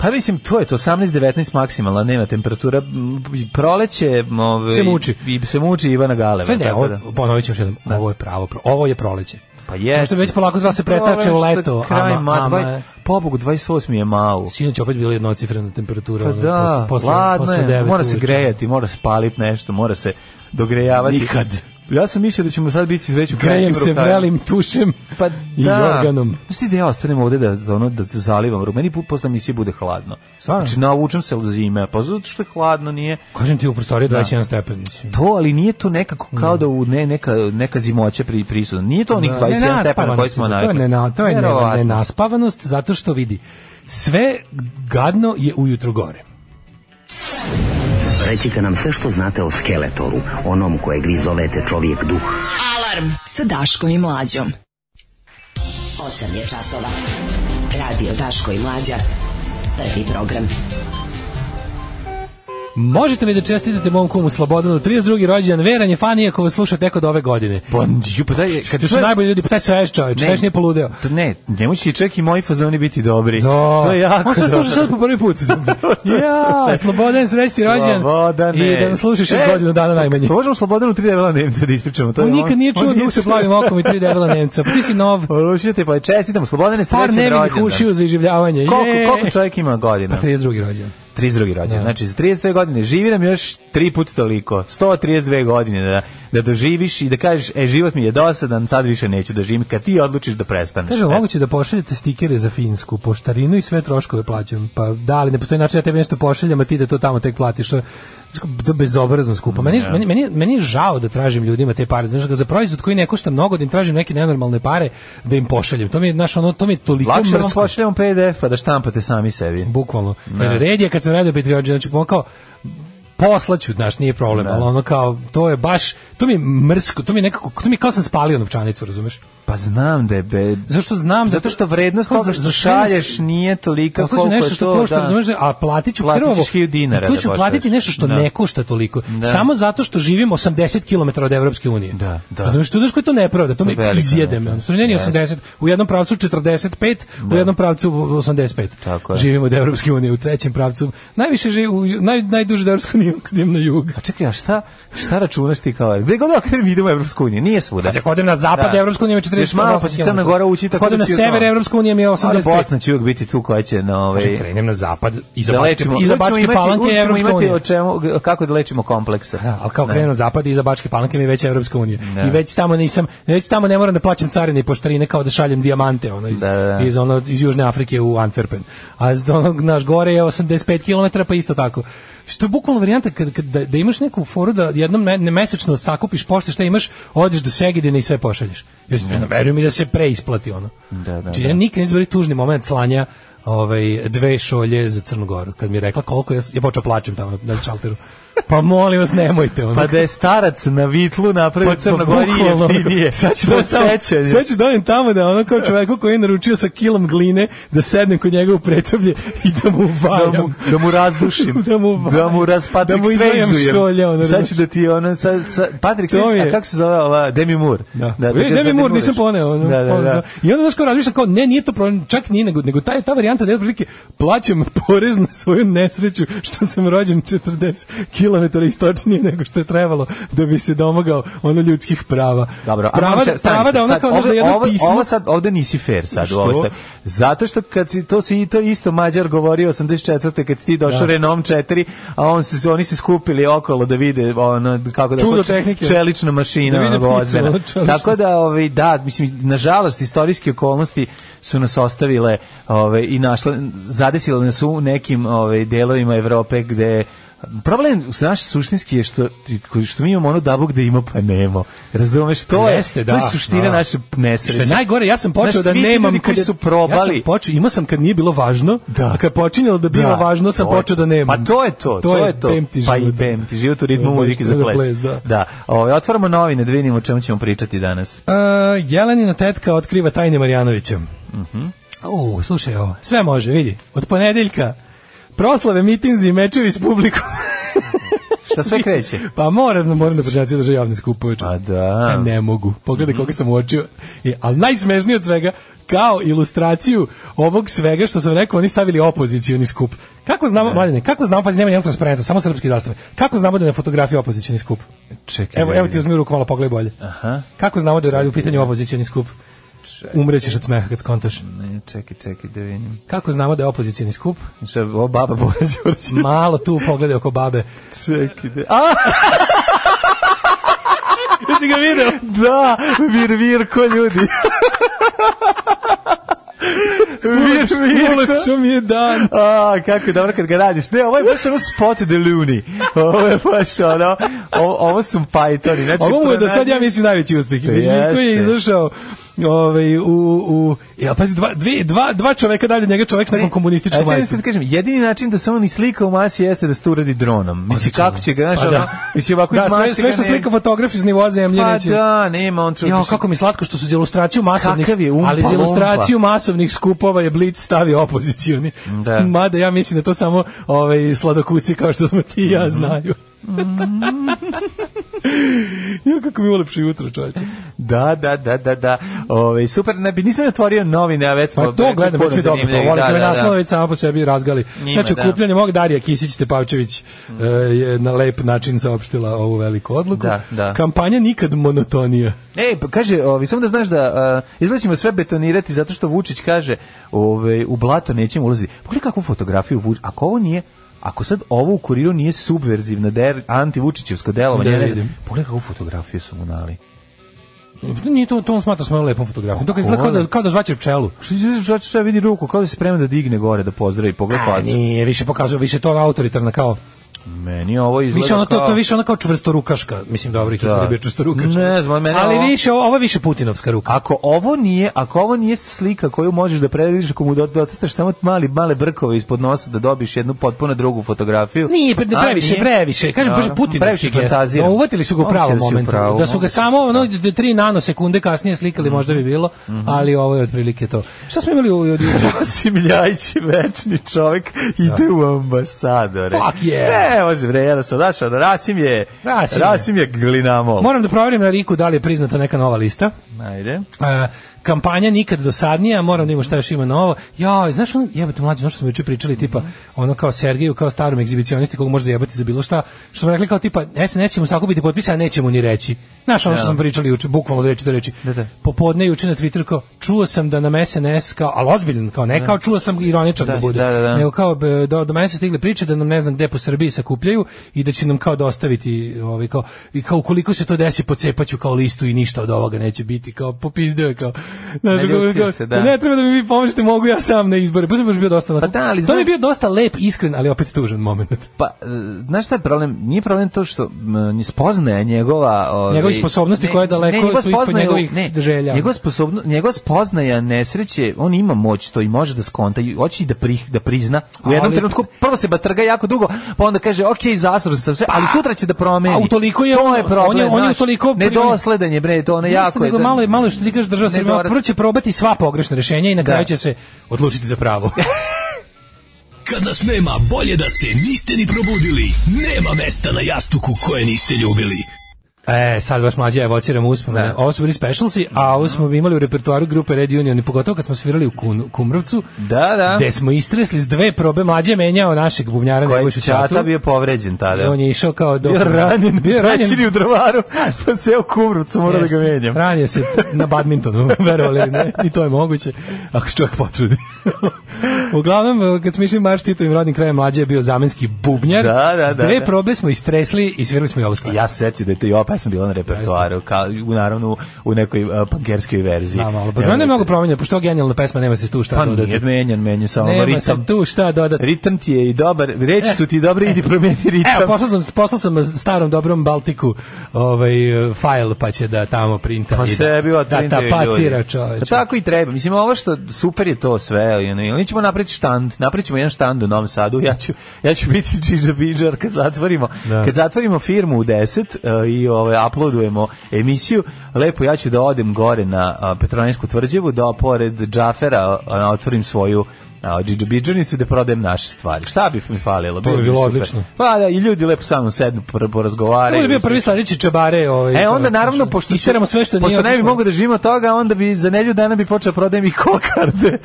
F: Pa mislim, to je to, 18-19 maksimalna, nema temperatura. m, Proleće... m, Ove,
G: Se muči.
F: I, se muči Ivana Galeva.
G: Sve ne,
F: tako
G: ovo,
F: da.
G: ponovit ćemo još jednom, ovo je pravo, pro- ovo je proleće.
F: Pa jeste.
G: Samo što već polako treba se pretače u leto,
F: Kraj,
G: ama,
F: ma,
G: ama,
F: dvaj,
G: je-
F: pobogu, 28 je malo.
G: sinoć je opet bila jednocifrena temperatura.
F: Pa
G: ono,
F: da,
G: posle, posle,
F: ladno
G: posle
F: je,
G: devet
F: mora se
G: uveče.
F: grejati, mora se paliti nešto, mora se dogrejavati.
G: Nikad.
F: Ja sam mislio da ćemo sad biti veću
G: Grejem se vrelim, tušem
F: pa,
G: i
F: da.
G: organom.
F: Znaš ti da ja ostanem ovde da, da ono, da se zalivam ruku? Meni pu- posle misije bude hladno.
G: Stvarno?
F: Znači, navučem se od zime, pa zato što je hladno, nije...
G: Kažem ti u prostoriji 21 stepen. mislim.
F: To, ali nije to nekako kao da u ne, neka, neka zimoća pri, prisutna. Nije to onih
G: Mm. Da,
F: 21 stepena koji
G: nenaspavanost
F: smo
G: je to,
F: navikli.
G: To je, nena, to je nena-
F: Verovatno.
G: nenaspavanost zato što vidi. Sve gadno je ujutro gore.
H: Recite nam sve što znate o Skeletoru, onom kojeg vi zovete čovjek duh.
D: Alarm sa Daškom i Mlađom.
J: 8 je časova. Radio Daško i Mlađa. Prvi program.
G: Možete li da čestitete mom kumu Slobodanu 32. rođendan, veran je fan iako vas sluša tek od ove godine.
F: Pa, ju, pa daj, kad
G: To su
F: čujem-
G: najbolji ljudi, pa taj sveš čovječ, sveš nije poludeo.
F: To ne, njemu će čak i moji fazoni biti dobri.
G: Da.
F: To je jako
G: On sve
F: dobro.
G: sluša sad po prvi put. ja, Slobodan, srećni rođen.
F: Slobodane.
G: I da nas slušaš još
F: E,
G: godinu dana najmanje.
F: Pa možemo Slobodanu tri debela Nemca da ispričamo. To
G: On
F: je
G: nikad nije čuo da se plavim okom i tri debela Nemca. Pa ti si nov.
F: Poručio te, pa čestitamo. Slobodane, srećan
G: Par
F: rođendan.
G: nevinih ušiju za iživljavanje. Je.
F: Koliko, koliko čovjek ima
G: Pa
F: godina?
G: 32. rođen.
F: 32. rođendan.
G: Da.
F: Znači, za 32 godine živi nam još tri puta toliko. 132 godine da, da doživiš i da kažeš, e, život mi je dosadan, sad više neću da živim, kad ti odlučiš da prestaneš.
G: Kaže,
F: E,
G: moguće da pošaljete stikere za finsku poštarinu i sve troškove plaćam. Pa da, ali ne postoji način da ja tebi nešto pošaljam, a ti da to tamo tek platiš. To je bezobrazno skupo. Meni, meni, meni, meni je žao da tražim ljudima te pare. Znaš, za proizvod koji ne košta mnogo, da im tražim neke nenormalne pare, da im pošaljem. To mi je, znaš, ono, to mi je toliko
F: Lakše vam
G: mrsko.
F: pošljamo PDF pa da štampate sami sebi.
G: Bukvalno. Kaže, red je kad sam radio Petriođe, znači on kao poslaću, znaš, nije problem, ali ono kao, to je baš, to mi je mrsko, to mi je nekako, to mi je kao sam spalio novčanicu, razumeš?
F: Pa znam da je be...
G: Zašto znam?
F: Zato što vrednost
G: Kao
F: toga
G: za-
F: što
G: za šest-
F: šalješ nije tolika
G: Kako
F: koliko
G: se
F: je
G: nešto što
F: to,
G: košta,
F: da.
G: razumeš, a platit ću
F: Platit ćeš
G: prvo.
F: 1000 dinara
G: Tu
F: da
G: ću
F: pošalješ.
G: platiti nešto što
F: Da.
G: ne košta toliko.
F: Da.
G: Samo zato što živim 80 km od Evropske unije.
F: Da, da.
G: Razumeš, tu znaš koja je to nepravda, to me
F: To je velika
G: izjede me.
F: nepravda.
G: Ono, stvarno, meni je
F: Jeste.
G: 80, u jednom pravcu 45, u jednom pravcu 85.
F: Tako je.
G: Živim od Evropske unije, u trećem pravcu. Najviše živim, u, ju- naj, najduže od Evropske unije kad idem na jug.
F: A Pa čekaj, a šta, šta računaš ti kao? Gde god okrenem idemo u Evropsku uniju, nije svuda.
G: Znači, ako odem na zapad,
F: Da.
G: da. Evropska unija ima 40
F: Još malo pa će Crna Gora ući tako
G: Ako odem
F: da
G: na
F: će i
G: sever,
F: to.
G: Evropska unija mi je
F: Ali
G: 85.
F: pa Bosna će uvijek biti tu koja će na
G: Znači,
F: ovaj
G: krenem na zapad, iza
F: da
G: Bačke,
F: lečimo.
G: iza
F: Uvijek ćemo
G: Bačke
F: imati-
G: palanke
F: uvijek
G: je
F: ćemo
G: Evropska
F: imati
G: unija.
F: o čemu kako da lečimo komplekse.
G: Da, ali kao
F: Ne.
G: krenu na zapad i za Bačke palanke mi je već Evropska unija.
F: Da.
G: I već tamo nisam, već tamo ne moram da plaćam carine i poštarine kao da šaljem dijamante ono iz
F: Da, da.
G: iz ono iz Južne Afrike u Antwerpen. A z- ono naš gore je 85 km pa isto tako. Što je bukvalno varijanta kad, kad da, da imaš neku foru da jednom me, ne- mesečno sakupiš pošte šta imaš, odeš do Segedina i sve pošalješ. Još ne verujem mi da se preisplati ono.
F: Da, da,
G: Znači,
F: da.
G: ja nikad nisam bio tužni moment slanja ovaj dve šolje za Crnu Goru. Kad mi je rekla koliko ja, s- ja počeo plačem tamo na, na šalteru. Pa molim vas nemojte ono.
F: Pa da je starac na vitlu napravio pa, Crna Gora i
G: bukvalno,
F: jeftinije.
G: Sad ću
F: To
G: doći tamo,
F: sećanje.
G: sad ću dojem tamo da ono kao čoveku koji je naručio sa kilom gline da sednem kod njega u pretoblje i da mu vajam.
F: da mu, da mu razdušim,
G: Da mu vajam.
F: da mu raz
G: Da
F: Patrick
G: mu izvajem
F: Swayzezujem.
G: šolje, ono,
F: sad
G: znaš.
F: ću da ti ona sad, sad Patrick
G: To
F: Swayze,
G: je.
F: a kako se zove ova Demi Moore?
G: Da.
F: da, ga
G: E, Demi Moore
F: zademuraš.
G: nisam poneo. Ono,
F: Da, da,
G: ono,
F: da.
G: I onda znaš kao razmišljam kao, ne, nije to problem, čak nije, nego, nego taj, ta varijanta da je otprilike plaćam porez na svoju nesreću što sam rođen 40 km km istočnije nego što je trebalo da bi se domogao ono ljudskih prava.
F: Dobro, a
G: prava,
F: moram še- stani
G: prava
F: sad,
G: da ona
F: sad,
G: kao ono
F: ovo-
G: da jedno
F: ovo-
G: pismo
F: Ovo sad, ovde nisi fair sad.
G: Što?
F: Ovo sad. Zato što kad si, to si i to isto Mađar govorio 84. kad si ti došao
G: Da.
F: Renom 4, a on se, oni se skupili okolo da vide ono, kako da
G: Čudo
F: hoće-
G: tehnike.
F: čelična mašina.
G: Da vide
F: ono,
G: pticu,
F: ozbiljna.
G: ono, čeličnu.
F: Tako da, ovaj, da, mislim, nažalost, istorijske okolnosti su nas ostavile ovaj, i našle, zadesile nas u nekim ovaj, delovima Evrope gde Problem naš suštinski je što, što mi imamo ono dabu gde ima pa nemo. Razumeš, to je,
G: Jeste,
F: to je
G: da,
F: suština
G: da.
F: naše nesreće.
G: Što je najgore, ja sam počeo
F: Znaš,
G: da
F: svi ti
G: nemam
F: ljudi koji
G: kad je-
F: su probali.
G: Ja sam počeo, imao sam kad nije bilo važno,
F: Da.
G: a kad je počinjalo da bilo
F: Da,
G: važno, sam
F: to je
G: počeo da
F: to.
G: nemam.
F: Pa to je to, to, je to.
G: bem ti
F: pa i
G: život.
F: bem ti život u ritmu
G: Bem ti
F: muzike za ples. da. Ovaj, otvaramo novine, da vidimo o čemu ćemo pričati danas.
G: Uh, Jelenina tetka otkriva tajne Marjanovića. Mhm. Uh, slušaj ovo. Sve može, vidi. Od ponedeljka proslave, mitinzi, mečevi s publikom.
F: Šta sve kreće?
G: pa moram, moram da počinjaci drže javne skupove. čovječe.
F: A da.
G: Ja ne mogu. Pogledaj koga sam uočio. I, ali najsmešnije od svega, kao ilustraciju ovog svega što sam rekao, oni stavili opozicioni skup. Kako znamo, Mladine, kako znamo, pa nema nijednog transparenta, samo srpski zastave. Kako znamo da je na fotografiji opozicioni skup?
F: Čekaj.
G: Evo,
F: da
G: evo ti
F: vidim.
G: uzmi u ruku, malo pogledaj bolje.
F: Aha.
G: Kako znamo da je radio u pitanju opozicioni skup? Umrećeš od smeha kad skontaš.
F: Ne, čekaj, čekaj, da vidim.
G: Kako znamo da je opozicioni skup?
F: Šta, o, baba Boja Đorđević.
G: Malo tu pogledaj oko babe.
F: Čekaj, da... A,
G: Jesi ga video?
F: da, vir, vir, ko ljudi. vir, vir, ko...
G: Ulepšo mi je dan.
F: A, kako je dobro kad ga radiš. Ne, ovo je baš ono spot de luni. Ovo je baš ono, ovo, ovo su Pythoni. Znači,
G: Pa Ovo mu je do
F: pronađi-
G: sad, ja mislim, najveći uspeh.
F: To
G: Miljko je
F: Pa jeste.
G: izašao ovaj, u... u ja, pazi, dva, dve, dva, dva čoveka dalje od njega čovek s nekom komunističkom
F: Znači,
G: majicom.
F: sad kažem, jedini način da se on i slika u masi jeste da se to uradi dronom. Mislim,
G: Odlično.
F: kako će ga, znaš,
G: Pa
F: pa
G: da.
F: mislim, ovako
G: Da,
F: iz
G: sve,
F: mase
G: sve
F: ga
G: što
F: ne-
G: slika fotograf iz nivoa zemlje
F: Pa
G: neće.
F: da, nema, on čuo.
G: Jao, kako mi slatko što su za ilustraciju masovnih,
F: Kakav je Umpa
G: ali za
F: Lumpa.
G: ilustraciju masovnih skupova je Blitz stavio opozicioni.
F: Da.
G: Mada ja mislim da to samo ovaj, sladokuci kao što smo ti i
F: Mhm.
G: ja znaju. jo, kako mi ulepše jutro, čovječe.
F: Da, da, da, da, da. Ove, super, ne bi nisam otvorio novine, a već smo...
G: Pa to gledam, već mi je dobro, to volim da, me naslova već sama po sebi razgali.
F: Njima,
G: znači,
F: da.
G: okupljanje mog Darija Kisić Tepavčević e, je na lep način saopštila ovu veliku odluku.
F: Da, da.
G: Kampanja nikad monotonija.
F: Ej, pa kaže, ovi, samo da znaš da uh, izgleda ćemo sve betonirati zato što Vučić kaže ove, u blato nećemo ulaziti. Pogledaj kakvu fotografiju Vučić, ako ovo nije Ako sad ovo u kuriru nije subverzivno der, antivučićevsko delovanje,
G: Da,
F: ja ne znam,
G: vidim.
F: pogledaj kakvu fotografiju su mu nali.
G: Nije to, to on smatra smo lepom fotografijom. To kad izgleda kao da, kao da žvaće pčelu.
F: Što ti znači čovjek sve vidi ruku, kao da se sprema da digne gore, da pozdravi, pogledaj
G: A,
F: facu.
G: nije, više pokazuje, više to autoritarna kao.
F: Meni ovo izgleda
G: Više ono to,
F: kao...
G: to je više ono kao čvrstorukaška, mislim dobro ih da.
F: Da.
G: je bio čvrstorukaš.
F: Ne znam, meni
G: Ali
F: ovo-
G: više ovo je više Putinovska ruka.
F: Ako ovo nije, ako ovo nije slika koju možeš da prediš, ako mu do- docrtaš samo mali male brkove ispod nosa da dobiš jednu potpuno drugu fotografiju.
G: Nije, pre,
F: A,
G: previše,
F: nije?
G: previše. Kažem, baš
F: Dobro.
G: putinovski gest.
F: fantaziram.
G: No, uvatili su ga u
F: Moguće
G: pravom
F: da si u
G: momentu.
F: pravu,
G: Da su ga
F: moguće.
G: samo ono, d- tri nanosekunde kasnije slikali, možda bi bilo, ali ovo je otprilike to. Šta smo imali u- od juče?
F: Rasim Ljajić, večni čovjek, ide u ambasadore.
G: Fuck yeah.
F: Ne, može, bre, jedan sam našao, da ono, Rasim je,
G: Rasim
F: Rasim,
G: je.
F: je glinamol.
G: Moram da proverim na Riku da li je priznata neka nova lista.
F: Ajde.
G: E, kampanja nikad dosadnija, moram da imamo šta još ima novo. Ja, znaš ono, jebate mlađe, znaš što smo juče pričali, tipa, ono kao Sergeju, kao starom egzibicionisti kog može zajebati za bilo šta, što smo rekli kao tipa, SNS nećemo sakupiti potpise, a nećemo ni reći. Znaš ono što smo pričali juče, bukvalno od reči do reči.
F: Da, da.
G: Popodne juče na Twitteru kao, čuo sam da nam SNS, kao, ali ozbiljan, kao ne, kao čuo sam ironičan da,
F: Da,
G: bude.
F: da, da, da.
G: Nego kao, e, do, do mene su stigle priče da nam ne znam gde po Srbiji sakupljaju i da će nam kao dostaviti, ovaj, kao, i kao ukoliko se to desi, pocepaću kao listu i ništa od ovoga neće biti, kao popizdeo je, kao, znaš,
F: Naljutio
G: kao, kao,
F: se, da.
G: ne treba da mi vi pomožete, mogu ja sam na izbore, pa to bi baš bio dosta, onako-
F: Pa da, ali
G: to bi
F: znaš-
G: bio dosta lep, iskren, ali opet tužan moment.
F: Pa, e, znaš šta je problem? Nije problem to što m, ni spoznaje njegova... Ove,
G: Njegove sposobnosti koje daleko
F: njegova
G: su ispod
F: spoznaja-
G: njegovih želja.
F: Njegova, sposobno, njegova spoznaja nesreće, on ima moć to i može da skonta, i hoće i da, prih, da prizna. U jednom
G: Ali-
F: trenutku prvo se batrga jako dugo, pa onda kaže, ok, zaslužen sam sve, ali sutra će da promeni.
G: Pa, a utoliko je
F: to
G: on-
F: je problem,
G: on je- on je
F: znaš,
G: utoliko pri-
F: Nedosledan je, bre, to ono jako
G: Jeste,
F: je.
G: nego
F: da-
G: malo, je- malo je što ti kažeš država Srbija,
F: Nedorast-
G: prvo će probati sva pogrešna rešenja i na
F: Da.
G: kraju će se odlučiti za pravo.
K: Kad nas nema, bolje da se niste ni probudili. Nema mesta na jastuku koje niste ljubili.
G: E, sad baš mlađe evociram uspomene. Ovo su bili specialsi, a ovo smo imali u repertuaru grupe Red Union, i pogotovo kad smo svirali u Kun- Kumrovcu,
F: Da, da.
G: gde smo istresli s dve probe, mlađe je menjao našeg bubnjara
F: Koji
G: Nebojšu
F: je
G: Čatu.
F: čata bio povređen tada.
G: E, On je išao kao do...
F: bio ranjen,
G: Bio je ranjen.
F: u drvaru, pa seo kumrovcu, mora da ga
G: Jeste.
F: menjam.
G: Ranio se na badmintonu, verovali ili ne, i to je moguće, ako se čovjek potrudi. Uglavnom, kad smo išli marš Titovim rodnim krajem, mlađe je bio zamenski bubnjar.
F: Da, da,
G: S
F: da,
G: dve
F: da.
G: probe smo istresli i svirali smo i ovu stvar.
F: Ja se sjetio da je to i ova pesma bila na repertoaru, kao, u- naravno u nekoj uh, pankerskoj verziji.
G: Da, malo. Pa ona je mnogo promenjena, pošto je ovo genijalna pesma, nema se tu šta
F: Pa
G: dodati.
F: nije menjan, menju samo
G: Nema se
F: Ono, ritam.
G: tu šta dodati.
F: Ritam ti je i dobar, reči su ti dobre, idi promijeni ritam.
G: Evo, poslao sam, poslao sam starom dobrom Baltiku ovaj, e, fajl, pa će da tamo printa.
F: Pa
G: i da-
F: sebi
G: Da
F: otrintaju
G: tapacira
F: ljudi.
G: čoveče.
F: Pa tako i treba. Mislim, ovo što super je to sve. ono, Ili ćemo napraviti štand. Napravit ćemo jedan štand u Novom Sadu. Ja ću, ja ću biti čiđa biđar kad zatvorimo,
G: Da.
F: kad zatvorimo firmu u 10 e, i ovaj, uploadujemo emisiju. Lepo, ja ću da odem gore na a, Petronarsku tvrđevu, da pored Džafera a, otvorim svoju a džidžobidžanicu da prodajem naše stvari. Šta bi mi falilo?
G: To bi bilo
F: super.
G: odlično.
F: Pa da, i ljudi lepo sa mnom sednu, por-
G: On
F: porazgovaraju.
G: je bio prvi sledeći čabare. Ovaj,
F: E onda naravno pošto
G: isteramo sve što
F: pošto ne
G: nije
F: bi
G: otišlo.
F: mogao da živimo od toga, onda bi za nedelju dana bi počeo prodajem i kokarde.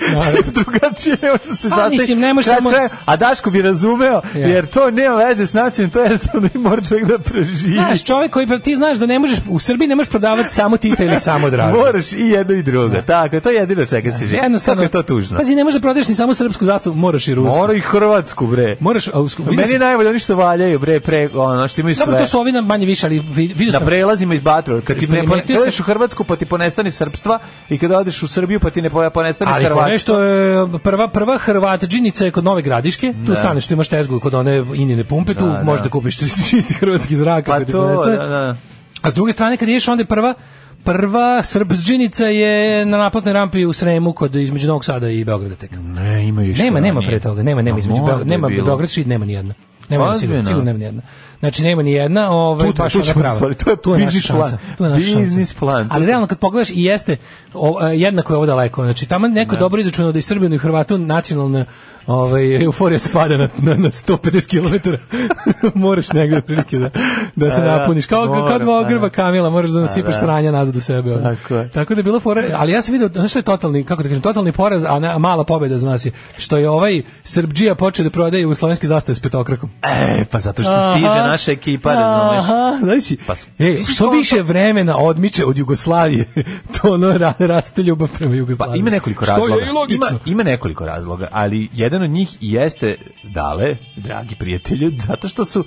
F: Drugačije ne može da se
G: Pa,
F: sastavi.
G: mislim, ne može
F: kraj s
G: samo-
F: krajem. a Daško bi razumeo,
G: Ja.
F: jer to nema veze s načinom, to je jednostavno i mora čovjek da preživi.
G: Znaš, čovjek koji ti znaš da ne možeš u Srbiji ne možeš prodavati samo Tita ili samo Dražu.
F: Moraš i jedno i drugo. Tako, je, to je jedino čega se živi. Jednostavno, Kako je to tužno?
G: Pazi, ne možeš da prodaješ ni samo srpsku zastavu, moraš i rusku.
F: Mora i Hrvatsku, bre.
G: Moraš, a u sku- vidio
F: Meni je
G: sam-
F: najbolje oni što valjaju, bre, pre, ono, što imaju
G: Dobro,
F: sve.
G: to su ovi na manje više, ali vi- vidio
F: Na
G: sam...
F: prelazima iz Batrova, kad ti ne
G: Primetio sam-
F: odeš u Hrvatsku pa ti ponestane srpstva i kad odeš u Srbiju pa ti ne poja- ponestane
G: Ali
F: Hrvatstva.
G: nešto je prva prva Hrvatđinica je kod Nove Gradiške. Tu staneš, tu imaš tezgu kod one inine pumpe, tu možeš da kupiš čisti hrvatski zrak.
F: Pa
G: ako ti
F: to,
G: ponestane.
F: da, da.
G: A s druge strane kad ideš onda je prva prva Srbsđinica je na naplatnoj rampi u Sremu kod između Novog Sada i Beograda tek.
F: Ne, ima još.
G: Nema, nema pre toga, nema, nema između Beograda, nema Beograd Šid, nema ni jedna. Nema ni sigurno,
F: Ozbiljno?
G: sigurno nema ni jedna. Znači nema ni jedna, ovaj
F: Tu- tu
G: baš
F: ćemo
G: ona prava.
F: stvari, to je
G: naša
F: biznis
G: šansa,
F: plan.
G: tu je naša šansa.
F: Biznis plan.
G: Ali realno kad pogledaš i jeste o, e, jednako je ovo daleko. Znači tamo neko dobro izračunao da i Srbinu i Hrvatu nacionalna ovaj euforija spada na na, na 150 km. moraš negde prilike da da se
F: E, Da, da,
G: napuniš. Kao kao
F: moram,
G: dva
F: da,
G: ogrba
F: da.
G: Pa, Kamila, moraš da nasipaš
F: da.
G: sranja nazad u sebe. ono.
F: Tako je.
G: Tako da je bilo fora, ali ja sam video, znaš što je totalni, kako da kažem, totalni poraz, a na- mala pobeda za nas je, što je ovaj Srbdžija počeo da prodaje jugoslovenske zastave s petokrakom.
F: E, pa zato što stiže
G: Aha.
F: naša ekipa, razumeš?
G: Aha, znači,
F: Pa s-
G: e,
F: misliš
G: što
F: koliko-
G: više vremena odmiče od Jugoslavije, to ono ra- raste ljubav prema
F: Pa
G: Jugoslaviji.
F: ima nekoliko
G: Što
F: razloga.
G: je i logično.
F: Ima, ima nekoliko razloga, ali jedan od njih i jeste dale, dragi prijatelji, zato što su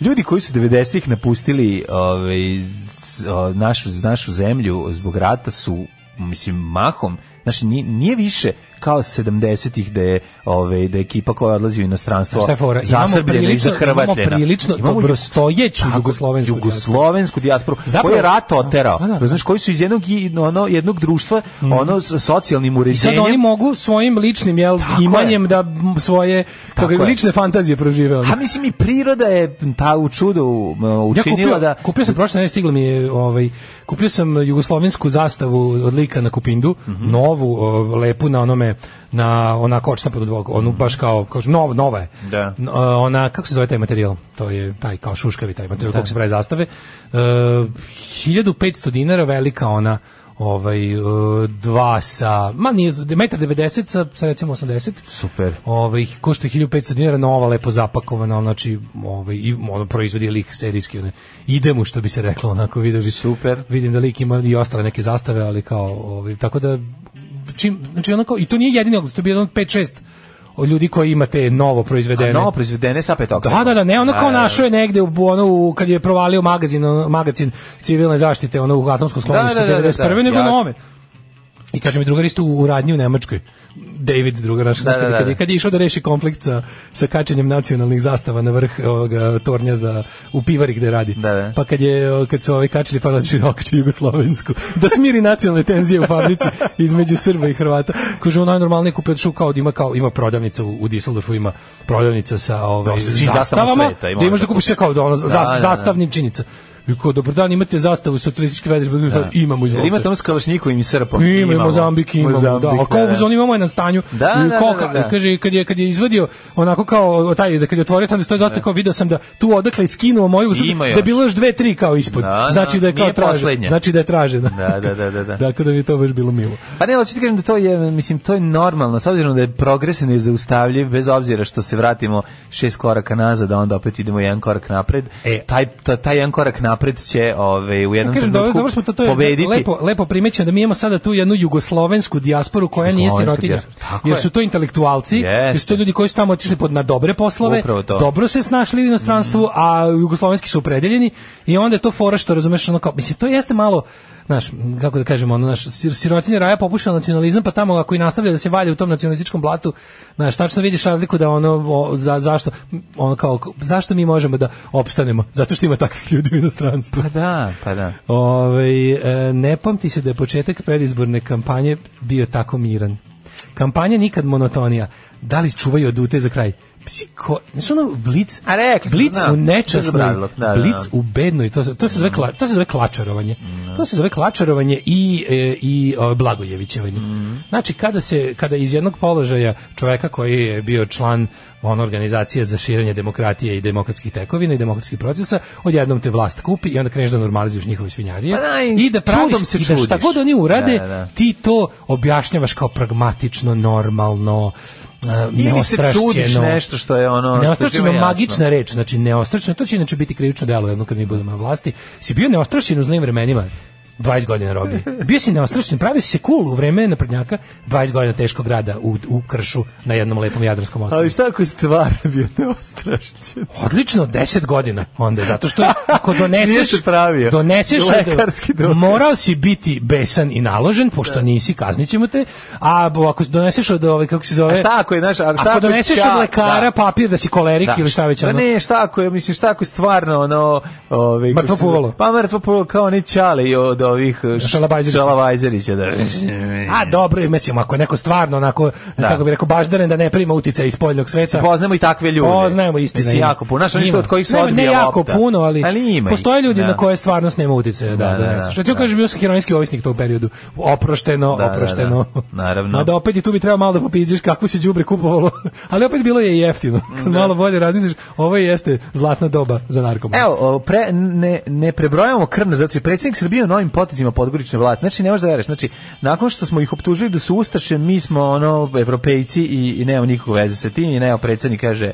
F: ljudi koji su 90-ih napustili ovaj, s- o, našu, našu zemlju zbog rata su mislim mahom znači nije, nije više kao 70-ih da je ovaj da je ekipa koja odlazi u inostranstvo
G: Znaš šta je fora? Imamo
F: zasrbljena i
G: prilično-
F: zahrvačena
G: imamo prilično dobrostojeću
F: tako,
G: jugoslovensku
F: jugoslovensku dijasporu
G: Zapravo-
F: koju je rat oterao
G: Da, da, da.
F: razumeš koji su iz jednog i- ono jednog društva ono s- socijalnim
G: I sad
F: uređenjem
G: oni mogu svojim ličnim jel,
F: Tako
G: imanjem
F: je.
G: da m, svoje
F: Tako
G: kako,
F: je.
G: lične fantazije prožive. ono.
F: A mislim i priroda je ta u čudu um, učinila
G: kupio,
F: da...
G: kupio sam prošle nedelje stiglo mi je ovaj kupio sam jugoslovensku zastavu od lika na Kupindu,
F: Mhm.
G: novu, o, lepu na onome na ona kočna pod dvog, onu baš kao kao nova, nova je.
F: Mhm. Da.
G: N- a, ona kako se zove taj materijal? To je taj kao šuškavi taj materijal kako se pravi zastave. E, 1500 dinara velika ona ovaj e, dva sa ma nije metar 90 sa, sa recimo 80
F: Super.
G: ovaj košta 1500 dinara nova lepo zapakovana ono, znači ovaj i ono proizvodi lik serijski one ide mu što bi se reklo onako video bi
F: Super.
G: vidim da lik ima i ostale neke zastave ali kao ovaj tako da čim znači onako i to nije jedini oglas to je bio jedan od 5 6 od ljudi koji ima te novo
F: A
G: proizvedene
F: novo proizvedene sa petokrakom.
G: Da, da, da, ne, ono kao
F: Da, da, da.
G: našo je negde u ono u- kad je provalio magazin, ono, magazin civilne zaštite, ono u atomskom skloništu
F: Da, da, da, da,
G: 91. nego
F: jasno.
G: nove. I kaže mi drugar isto u radnji u Nemačkoj. David drugar naš
F: Da, da, da,
G: kad, je,
F: da.
G: kad je išao da reši konflikt sa, sa kačenjem nacionalnih zastava na vrh ovoga tornja za u pivari gde radi.
F: Da, da.
G: Pa kad je o, kad su ovi kačili pa došli da okače jugoslovensku da smiri nacionalne tenzije u fabrici između Srba i Hrvata. Kaže on najnormalnije kupio šu kao da ima kao ima prodavnica u, u Düsseldorfu ima prodavnica sa ovaj
F: Da, sa svim zastavama
G: zastavama,
F: sveta ima
G: da imaš da
F: onda
G: kupiš sve kao da ono za-
F: da, da.
G: zastavnim činjenica. I kao, dobar dan, imate zastavu socijalističke federacije, da. imamo
F: Jel
G: izvolite.
F: imate ono s Kalašnjikovim i srpom?
G: Ima, imamo Mozambik, imamo, da. A kao da. on imamo je na stanju.
F: Da,
G: I
F: da,
G: kao,
F: da, da, da.
G: Kaže, kad je, kad je izvadio, onako kao, taj, da kad je otvorio tamo, stoje zastavu, kao video sam da tu odakle je skinuo moju ustavnu,
F: Ima
G: da
F: još.
G: je bilo još dve, tri kao ispod.
F: Da, da,
G: znači da je kao
F: nije
G: tražena.
F: poslednja.
G: Znači da je tražena.
F: Da, da, da, da, da.
G: Tako da mi je to baš bilo milo.
F: Pa ne, hoću ti kažem da to je, mislim, to je normalno, s obzirom da je progres i nezaustavljiv, bez obzira što se vratimo šest koraka nazad, da onda opet idemo jedan korak napred,
G: E.
F: taj, ta, taj jedan korak napred će ove, u jednom
G: Kažem, dobro,
F: trenutku
G: dobro smo to, to je
F: pobediti.
G: lepo, lepo primećeno da mi imamo sada tu jednu jugoslovensku dijasporu koja nije
F: Jugoslovenska
G: sirotinja.
F: dijaspora, tako
G: Jer
F: je.
G: su to intelektualci, jer su to
F: Jeste.
G: ljudi koji su tamo otišli pod na dobre poslove,
F: Upravo to. Mhm.
G: dobro se snašli u inostranstvu, a jugoslovenski su opredeljeni i onda je to fora što razumeš ono kao, mislim, to jeste malo naš, kako da kažemo, ono, naš sir- sirotinja raja popušila nacionalizam, pa tamo ako i nastavlja da se valja u tom nacionalističkom blatu, znaš, tačno vidiš razliku da ono, o, za, zašto, ono kao, zašto mi možemo da opstanemo? Zato što ima takvih ljudi u inostranstvu.
F: Pa da, pa da.
G: Ove, e, ne pamti se da je početak predizborne kampanje bio tako miran. Kampanja nikad monotonija. Da li čuvaju od ute za kraj? Psiko, znaš ono, blic,
F: A rekli smo,
G: blic
F: znam,
G: u
F: to je zabradilo,
G: nečasnoj,
F: da, da,
G: blic
F: da.
G: u bednoj, to, se- to, se, zove, kla, to se zove klačarovanje. To se zove klačarovanje i, e, i o, blagojevićevanje.
F: Mm.
G: Znači, kada, se, kada iz jednog položaja čoveka koji je bio član on organizacije za širenje demokratije i demokratskih tekovina i demokratskih procesa, odjednom te vlast kupi i onda kreneš da normalizuješ njihove svinjarije
F: Pa da, i
G: i da praviš
F: čudom se
G: i da šta
F: čudiš.
G: god oni urade,
F: Da, da.
G: ti to objašnjavaš kao pragmatično, normalno, e,
F: Ili se čudiš
G: neostrašćeno.
F: nešto što je ono... što je
G: Neostrašćeno,
F: svima jasno.
G: magična reč, znači neostrašćeno, to će inače biti krivično delo jednom kad mi budemo na vlasti. Si bio neostrašćen u zlim vremenima, 20 godina robi. Bio si neostrašćen, pravio si se cool u vreme naprednjaka, 20 godina teškog rada u, u kršu na jednom lepom jadranskom ostrvu.
F: Ali šta ako je stvarno bio neostrašćen?
G: Odlično, 10 godina onda, zato što ako
F: Nije
G: doneseš,
F: se pravio.
G: doneseš,
F: Lekarski dokaz.
G: morao si biti besan i naložen, pošto nisi, kaznićemo te, a bo- ako doneseš od, ovaj, kako se zove,
F: A šta ako je, znaš, a šta
G: ako
F: ako je
G: doneseš
F: ča-
G: od lekara
F: da.
G: papir da si kolerik ili šta već,
F: Pa
G: ono,
F: ne, šta ako je, mislim, šta ako je stvarno ono... Ove,
G: Mrtvo puvalo.
F: Pa mrtvo puvalo, kao oni čale i od ovih... eh,
G: Šalabajzerića.
F: Šalabajzerića, da.
G: A dobro, mislim, ako je neko stvarno onako,
F: E. Da.
G: kako bi rekao, baždaren da ne prima utice iz poljnog sveta.
F: Poznamo i takve ljude.
G: Poznajemo istina.
F: Mislim,
G: ima.
F: jako puno. Znaš, oni što
G: Ima.
F: od kojih se
G: Ne,
F: odbija
G: Ne jako
F: lopta.
G: puno, ali,
F: Ali ima ih,
G: postoje ljudi
F: da.
G: na koje stvarno nema uticaja. Da, da, da.
F: da,
G: da,
F: da.
G: Što ću
F: Da.
G: kažem, bio sam heroinski ovisnik to u periodu. Oprošteno,
F: Da, da,
G: oprošteno.
F: da. Naravno.
G: Mada opet i tu bi trebao malo da popiziš kako se đubre kupovalo. ali opet bilo je i jeftino. Kad malo bolje razmisliš, ovo jeste zlatna doba za narkomane.
F: Evo, o, pre, ne, ne prebrojamo krvne zato je predsjednik Srbije u novim potezima podgorične vlade. Znači, ne možeš da veruješ. Znači, nakon što smo ih optužili da su ustaše, mi smo ono, evropejci i, i nemamo nikakve veze sa tim i nema predsjednik kaže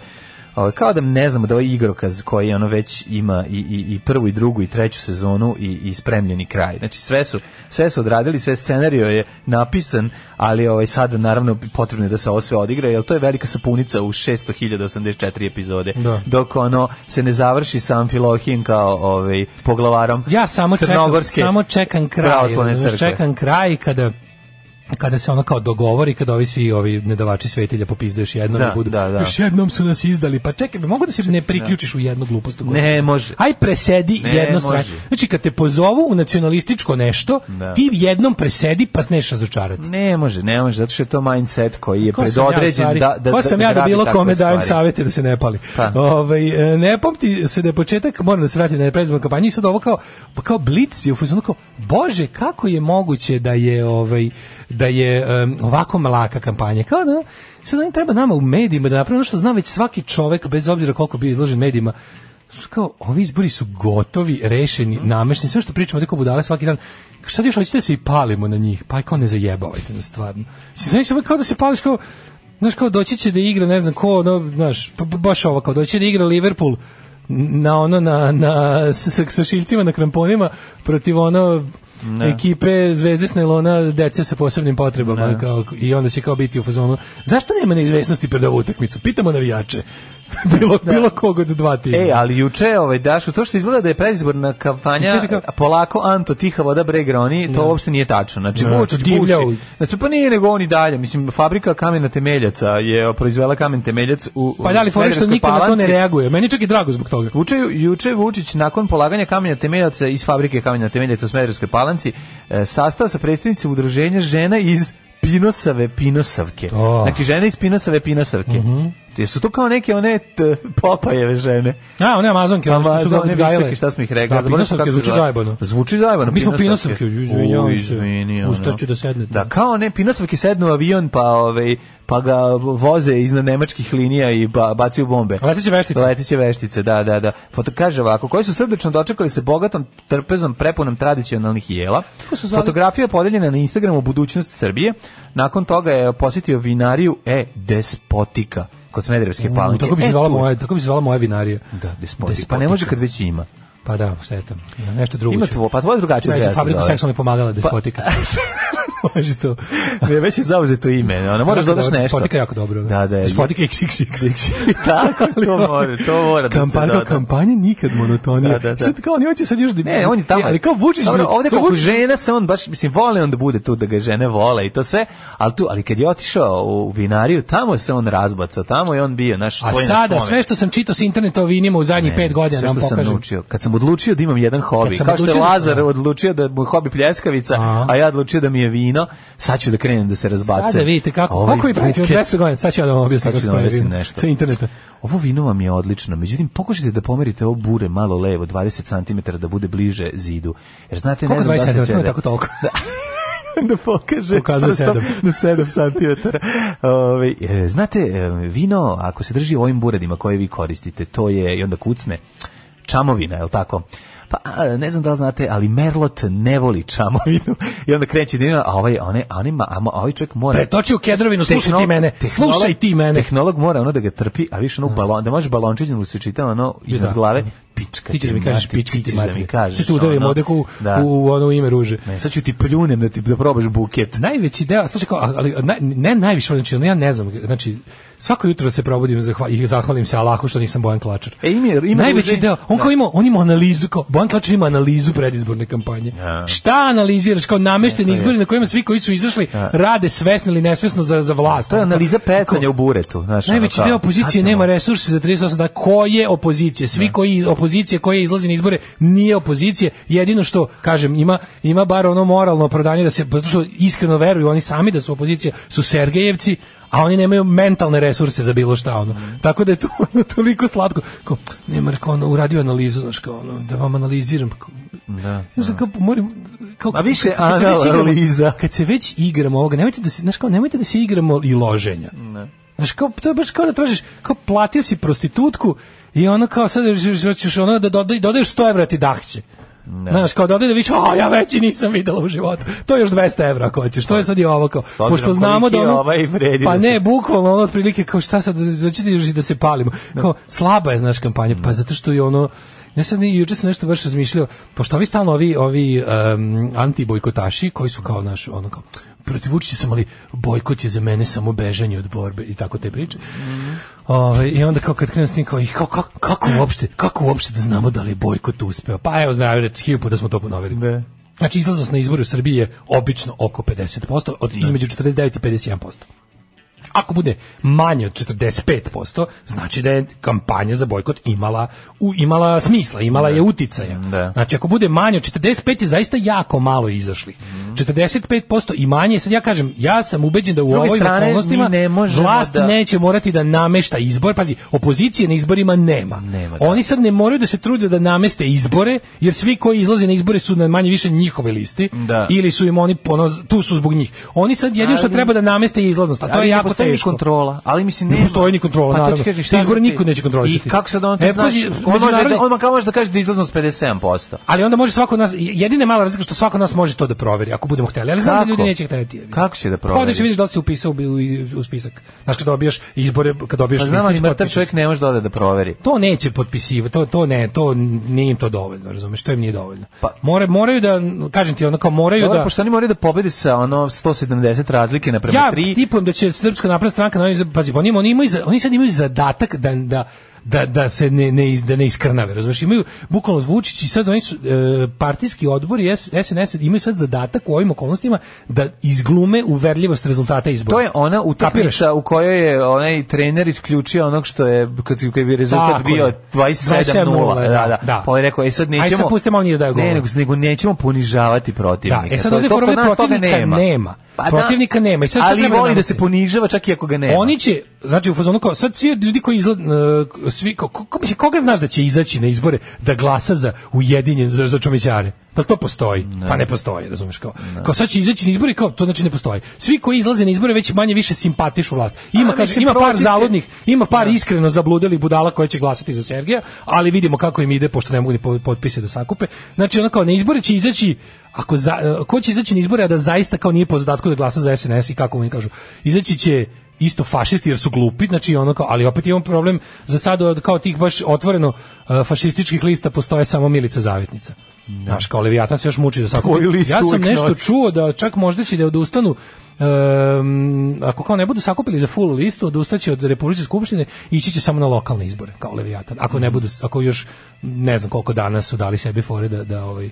F: o, kao da ne znamo da ovaj igrokaz koji ono već ima i, i, i prvu i drugu i treću sezonu i, i spremljeni kraj. Znači sve su, sve su odradili, sve scenario je napisan, ali ovaj sada naravno potrebno je da se ovo sve odigra, jer to je velika sapunica u 600.084 epizode.
G: Da.
F: Dok ono se ne završi sa Amfilohijem kao ovaj poglavarom.
G: Ja samo čekam,
F: crnogorske
G: samo čekam kraj,
F: pravoslavne
G: razumeš,
F: crkve.
G: čekam kraj kada kada se ono kao dogovori, kada ovi svi ovi nedavači svetilja popizde još jednom
F: Da,
G: i budu,
F: da, da.
G: još jednom su nas izdali, pa čekaj, mogu da se ne priključiš u jednu glupost? u koju-
F: Ne može.
G: Aj presedi
F: Ne
G: jedno
F: može.
G: sranje. Znači kad te pozovu u nacionalističko nešto,
F: Da.
G: ti jednom presedi pa sneš razočarati.
F: Ne može, ne može, zato što je to mindset koji je
G: Ko sam ja, u
F: predodređen
G: stvari?
F: da da
G: Ko sam ja da
F: radi
G: bilo
F: takve
G: kome dajem
F: stvari.
G: savete da se ne pali.
F: Pa.
G: Ovaj, e, ne pamti se da je početak, moram da se vratim na predizbornu kampanju i sad ovo kao pa kao blic je u fazonu kao bože kako je moguće da je ovaj da je em, ovako malaka kampanja. Kao da sad ne treba nama u medijima da napravimo ono što zna već svaki čovek bez obzira koliko bio izložen medijima kao, ovi izbori su gotovi, rešeni, namešteni, sve što pričamo, tako budale svaki dan, Kao, sad još hoćete da se i palimo na njih, pa aj kao ne zajebavajte nas stvarno. Mislim, znaš, ovo je kao da se pališ kao, znaš, kao doći će da igra, ne znam ko, ono, znaš, pa- pa baš ovo, kao doći će da igra Liverpool na ono, na, na, sa, sa šiljcima, na kramponima, protiv ono, ekipe Zvezde s nailona dece sa posebnim potrebama kao, i onda će kao biti u fazonu zašto nema neizvesnosti pred ovu utakmicu pitamo navijače bilo, bilo kog od dva tima
F: Ej, ali juče je ovaj Daško to što izgleda da je predizborna kampanja
G: Kaže kao-
F: a polako Anto tiha voda bre groni, to uopšte nije tačno. Znači
G: Ne,
F: Vučić puši.
G: divljao.
F: Da se pa nije nego oni dalje, mislim fabrika kamena temeljaca je proizvela kamen temeljac u
G: Pa da li
F: u
G: fore što
F: Smederevskoj
G: niko na to ne
F: Palanci.
G: reaguje? Meni je čak i drago zbog toga.
F: Vuče, juče je Vučić nakon polaganja kamenja temeljaca iz fabrike kamenja temeljaca u Smederevskoj palanci e, sastao sa predstavnicima udruženja žena iz Pinosave Pinosavke.
G: Oh. Mhm.
F: Znači žene iz Pinosave Pinosavke. Jesu to kao neke one t, popajeve žene?
G: A, one Amazonke, one što su ga
F: Amazone
G: odgajale.
F: visoke, šta smo ih rekli?
G: Da,
F: Ja zaboravio sam kako
G: pinosovke
F: se
G: zvuči
F: zove.
G: zajebano.
F: Zvuči zajebano.
G: Mi smo
F: pinosovke.
G: pinosovke, izvinjavam
F: U,
G: se.
F: izvini, ono.
G: Ustašću da sednete.
F: Da, kao ne, pinosovke sednu u avion, pa, ovaj, pa ga voze iznad nemačkih linija i ba, bacaju bombe.
G: Leteće veštice.
F: Leteće veštice, da, da, da. Foto kaže ovako, koji su srdečno dočekali se bogatom trpezom prepunom tradicionalnih jela.
G: su zvali?
F: Fotografija je podeljena na Instagramu budućnost Srbije. Nakon toga je posjetio vinariju E Despotika kod Smederevske
G: U,
F: palanke.
G: Tako bi
F: E,
G: se zvala
F: tu je.
G: moja, tako bi se zvala moja vinarija.
F: Da, Despotika. Pa ne može kad već ima.
G: Pa da, štetam. Nešto drugo.
F: Ima
G: ću.
F: tvo, pa tvoje drugačije.
G: Ne,
F: treba
G: za
F: se
G: fabriku
F: zove. Pa-
G: seksualnih pomagala despotika. Može to.
F: Ne, već je zauzeto ime, ona Pa moraš
G: Jako
F: da dodaš
G: dobro,
F: nešto.
G: Despotika je jako dobro.
F: Da, da. je.
G: Despotika XXX.
F: Tako, to mora, to mora da se
G: Kampanja,
F: doda.
G: kampanja nikad monotonija.
F: Da, da, da.
G: Sad kao oni hoće sad još da...
F: Ne, E, on je tamo.
G: E, Ali kao Vučić...
F: Dobro,
G: bi-
F: ovde
G: sad
F: kako
G: Vučić-
F: žena se on baš, mislim, vole on da bude tu, da ga žene vole i to sve, ali tu, ali kad je otišao u vinariju, tamo se on razbacao, tamo je on bio, naš svoj
G: A
F: na
G: sada,
F: svome.
G: sve što sam čitao s interneta o vinima u zadnjih
F: Ne,
G: pet godina,
F: sve
G: nam
F: što sam
G: pokažem.
F: naučio. Kad sam odlučio da imam jedan hobi,
G: sam
F: kao što je
G: odlučio da sam-
F: Lazar odlučio da mu je hobi pljeskavica,
G: A.
F: a, ja odlučio da mi je vino, sad ću da krenem da se razbacujem.
G: Sada vidite kako,
F: Ovaj
G: koliko vi pravite, od
F: buket-
G: 200 godina, sad ću ja da vam objasnim
F: Sad ću
G: kako
F: da vam
G: pravi
F: objasnim
G: vino.
F: nešto.
G: Sa interneta.
F: Ovo vino vam je odlično, međutim pokušajte da pomerite ovo bure malo levo, 20 cm da bude bliže zidu. Jer znate,
G: Koliko
F: ne znam
G: 20
F: da
G: cm, to je tako toliko.
F: da pokaže
G: Pokazuje
F: prstom
G: sedam.
F: na 7 cm. Ove, e, znate, e, vino, ako se drži u ovim buredima koje vi koristite, to je, i onda kucne, čamovina, je li tako? Pa, a, ne znam da li znate, ali Merlot ne voli čamovinu. I onda kreće dino, a ovaj, one, anima, a mo- a ovaj čovjek mora...
G: Pretoči u Kedrovinu, slušaj
F: Tehnolo-
G: ti mene,
F: tehnolog-
G: slušaj ti mene.
F: Tehnolog mora ono da ga trpi, a više ono u balon, da može balončić da mu se čita ono iznad
G: Da.
F: glave, pička
G: Ti ćeš da mi kažeš pički ti
F: ćeš da
G: mati.
F: mi kažeš.
G: Sad ću udarim
F: ono.
G: ovde ku-
F: Da.
G: u ono ime ruže.
F: Ne, sad ću ti pljunem da ti da probaš buket.
G: Najveći deo, slušaj kao, ali naj, ne najviše, znači ja ne znam, znači svako jutro se probudim zahva, i zahvalim se Allahu što nisam Bojan Klačar.
F: E, ima- ima
G: najveći
F: ruže-
G: deo, on kao ima, on ima analizu, kao, Bojan Klačar ima analizu predizborne kampanje. Šta analiziraš, kao namešteni izbori na kojima svi koji su izašli rade svesno ili nesvesno za, za vlast. Ono
F: To je analiza pecanja
G: Kao,
F: u buretu. Znaš, ono
G: Najveći
F: kao,
G: deo
F: sad
G: opozicije
F: ćemo-
G: nema resurse za 38 dana. Ko je opozicija? Svi koji iz opozicije koja izlazi na izbore nije opozicije. Jedino što kažem ima ima bar ono moralno opravdanje da se zato što iskreno veruju oni sami da su opozicija su Sergejevci a oni nemaju mentalne resurse za bilo šta ono.
F: Mm.
G: Tako da je to ono, toliko slatko. Kao, ne Marko, ono, uradio analizu, znaš, kao, ono, da vam analiziram. Kao, da, Kao, moram, kao,
F: Ma više
G: se već igramo-
F: analiza.
G: kad se već igramo ovoga, nemojte da se, znaš kao, nemojte da se igramo i loženja.
F: Mm.
G: Ne. Znaš, kao, to je baš kao da tražiš, kao platio si prostitutku i ono kao sad ćeš ono da doda, dodaješ 100 evra ti dahće. Ne. Znaš, kao dodaj da vidiš, a ja veći nisam videla u životu. To je još 200 evra ako hoćeš. To je sad i ovo kao.
F: Pa, obzirom
G: Pošto znamo da
F: koliki je
G: ono,
F: ovaj vredi
G: pa
F: da se-
G: ne, bukvalno ono otprilike kao šta sad, hoćete još i da se palimo. Kao, slaba je, znaš, kampanja, pa zato što je ono, ja sam i juče sam nešto baš razmišljao, pošto ovi stalno ovi, ovi um, antibojkotaši koji su kao naš, ono kao, protiv Vučića sam, ali bojkot je za mene samo bežanje od borbe i tako te priče. Ove, I onda kao kad krenu s tim kao, i kao, kako, kako, uopšte, kako uopšte da znamo da li je bojkot uspeo? Pa evo, znaju, reći, hiljupu puta smo to ponovili.
F: Ne.
G: Znači, izlaznost na izboru u Srbiji je obično oko 50%, od, između 49 i 51%. Ako bude manje od 45%, znači da je kampanja za bojkot imala u, imala smisla, imala je uticaja.
F: Da.
G: Znači ako bude manje od 45 je zaista jako malo izašli.
F: Mhm.
G: 45% i manje, sad ja kažem, ja sam ubeđen da u
F: druge
G: ovim
F: strane, mi
G: okolnostima
F: ne možemo
G: vlast
F: da-
G: neće morati da namešta izbor. Pazi, opozicije na izborima nema.
F: Nema, da.
G: Oni sad ne moraju da se trude da nameste izbore, jer svi koji izlaze na izbore su na manje više njihove listi
F: Da.
G: ili su im oni ono, tu su zbog njih. Oni sad jedino što
F: Ali-
G: treba da nameste je izlaznost, a to
F: Ali
G: je
F: ne
G: jako
F: postoji ni
G: teško.
F: kontrola, ali mislim
G: Ne
F: nema.
G: postoji ni
F: pa,
G: kontrola,
F: to ti
G: naravno.
F: kažem, šta
G: Izbor
F: sad ti-
G: niko neće kontrolisati.
F: I kako sad on to
G: E,
F: znaš?
G: pazi,
F: on, može,
G: međunarodni-
F: da- on kao može da kaže da je izlaznost 50%.
G: Ali onda može svako od nas, jedina je mala razlika što svako od nas može to da proveri, ako budemo hteli. Ali znam da
F: Kako?
G: ljudi neće hteti. jebi ga.
F: Kako će da proveri?
G: Odeš i vidiš da li si upisao u, u, u spisak. Znaš, kad dobijaš izbore, kad dobijaš
F: Pa znam, ali
G: listić,
F: mrtav
G: potpišeš
F: čovjek ne može da ode da proveri.
G: to neće potpisivati, to to ne, to nije im to dovoljno, razumeš, to im nije dovoljno.
F: Pa-
G: More, moraju da kažem ti ono kao moraju
F: Dobro,
G: da
F: pošto oni moraju da pobede sa ono 170 razlike na prema
G: ja
F: 3.
G: tipujem da će Srpska napredna stranka na ovim za- pazi, pa oni, oni, imaju, za- oni sad imaju zadatak da, da, da, da se ne, ne, iz- da ne iskrnave, razumiješ, imaju bukvalno Vučić i sad oni su, e, partijski odbor i S- SNS imaju sad zadatak u ovim okolnostima da izglume uverljivost rezultata izbora.
F: To je ona
G: Kapiraš?
F: utakmica u kojoj je onaj trener isključio onog što je kad kad bi rezultat
G: Tako je.
F: bio 27:0. Da, da.
G: da.
F: Pa je rekao ej sad
G: Ajde,
F: nećemo.
G: sad pustimo oni da daju
F: Ne,
G: gol.
F: nego, nego nećemo ponižavati protivnika.
G: Da, e sad
F: To-
G: ovdje
F: to kod
G: fora je
F: nas toga Pa
G: protivnika nema. Protivnika nema i sad sad
F: ali
G: treba da
F: voli da
G: namesti.
F: se ponižava čak i ako ga nema.
G: Oni će znači u fazonu kao sad svi od ljudi koji izla, e, svi ko, ko, ko- mislim, koga znaš da će izaći na izbore da glasa za ujedinjen za, za čomićare? Pa to postoji. Pa ne postoji, razumeš kao. Kao sad će izaći na izbore kao to znači ne postoji. Svi koji izlaze na izbore već manje više simpatišu vlast. Ima
F: A,
G: kaže
F: mislim,
G: ima par
F: proći će-
G: zaludnih, ima par iskreno zabludelih budala koje će glasati za Sergeja, ali vidimo kako im ide pošto ne mogu ni po- potpise da sakupe. Znači ono kao na izbore će izaći ako za, e, ko će izaći na izbore a da zaista kao nije po zadatku da glasa za SNS i kako mu oni kažu. Izaći će isto fašisti jer su glupi, znači ono kao, ali opet imamo problem za sad od kao tih baš otvoreno e, fašističkih lista postoje samo Milica Zavetnica. Znaš, kao Leviatan se još muči da sakupi.
F: Koju listu
G: Ja sam
F: uvijek
G: nešto
F: nosi?
G: čuo da čak možda će da odustanu em, ako kao ne budu sakupili za full listu, odustaće od Republičke skupštine i ići će samo na lokalne izbore, kao Leviatan. Ako ne budu, ako još ne znam koliko dana su dali sebi fore da, da ovaj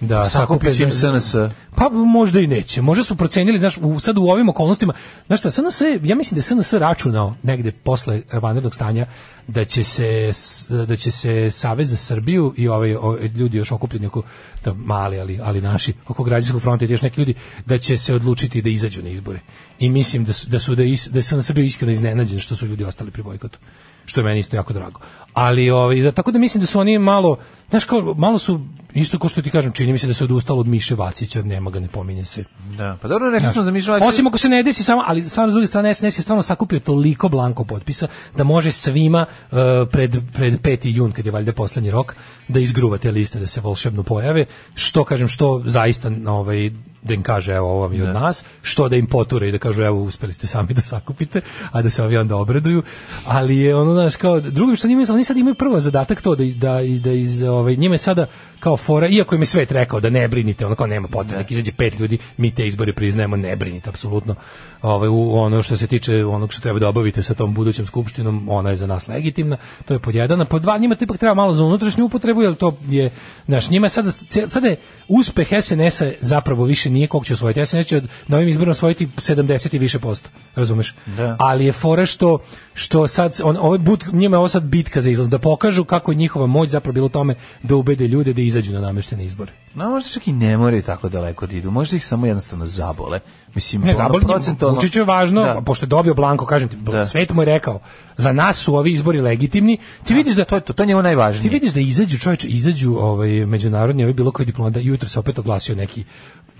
G: da sakupe
F: Sakupit će im
G: za-
F: SNS.
G: pa možda i neće. Možda su procenili, znaš, u, sad u ovim okolnostima, znaš šta, SNS, je- ja mislim da je SNS računao negde posle vanrednog stanja da će se s- da će se Savez za Srbiju i ovaj, ovaj ljudi još okupljeni oko da mali ali ali naši oko građanskog fronta i još neki ljudi da će se odlučiti da izađu na izbore. I mislim da su da su da, is, da je SNS bio iskreno iznenađen što su ljudi ostali pri bojkotu što je meni isto jako drago. Ali ovaj da tako da mislim da su oni malo, znaš kao malo su isto kao što ti kažem, čini mi se da se odustalo od Miše Vacića, nema ga, ne pominje se.
F: Da, pa dobro, nešto sam zamišljao. da će-
G: Osim ako se ne desi samo, ali stvarno s druge strane SNS je stvarno sakupio toliko blanko potpisa da može svima eh, pred, pred 5. jun, kad je valjda poslednji rok, da izgruva te liste, da se volšebno pojave, što kažem, što zaista na ovaj, da im kaže evo ovo vam je od nas, što da im poture i da kažu evo uspeli ste sami da sakupite, a da se ovi onda obraduju, ali je ono znaš kao, drugo što njima, oni sad imaju prvo zadatak to da, da, da iz, ovaj, njima je sada kao fora, iako im je svet rekao da ne brinite, ono kao nema potrebe, nek izađe pet ljudi, mi te izbore priznajemo, ne brinite, apsolutno. Ovaj, u ono što se tiče onog što treba da obavite sa tom budućom skupštinom, ona je za nas legitimna, to je pod jedan, a pod dva njima to ipak treba malo za unutrašnju upotrebu, jer to je, znaš, njima je sada, sada je uspeh SNS-a zapravo više nije koliko će osvojiti, SNS će od- na ovim izborima osvojiti 70 i više posto, razumeš?
F: Da.
G: ali je fora što što sad on ovaj but njima je ovo sad bitka za izlaz da pokažu kako je njihova moć zapravo bila u tome da ubede ljude da izađu na nameštene izbore.
F: No, možda čak i ne moraju tako daleko da idu. Možda ih samo jednostavno zabole. Mislim,
G: Ne
F: ono,
G: zaboli
F: procentualno-
G: Vučiću je važno,
F: Da.
G: pošto je dobio Blanko, kažem ti,
F: Da.
G: svet mu je rekao, za nas su ovi izbori legitimni. Ti vidiš da
F: To je to, to je njemu najvažnije.
G: Ti vidiš da izađu čoveče, izađu ovaj međunarodni, ovaj bilo koji diplomat, da jutro se opet oglasio neki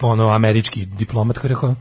G: ono američki diplomat koji je rekao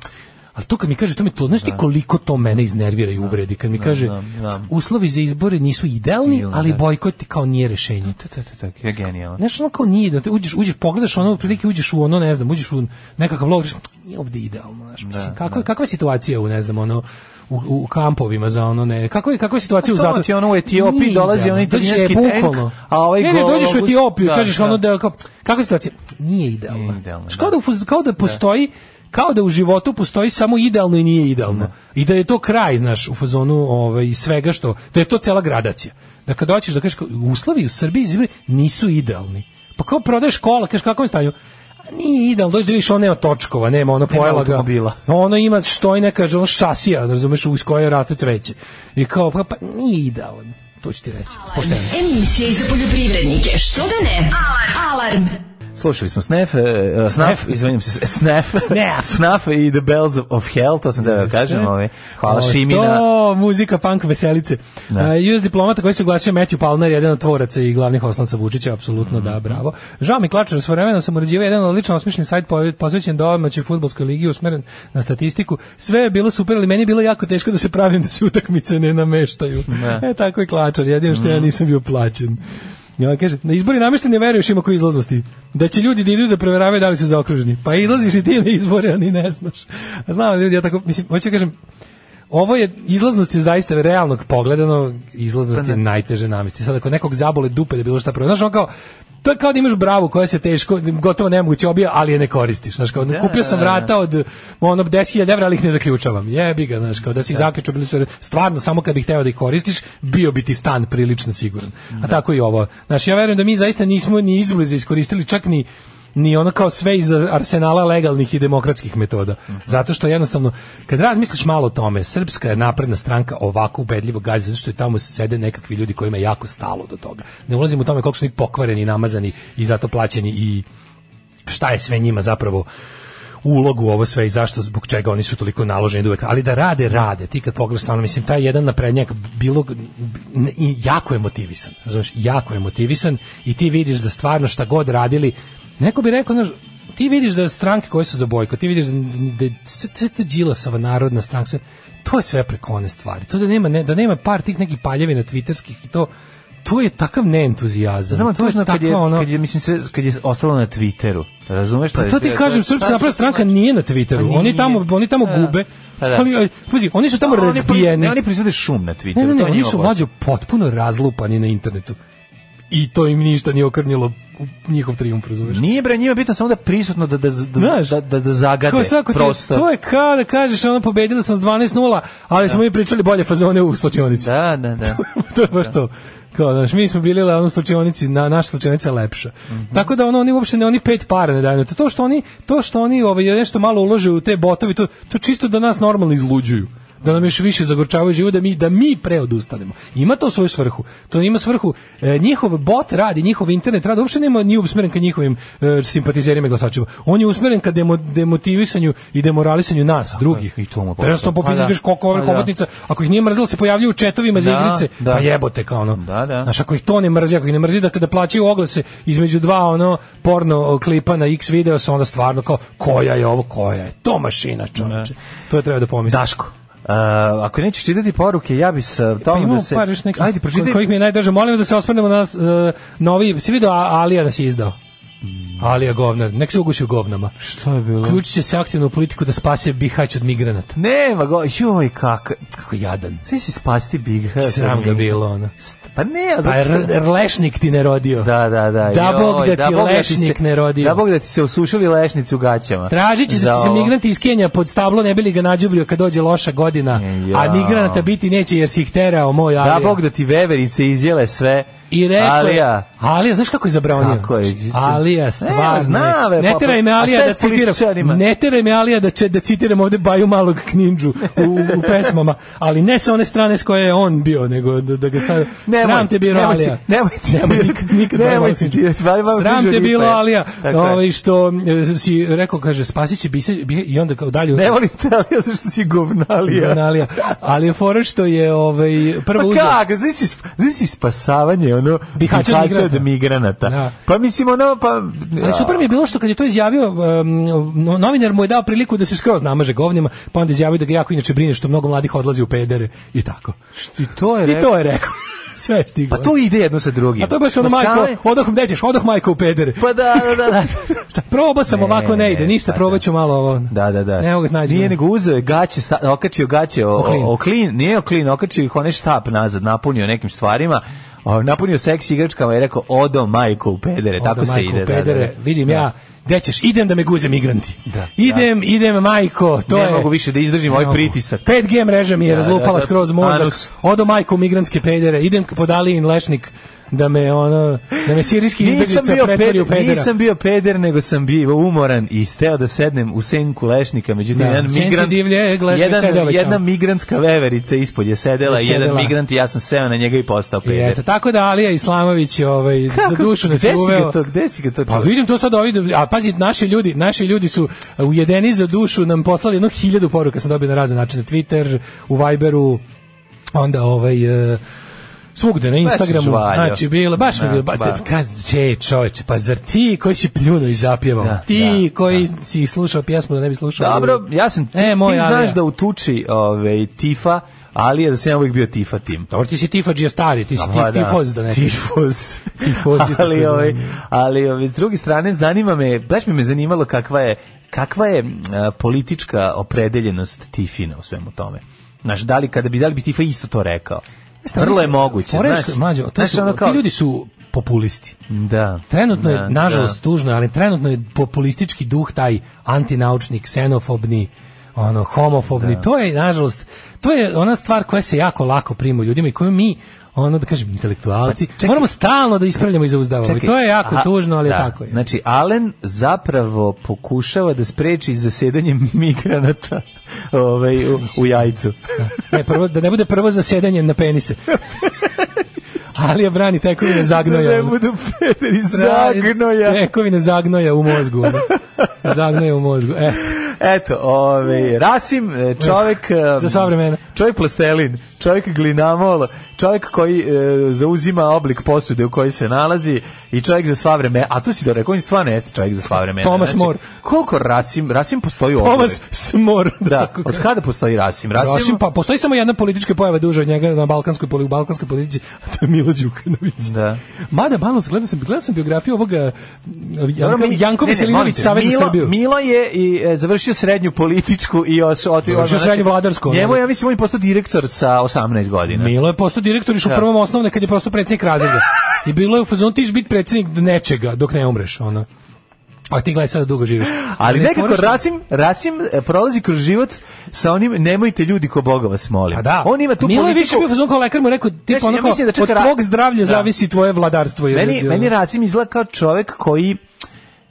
G: Ali to kad mi kaže, to mi to, znaš ti koliko to mene iznervira i uvredi, kad mi kaže
F: znam, znam.
G: uslovi za izbore nisu idealni,
F: Idealni,
G: ali
F: da.
G: bojkot kao nije rešenje.
F: To, to, to, to, to je genijalno.
G: Znaš, ono kao nije, da te uđeš, uđeš, pogledaš ono, prilike uđeš u ono, ne znam, uđeš u nekakav logor, znaš, nije ovde idealno, znaš, mislim, kako, je- kakva je situacija u, ne znam, ono, u, u kampovima za ono ne kako je kako je situacija u
F: Pa to
G: zatvoru
F: ti ono u Etiopiji
G: Nije
F: dolazi
G: idealno.
F: onaj
G: Dođeš,
F: italijanski
G: e,
F: tank,
G: bukvalno.
F: a ovaj
G: ne ne dođeš u
F: gologuz-
G: Etiopiju
F: da,
G: kažeš ono
F: da.
G: da kao, kakva je situacija nije idealna,
F: Nije idealna,
G: Znaš, kao
F: da.
G: da u fuz- kao da postoji kao da u životu postoji samo idealno i nije idealno. I da je to kraj, znaš, u fazonu ovaj, svega što, da je to cela gradacija. Da kad hoćeš da kažeš, kao, uslovi u Srbiji za izbore nisu idealni. Pa kao prodaješ kola, kažeš kakvom je stanju? A Nije idealno, dođe da vidiš, on nema točkova, nema ono
F: Nema
G: pojela ga.
F: automobila.
G: Ono ima što i neka, ono šasija, razumeš, uz koje raste cveće. I kao, pa, pa nije idealan. To ću ti reći, pošteno.
J: Emisija i za poljoprivrednike. Što da ne? Alarm. Alarm.
F: Slušali smo Snef, e, e, Snaf, izvinjam se, Snef,
G: Snaf.
F: Snaf i The Bells of Hell, to sam da kažem, ovaj, hvala
G: O,
F: Šimina.
G: To, muzika punk veselice. Da. US diplomata koji se oglasio Matthew Palmer, jedan od tvoraca i glavnih osnovaca Vučića, apsolutno
F: Mhm.
G: da, bravo. Žao mi Klačar, svojevremeno sam uređivao jedan lično osmišljen sajt po- posvećen domaćoj fudbalskoj ligi usmeren na statistiku. Sve je bilo super, ali meni je bilo jako teško da se pravim da se utakmice ne nameštaju. E, tako je Klačar, jedino što
F: Mhm.
G: ja nisam bio plaćen. Ja kaže, na izbori namešten ne veruješ ima koji izlaznosti. Da će ljudi da idu da proveravaju da li su zaokruženi. Pa izlaziš i ti na izbore, a ni ne znaš. A znam, ljudi, ja tako, mislim, hoću da kažem, ovo je izlaznost je zaista realnog pogledano izlaznost je najteže namesti. Sad ako nekog zabole dupe da bilo šta prvo, znaš, on kao to je kao da imaš bravu koja se teško, gotovo nemoguće obija, ali je ne koristiš. Znaš, kao, kupio sam vrata od ono, 10.000 evra, ali ih ne zaključavam. Jebi ga, znaš, kao da si ih zaključao, bili su, stvarno, samo kad bih hteo da ih koristiš, bio bi ti stan prilično siguran. A tako i ovo. Znaš, ja verujem da mi zaista nismo ni izbliza iskoristili čak ni ni ono kao sve iz arsenala legalnih i demokratskih metoda. Zato što jednostavno, kad razmisliš malo o tome, srpska je napredna stranka ovako ubedljivo gazi, zato što je tamo sede nekakvi ljudi kojima je jako stalo do toga. Ne ulazim u tome koliko su oni pokvareni, namazani i zato plaćeni i šta je sve njima zapravo ulogu u ovo sve i zašto, zbog čega oni su toliko naloženi da uvek, ali da rade, rade, ti kad pogledaš stvarno, mislim, taj jedan naprednjak bilo, n- i jako je motivisan, razumiješ, jako je motivisan i ti vidiš da stvarno šta god radili, neko bi rekao, znaš, ti vidiš da stranke koje su za bojkot, ti vidiš da, da, da, da Đilasova narodna stranka, sve- to je sve preko one stvari. To da nema, ne, da nema par tih nekih paljevina twitterskih i to, to je takav neentuzijazam.
F: Znamo
G: to je
F: tužno kad je,
G: takva ono-
F: kad je, mislim, sve, kad je ostalo na Twitteru. Razumeš?
G: pa to ti kažem, Srpska napredna stranka nije na
F: Pa
G: Twitteru.
F: nije.
G: Oni tamo, oni tamo
F: Da.
G: gube.
F: Pa da.
G: Ali, aj, pazi, oni su tamo razbijeni.
F: Ne, oni proizvode šum na Twitteru.
G: Ne, ne, ne,
F: to
G: oni
F: njihova
G: su
F: posao.
G: mlađo potpuno razlupani na internetu. I to im ništa nije okrnjilo u njihov trijumf, razumeš?
F: Nije bre, njima je bitno samo da je prisutno da da da
G: Znaš,
F: da, da, da zagade
G: Kao svako ti-
F: prostor.
G: to je kao da kažeš ono pobedila sam s 12:0, ali smo mi pričali bolje fazone u slučionici.
F: Da, da, da.
G: to je baš to. Kao, znaš, mi smo bili ono slučionici, na, naša slučionica je lepša.
F: Mhm.
G: Tako da ono, oni uopšte ne, oni pet para ne daju. na To, to što oni, to što oni ovaj, nešto malo ulože u te botovi, to, to čisto da nas normalno izluđuju da nam još više zagorčavaju život, da mi, da mi preodustanemo. Ima to svoju svrhu. To ima svrhu. E, njihov bot radi, njihov internet radi, uopšte nema, nije usmeren ka njihovim e, simpatizerima i glasačima. On je usmeren ka demo, demotivisanju i demoralisanju nas, drugih.
F: i to mu posao.
G: Jednostavno
F: Pa da.
G: popisaš koliko
F: Pa
G: ove
F: da.
G: hobotnica, ako ih nije mrzelo, se pojavljuju u četovima za
F: Da,
G: igrice,
F: da.
G: pa jebote kao ono.
F: Da, da.
G: Znaš, ako ih to ne mrzi, ako ih ne mrzi da kada plaćaju oglase između dva ono porno klipa na X video sa onda stvarno kao koja je ovo, koja je to mašina, čoveče. To je treba da Pa pomisliš.
F: Daško. Uh, ako nećeš čitati poruke, ja bi sa
G: Pa
F: tom
G: imamo
F: da se...
G: par još nekih
F: Ajde, pročitaj.
G: kojih mi je najdrže. Molim vas da se osvrnemo na nas, e, novi, si vidio A- Alija da si izdao? Alija govnar, nek se uguši u govnama.
F: Što Mm. je bilo?
G: Ključ će se aktivno u politiku da spase Bihać od migranata.
F: Nema go, joj kak...
G: Kako jadan.
F: Svi si spasti Big H.
G: Sram ga bilo, ono.
F: St- Pa ne, a
G: Pa
F: zato što...
G: je lešnik ti ne rodio.
F: Da, da, da.
G: Da
F: joj,
G: Bog da ti lešnik
F: se-
G: ne rodio.
F: Da bog da ti se osušili lešnici u gaćama.
G: Tražit će se
F: Za
G: da će se
F: ovo.
G: migranti iz Kenja pod stablo ne bili ga nađubrio kad dođe loša godina,
F: E, ja.
G: a migranata biti neće jer si ih terao moj Alija.
F: Da bog da ti veverice izjele sve.
G: I rekao je-
F: Alija,
G: Alija, znaš kako je zabranio?
F: Kako je?
G: Alija,
F: E,
G: stvarno.
F: zna, ve,
G: ne
F: pa,
G: teraj me
F: pa, a šta
G: Alija
F: je
G: da
F: s
G: citiram.
F: političarima?
G: Ne teraj me Alija da, će, da citiram ovde Baju malog kninđu u, u pesmama, ali ne sa one strane s koje je on bio, nego da, da ga sad... sram te bilo
F: nemoj,
G: Alija.
F: ci- Nemoj citirati.
G: Nemoj nikad, nikad Baju
F: nemoj
G: Malog Kninđu.
F: citirati. Baju Malog
G: Sram
F: Kninđu
G: te
F: ripa
G: bilo
F: je.
G: Alija,
F: Tako je.
G: ovaj, što e, si rekao, kaže, spasit će Bise- Bihe- i onda kao dalje...
F: Ne volim te Alija, zato što si govnalija.
G: Na Alija. Ali je fora što je ovaj, prvo
F: Pa
G: uzeo...
F: kako, znaš si, sp- znaš si spasavanje, ono,
G: Bihaća od
F: bihaća od
G: migranata.
F: migranata.
G: Da.
F: Pa mislim, ono, pa...
G: Ali super mi je bilo što kad je to izjavio, um, no- novinar mu je dao priliku da se skroz namaže govnima, pa onda izjavio da ga jako inače brine što mnogo mladih odlazi u pedere i tako.
F: I to je
G: I to je rekao. Sve je stiglo.
F: Pa to ide jedno sa drugim.
G: A to je baš ono
F: Na
G: majko,
F: same-
G: odoh gde ćeš, odoh majko u pedere.
F: Pa da, da, da. da.
G: Šta, probao sam
F: Ne,
G: ovako, ne,
F: ne,
G: ide, ništa,
F: pa
G: probat ću malo ovo. ono.
F: Da, da, da.
G: Ne mogu snađi.
F: Nije nego uzeo je gaće, sta, okačio gaće o,
G: Oklin.
F: o, oklin, nije oklin, okačio ih onaj štap nazad, napunio nekim stvarima, o, napunio seks igračkama i rekao, odo majko u pedere,
G: Onda
F: tako se
G: majko
F: ide.
G: u pedere,
F: da, da, da.
G: vidim
F: Da.
G: ja, gde ćeš, idem da me guze migranti.
F: Da,
G: idem, idem majko, to
F: ne
G: je...
F: mogu više da izdržim
G: Ne
F: ovaj
G: mogu.
F: pritisak.
G: 5G mreža mi je
F: Da,
G: razlupala
F: da, da.
G: skroz mozak.
F: Anus.
G: Odo majko u migrantske pedere, idem pod Alijin lešnik da me ono da me sirijski
F: Nisam
G: izbeglica
F: bio,
G: pretvori u
F: peder,
G: pedera.
F: nisam bio peder, nego sam bio umoran i steo da sednem u senku lešnika, međutim,
G: Da,
F: jedan
G: senci
F: migrant,
G: divljeg lešnika sedeo
F: jedan,
G: već
F: jedna
G: tamo.
F: migrantska veverica ispod je sedela,
G: Sedela.
F: jedan migrant i ja sam seo na njega i postao
G: I
F: peder.
G: eto, tako da Alija Islamović je ovaj, za dušu nas
F: gde
G: je
F: si ga
G: uveo.
F: to, gde si ga to
G: Pa
F: čuo?
G: vidim to sad ovdje, a pazi, naši ljudi, naši ljudi su uh, ujedeni za dušu, nam poslali jedno hiljadu poruka, sam dobio na razne načine, Twitter, u Viberu, onda ovaj... e, svugde na Instagramu,
F: žvaljo.
G: znači bilo, baš mi
F: Da,
G: bilo, ba,
F: ba.
G: kaz, če, čoveče, pa zar ti koji si pljuno i zapjevao,
F: Da,
G: ti
F: da,
G: koji si slušao pjesmu da ne bi slušao,
F: Dobro, ja sam,
G: E,
F: ti,
G: moj
F: ti znaš
G: Alija.
F: da u tuči ovaj, Tifa, ali je da sam ja uvijek bio Tifa tim.
G: dobro ti si tifađija stari, ti si
F: Pa
G: tif, tifoz da ne
F: Tifoz.
G: Tifoz je
F: ali,
G: tako
F: ovaj,
G: zanimljivo.
F: ali ovaj, s druge strane, zanima me, baš bi me zanimalo kakva je, kakva je mm, a, politička opredeljenost Tifina u svemu tome. Znaš, da li, kada bi, da li bi Tifa isto to rekao?
G: Stari
F: Vrlo
G: su-
F: je moguće.
G: Fore je
F: znaš,
G: što- mlađo, to
F: znaš,
G: su-
F: ono kao-
G: ti ljudi su populisti.
F: Da.
G: Trenutno
F: Da,
G: je, nažalost, tužno, ali trenutno je populistički duh taj antinaučni, ksenofobni, ono, homofobni. To je, nažalost, to je ona stvar koja se jako lako prima u ljudima i koju mi, ono da kažem, intelektualci,
F: Pa, čekaj.
G: moramo stalno da ispravljamo i zauzdavamo. I
F: Čekaj,
G: to je jako
F: a-
G: tužno, ali
F: da.
G: tako je.
F: Znači, Alen zapravo pokušava da spreči zasedanje migranata ovaj, u, u jajcu.
G: Ne, prvo, da ne bude prvo zasedanje na penise. Ali ja brani tekovine zagnoja. ono. E.
F: Da ne budu pederi
G: Brani
F: zagnoja.
G: Tekovine zagnoja u mozgu. ono. zagnoja u mozgu. e. Eto.
F: Eto, ovaj Rasim, e, čovjek e,
G: Za sva vremena.
F: Čovjek plastelin, čovjek glinamol, čovjek koji e, zauzima oblik posude u kojoj se nalazi i čovjek za sva vremena. A tu si dobro rekao, on stvarno jeste čovjek za sva vremena.
G: Thomas More.
F: Koliko Rasim, Rasim postoji ovdje.
G: Thomas Smor.
F: Ovaj. Da, od kada postoji Rasim? Rasim,
G: Rasim, pa postoji samo jedna politička pojava duža od njega na balkanskoj poli, u balkanskoj politici, a to je Milo Đukanović.
F: Da.
G: Mada, malo, gledao sam, gledao sam biografiju ovoga Janko,
F: Mi-
G: Janko
F: ne, ne, molim
G: Veselinović,
F: te,
G: Savez za
F: Milo-
G: Srbiju.
F: Milo je i e, završio srednju političku i os, oti,
G: Završio
F: ono,
G: srednju vladarsku,
F: Njemu
G: ono.
F: ja mislim on je postao direktor sa 18 godina.
G: Milo je postao direktor još u
F: Da.
G: prvom osnovne kad je postao predsjednik razreda. I bilo je u fazonu ti ćeš biti predsjednik nečega dok ne umreš, ono. A ti gledaj sada dugo živiš.
F: Ali
G: Ne,
F: nekako
G: fora što-
F: Rasim, Rasim e, prolazi kroz život sa onim nemojte ljudi ko Boga vas molim.
G: A Pa da.
F: On ima tu
G: Milo je više
F: politiku.
G: bio fazon kao lekar mu je rekao
F: Znaš,
G: tipa
F: ja
G: onako
F: mislim da čak
G: od
F: Ra-
G: tvog zdravlja
F: Da.
G: zavisi tvoje vladarstvo. jer-
F: Meni,
G: jer-
F: meni Rasim izgleda kao čovek koji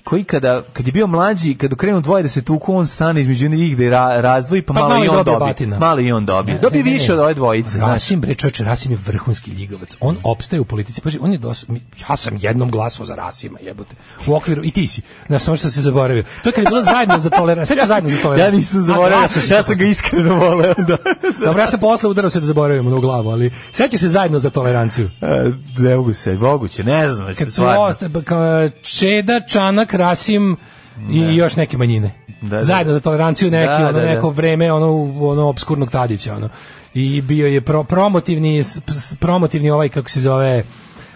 F: koji kada kad je bio mlađi, kada krenu dvoje da se tuku, on stane između njih da je ra, razdvoji, pa,
G: Pa
F: malo,
G: malo
F: i
G: i
F: on
G: dobije
F: dobi.
G: batina.
F: Malo i on dobi.
G: Ne,
F: Dobi
G: ne, ne,
F: E, više
G: ne.
F: od ove dvojice. znaš.
G: Rasim, bre, čovječe, Rasim je vrhunski ljigavac. On opstaje u politici. Paži, on je dos... mi- Ja sam jednom glasao za Rasima, jebote. U okviru, i ti si. Znaš, samo što si zaboravio. To je kad je bilo zajedno za toleranciju. Sve zajedno za
F: Ja
G: toleranciju.
F: nisam
G: A,
F: zaboravio,
G: glasao si
F: ja
G: za
F: sam ga iskreno voleo. da.
G: Dobro, ja sam posle udarao se da zaboravim ono u glavu, ali sećaš se zajedno za toleranciju.
F: E, Ne mogu se, moguće, ne znam.
G: Kad su
F: stvarno.
G: osta- ba- pa kao, e, Čeda, Čanak, Rasim i još neke manjine.
F: Da, da.
G: Zajedno za toleranciju neki,
F: Da,
G: ono
F: da, da.
G: neko vreme, ono, ono obskurnog Tadića, ono. I bio je pro- promotivni, s- s- promotivni ovaj, kako se zove,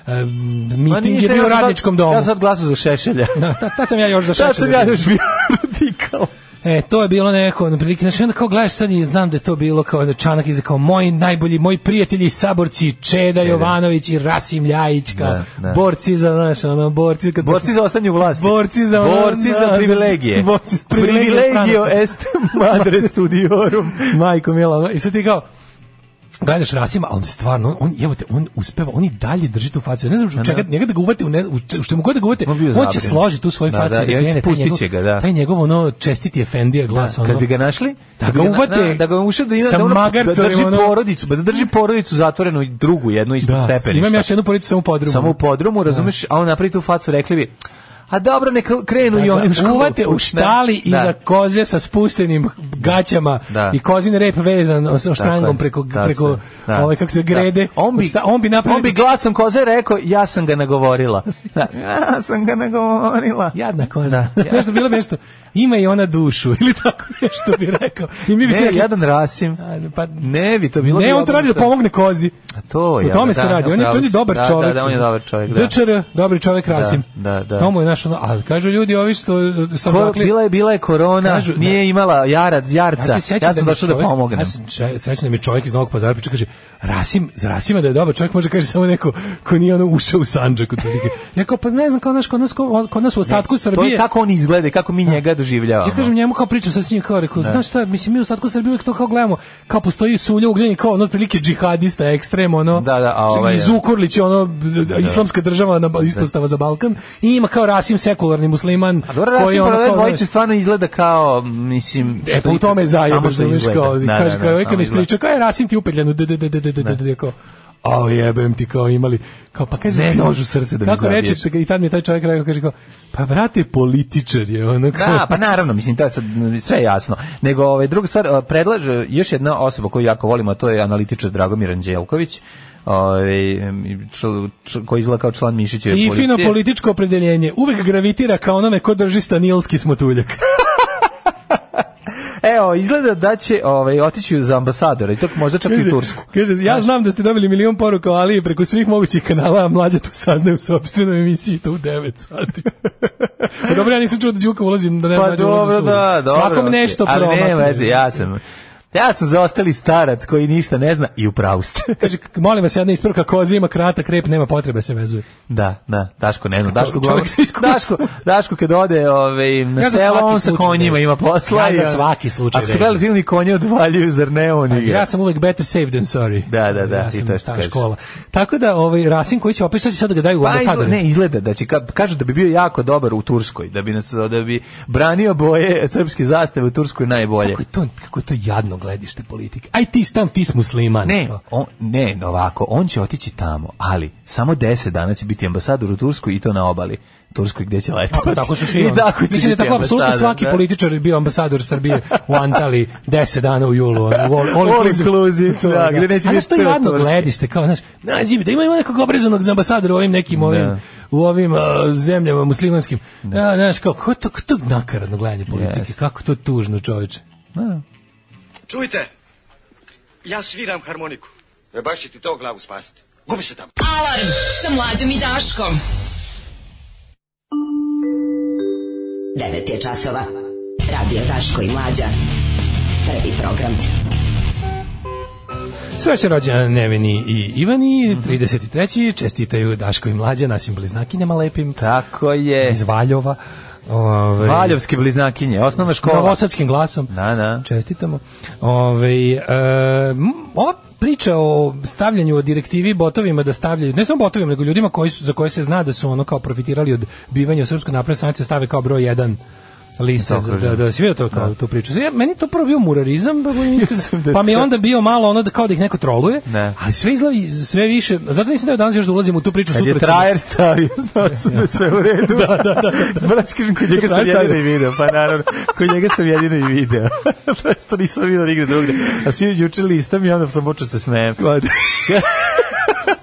G: um,
F: Ma
G: miting je
F: nisam,
G: bio
F: ja
G: u
F: sam
G: radničkom
F: sad-
G: domu.
F: Ja sam glasu za Šešelja.
G: Da, tad- tad sam ja još za
F: Tad sam
G: Šešelja
F: ja
G: bio.
F: još bio radikal.
G: E, to je bilo neko, na prilike, znači onda kao gledaš sad i znam da je to bilo kao da Čanak iza kao moji najbolji, moji prijatelji i saborci, Čeda Jovanović i Rasim Ljajić, kao
F: Da, da.
G: borci za, znaš, ono, borci, kad
F: Borci za ostanju vlasti.
G: Borci za-
F: Borci za
G: da,
F: privilegije.
G: borci za privilegije
F: Privilegio
G: stranaca.
F: est madre studiorum.
G: majko mila, ono, i sad ti kao, gledaš Rasima, ali stvarno, on, evo te, on uspeva, on i dalje drži tu facu. Ja ne znam, u čega, njega da ga uvate, u, ne, u če- u što mu god da ga uvate,
F: On bio
G: on, će
F: zabrinut.
G: složiti tu svoju
F: Da,
G: facu.
F: da,
G: i
F: ja mislim,
G: krene taj
F: pustit
G: njegov-
F: će ga, da.
G: Taj njegov, ono, čestiti Efendija glas, ono.
F: Kad bi ga našli,
G: Da
F: kad
G: ga
F: bi na-
G: uvate
F: da, da ga ušao da ima
G: sa
F: da, ono- da
G: magarcovim,
F: drži
G: ono-
F: porodicu, ba da drži porodicu zatvorenu i drugu jednu ispod
G: Da,
F: stepeništa.
G: imam još jednu porodicu samo u podrumu.
F: Samo u podrumu, razumeš, a on napravi tu facu, rekli bi, a dobro, neka krenu i oni u
G: Da,
F: školu.
G: uvate u štali
F: Da.
G: iza koze sa spuštenim gaćama
F: Da.
G: i kozin rep vezan sa
F: Tako je,
G: štrangom preko
F: tako
G: preko
F: je, da.
G: ovaj kako se grede.
F: Da. On bi,
G: Šta- on bi napravio
F: on bi glasom koze rekao, ja sam ga nagovorila. Da. Ja sam ga nagovorila.
G: Jadna koza. Znaš da bilo bi nešto, ima i ona dušu, ili tako nešto bi rekao. I mi bi se
F: Ne,
G: rekli,
F: jadan Rasim.
G: "Ajde, pa,
F: Ne bi to bilo.
G: ne,
F: bilo
G: on to radi da
F: obrnuto.
G: pomogne kozi.
F: A To
G: O
F: je.
G: tome se radi. On je, on je dobar
F: da,
G: čovjek.
F: Da, da, on je dobar čovjek. Da.
G: DČR, dobri čovjek Rasim.
F: da, da.
G: To mu je naš, ono, ali kažu ljudi ovi što e, sam
F: Ko-
G: dakle,
F: bila je bila je korona,
G: Kažu,
F: nije imala jarad, jarca.
G: Ja,
F: Ja,
G: se sjećam
F: sam
G: mi
F: došao da
G: čovjek-
F: pomognem.
G: Ja sam če- srećan da mi je čovjek iz Novog Pazara priča, kaže, Rasim, za Rasima da je dobar čovjek, može kaže samo neko ko nije ono ušao u Sanđak. otprilike. Ja kao, pa ne znam, kao naš, kod nas, kod nas u ostatku
F: To je
G: Srbije.
F: kako on izgleda i kako mi njega doživljavamo.
G: Ja kažem njemu kao pričam sa s njim kao rekao, znaš šta, mislim mi u ostatku Srbije uvijek to kao gledamo, kao postoji sulja ugljenik kao ono otprilike džihadista ekstrem ono.
F: Da, da, a ovaj
G: I
F: je-
G: Zukorlić ono islamska država na ispostava za Balkan i ima kao Rasim sekularni musliman
F: A dobro, Rasim
G: ono,
F: Paralel
G: kao,
F: dvojice
G: znaš,
F: stvarno izgleda kao, mislim...
G: E,
F: što
G: pa u
F: i-
G: tome je
F: samo
G: zajebaš,
F: što
G: da viš
F: izgleda.
G: kao,
F: Da,
G: kaže,
F: da,
G: kao,
F: da,
G: uvijek kad
F: samo
G: mi
F: izgleda.
G: ispriča, kao je Rasim ti upetljanu, d, d, d, d, d, d, d, d, kao, a jebem ti kao imali, kao pa kaže,
F: Ne, nož u srce da mi
G: kako
F: zabiješ.
G: reče, i tad mi je taj čovjek rekao, kaže kao, pa brate, političar je, ono kao,
F: Da, pa naravno, mislim, to je sad m, sve je jasno. Nego, ovaj, druga stvar, eh, predlaže još jedna osoba koju jako volimo, a to je analitičar Dragomir Anđelković, ovaj, em, čl- čl- koji izgleda kao član Mišićeve
G: I
F: policije.
G: fino političko opredeljenje uvek gravitira ka onome ko drži stanilski smotuljak.
F: Evo, izgleda da će ovaj, otići za ambasadora i to možda čak i u Tursku.
G: Kaže, ja znam da ste dobili milion poruka o Aliji preko svih mogućih kanala, a mlađa to saznaje u sobstvenoj emisiji, to u 9 sati. pa dobro, ja nisam čuo da Đuka ulazi, da ne
F: Pa
G: znađe ulazi u
F: dobro,
G: sudu.
F: da, dobro.
G: Svakom
F: okej.
G: nešto
F: Ali
G: promakne.
F: nema veze, ja sam... Ja sam zaostali starac koji ništa ne zna i u pravu ste.
G: Kaže, molim vas, jedna ispravka, koza ima kratak rep, nema potrebe da se vezuje.
F: Da, da, Daško ne znam, Daško
G: Čovjek
F: glavno.
G: sa iskustvom.
F: Daško, Daško kad ode ovaj na
G: Ja za
F: selo,
G: svaki
F: on sa
G: slučaj
F: konjima
G: vežem.
F: ima posla.
G: Ja
F: i,
G: za
F: ono,
G: svaki slučaj
F: Ako se
G: vežem.
F: gledali film i konje odvaljuju, zar ne on igra?
G: Ja sam uvek better safe than sorry.
F: Da, da, da,
G: ja
F: i
G: sam
F: to što
G: ta
F: kažeš.
G: škola. Tako da, ovaj, Rasim koji će opet, šta će sad da ga daju u
F: Pa izgleda,
G: ambasadore?
F: ne, izgleda da će, ka- kažu da bi bio jako dobar u Turskoj, da bi, nas, da bi branio boje srpske zastave u Turskoj najbolje.
G: Kako je to, kako je to jadno gledište politike. Aj ti stan, ti si musliman.
F: Ne, on, ne, ovako, on će otići tamo, ali samo 10 dana će biti ambasador u Turskoj i to na obali. Turskoj gdje će letati.
G: Pa tako su svi.
F: I
G: ono.
F: tako će
G: Mislim da
F: biti
G: je tako apsolutno
F: ambasador,
G: svaki
F: da.
G: političar je bio ambasador Srbije u Antali 10 dana u julu. Ono, u all, all
F: All inclusive,
G: To,
F: da, gde neće biti
G: A znaš to je jadno
F: turski.
G: gledište, kao, znaš, nađi mi da ima ima nekog obrizanog za ambasadora u ovim nekim ovim
F: Da.
G: u ovim a, zemljama muslimanskim. Ja, znaš, kao, ko to, ko to nakaradno gledanje politike,
F: Jest.
G: kako to tužno, čoveče.
L: Čujte, ja sviram harmoniku. E baš će ti to glavu spasiti. Gubi se tamo.
D: Alarm sa mlađom i Daškom.
J: 9 je časova. Radio Daško i Mlađa. Prvi program.
G: Sreće rođendan Neveni i Ivani,
F: Mhm.
G: 33. Čestitaju Daško i Mlađa, našim bliznakinjama lepim.
F: Tako je.
G: Iz Valjova. Ove,
F: Valjovske bliznakinje, osnovna škola.
G: Novosadskim glasom.
F: Da, da.
G: Čestitamo. Ove, e, m, ova priča o stavljanju o direktivi botovima da stavljaju, ne samo botovima, nego ljudima koji su, za koje se zna da su ono kao profitirali od bivanja u Srpskoj naprednoj stranci stave kao broj 1 liste za, da, da si vidio to kao tu priču. Ja, meni je to prvo bio murarizam, pa budem iskren.
F: da
G: pa mi je
F: to-
G: onda bio malo ono da kao da ih neko troluje,
F: Ne.
G: ali sve izlazi sve više, zato nisam da danas još da ulazim u tu priču
F: Kad je
G: sutra. ću-
F: trajer stavio, znao sam da sve u redu. da, da, da. da. Brat, kažem, kod njega sam
G: Trajer
F: jedino
G: stavio.
F: i video, pa naravno, kod njega sam jedino i video. to nisam vidio nigde drugde. A svi juče listam i onda sam počeo se smijem.
G: Pa,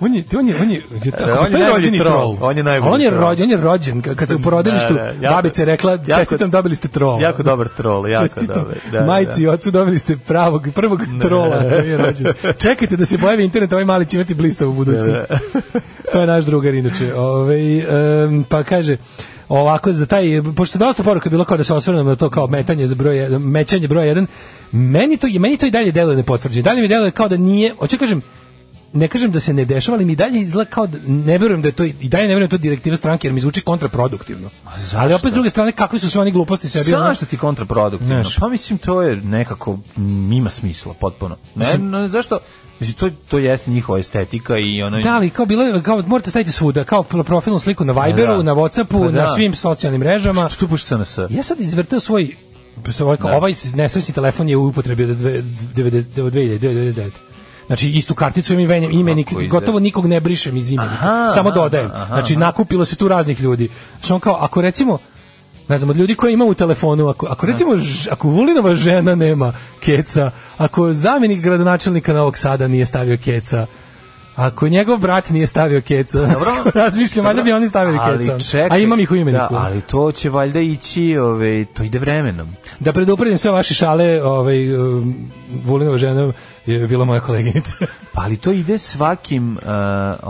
G: on je on je on je, on je, tako,
F: Da, E, on je
G: postoji
F: najbolji
G: rođeni
F: troll.
G: troll.
F: On je najbolji
G: A on je
F: troll.
G: rođen, on je rođen kad kad se u porodilištu
F: Da, da, jako-
G: babica je rekla
F: jako-
G: čestitam dobili ste troll.
F: jako dobar troll, jako dobar. Da, da,
G: majci i
F: da.
G: ocu dobili ste pravog prvog trola koji je rođen. Čekajte da se pojavi internet, ovaj mali će imati blistavu budućnost. to je naš drugar inače. Ovaj em, pa kaže ovako za taj pošto je dosta poruka bilo kao da se osvrnemo na to kao metanje za broj jedan- mećanje broj 1 meni to meni to i dalje deluje nepotvrđeno dalje mi deluje kao da nije hoću da kažem ne kažem da se ne dešava, ali mi dalje izgleda kao da ne verujem da je to i dalje ne verujem da je to direktiva stranke jer mi zvuči kontraproduktivno. Ali opet s druge strane kakve su sve oni gluposti sebi ono-
F: Zašto ti kontraproduktivno?
G: Znaš.
F: Pa mislim, to je nekako, mm, ima smisla potpuno. Ne,
G: Mislim-
F: no, zašto? Mislim, to, to jeste njihova estetika i ono...
G: Da, ali kao bilo je- kao morate staviti svuda, kao profilnu sliku na Viberu,
F: Pa da.
G: na Whatsappu,
F: Pa da.
G: na svim socijalnim mrežama.
F: Tu pušta na S.
G: Ja sad izvrteo svoj pošto ovaj, kao,
F: Da.
G: ovaj nesrećni telefon je u upotrebi od dve- devedeset- od 2099. Znači istu karticu imam imen- imenik,
F: Kako ide?
G: gotovo nikog ne brišem iz imenika,
F: Aha,
G: samo
F: aha,
G: dodajem.
F: aha,
G: znači
F: aha.
G: nakupilo se tu raznih ljudi. Znači on kao, ako recimo ne znam, od ljudi koje ima u telefonu, ako, ako recimo, ž- ako Vulinova žena nema keca, ako zamjenik gradonačelnika Novog Sada nije stavio keca, ako njegov brat nije stavio keca,
F: Dobro.
G: razmišljam, valjda bi oni stavili
F: Ali
G: keca.
F: čekaj,
G: A imam ih u imeniku.
F: Da, ali to će valjda ići, ove, to ide vremenom.
G: Da predupredim sve vaše šale, ovaj, um, Vulinova žena je bila moja koleginica.
F: Pa ali to ide svakim, uh,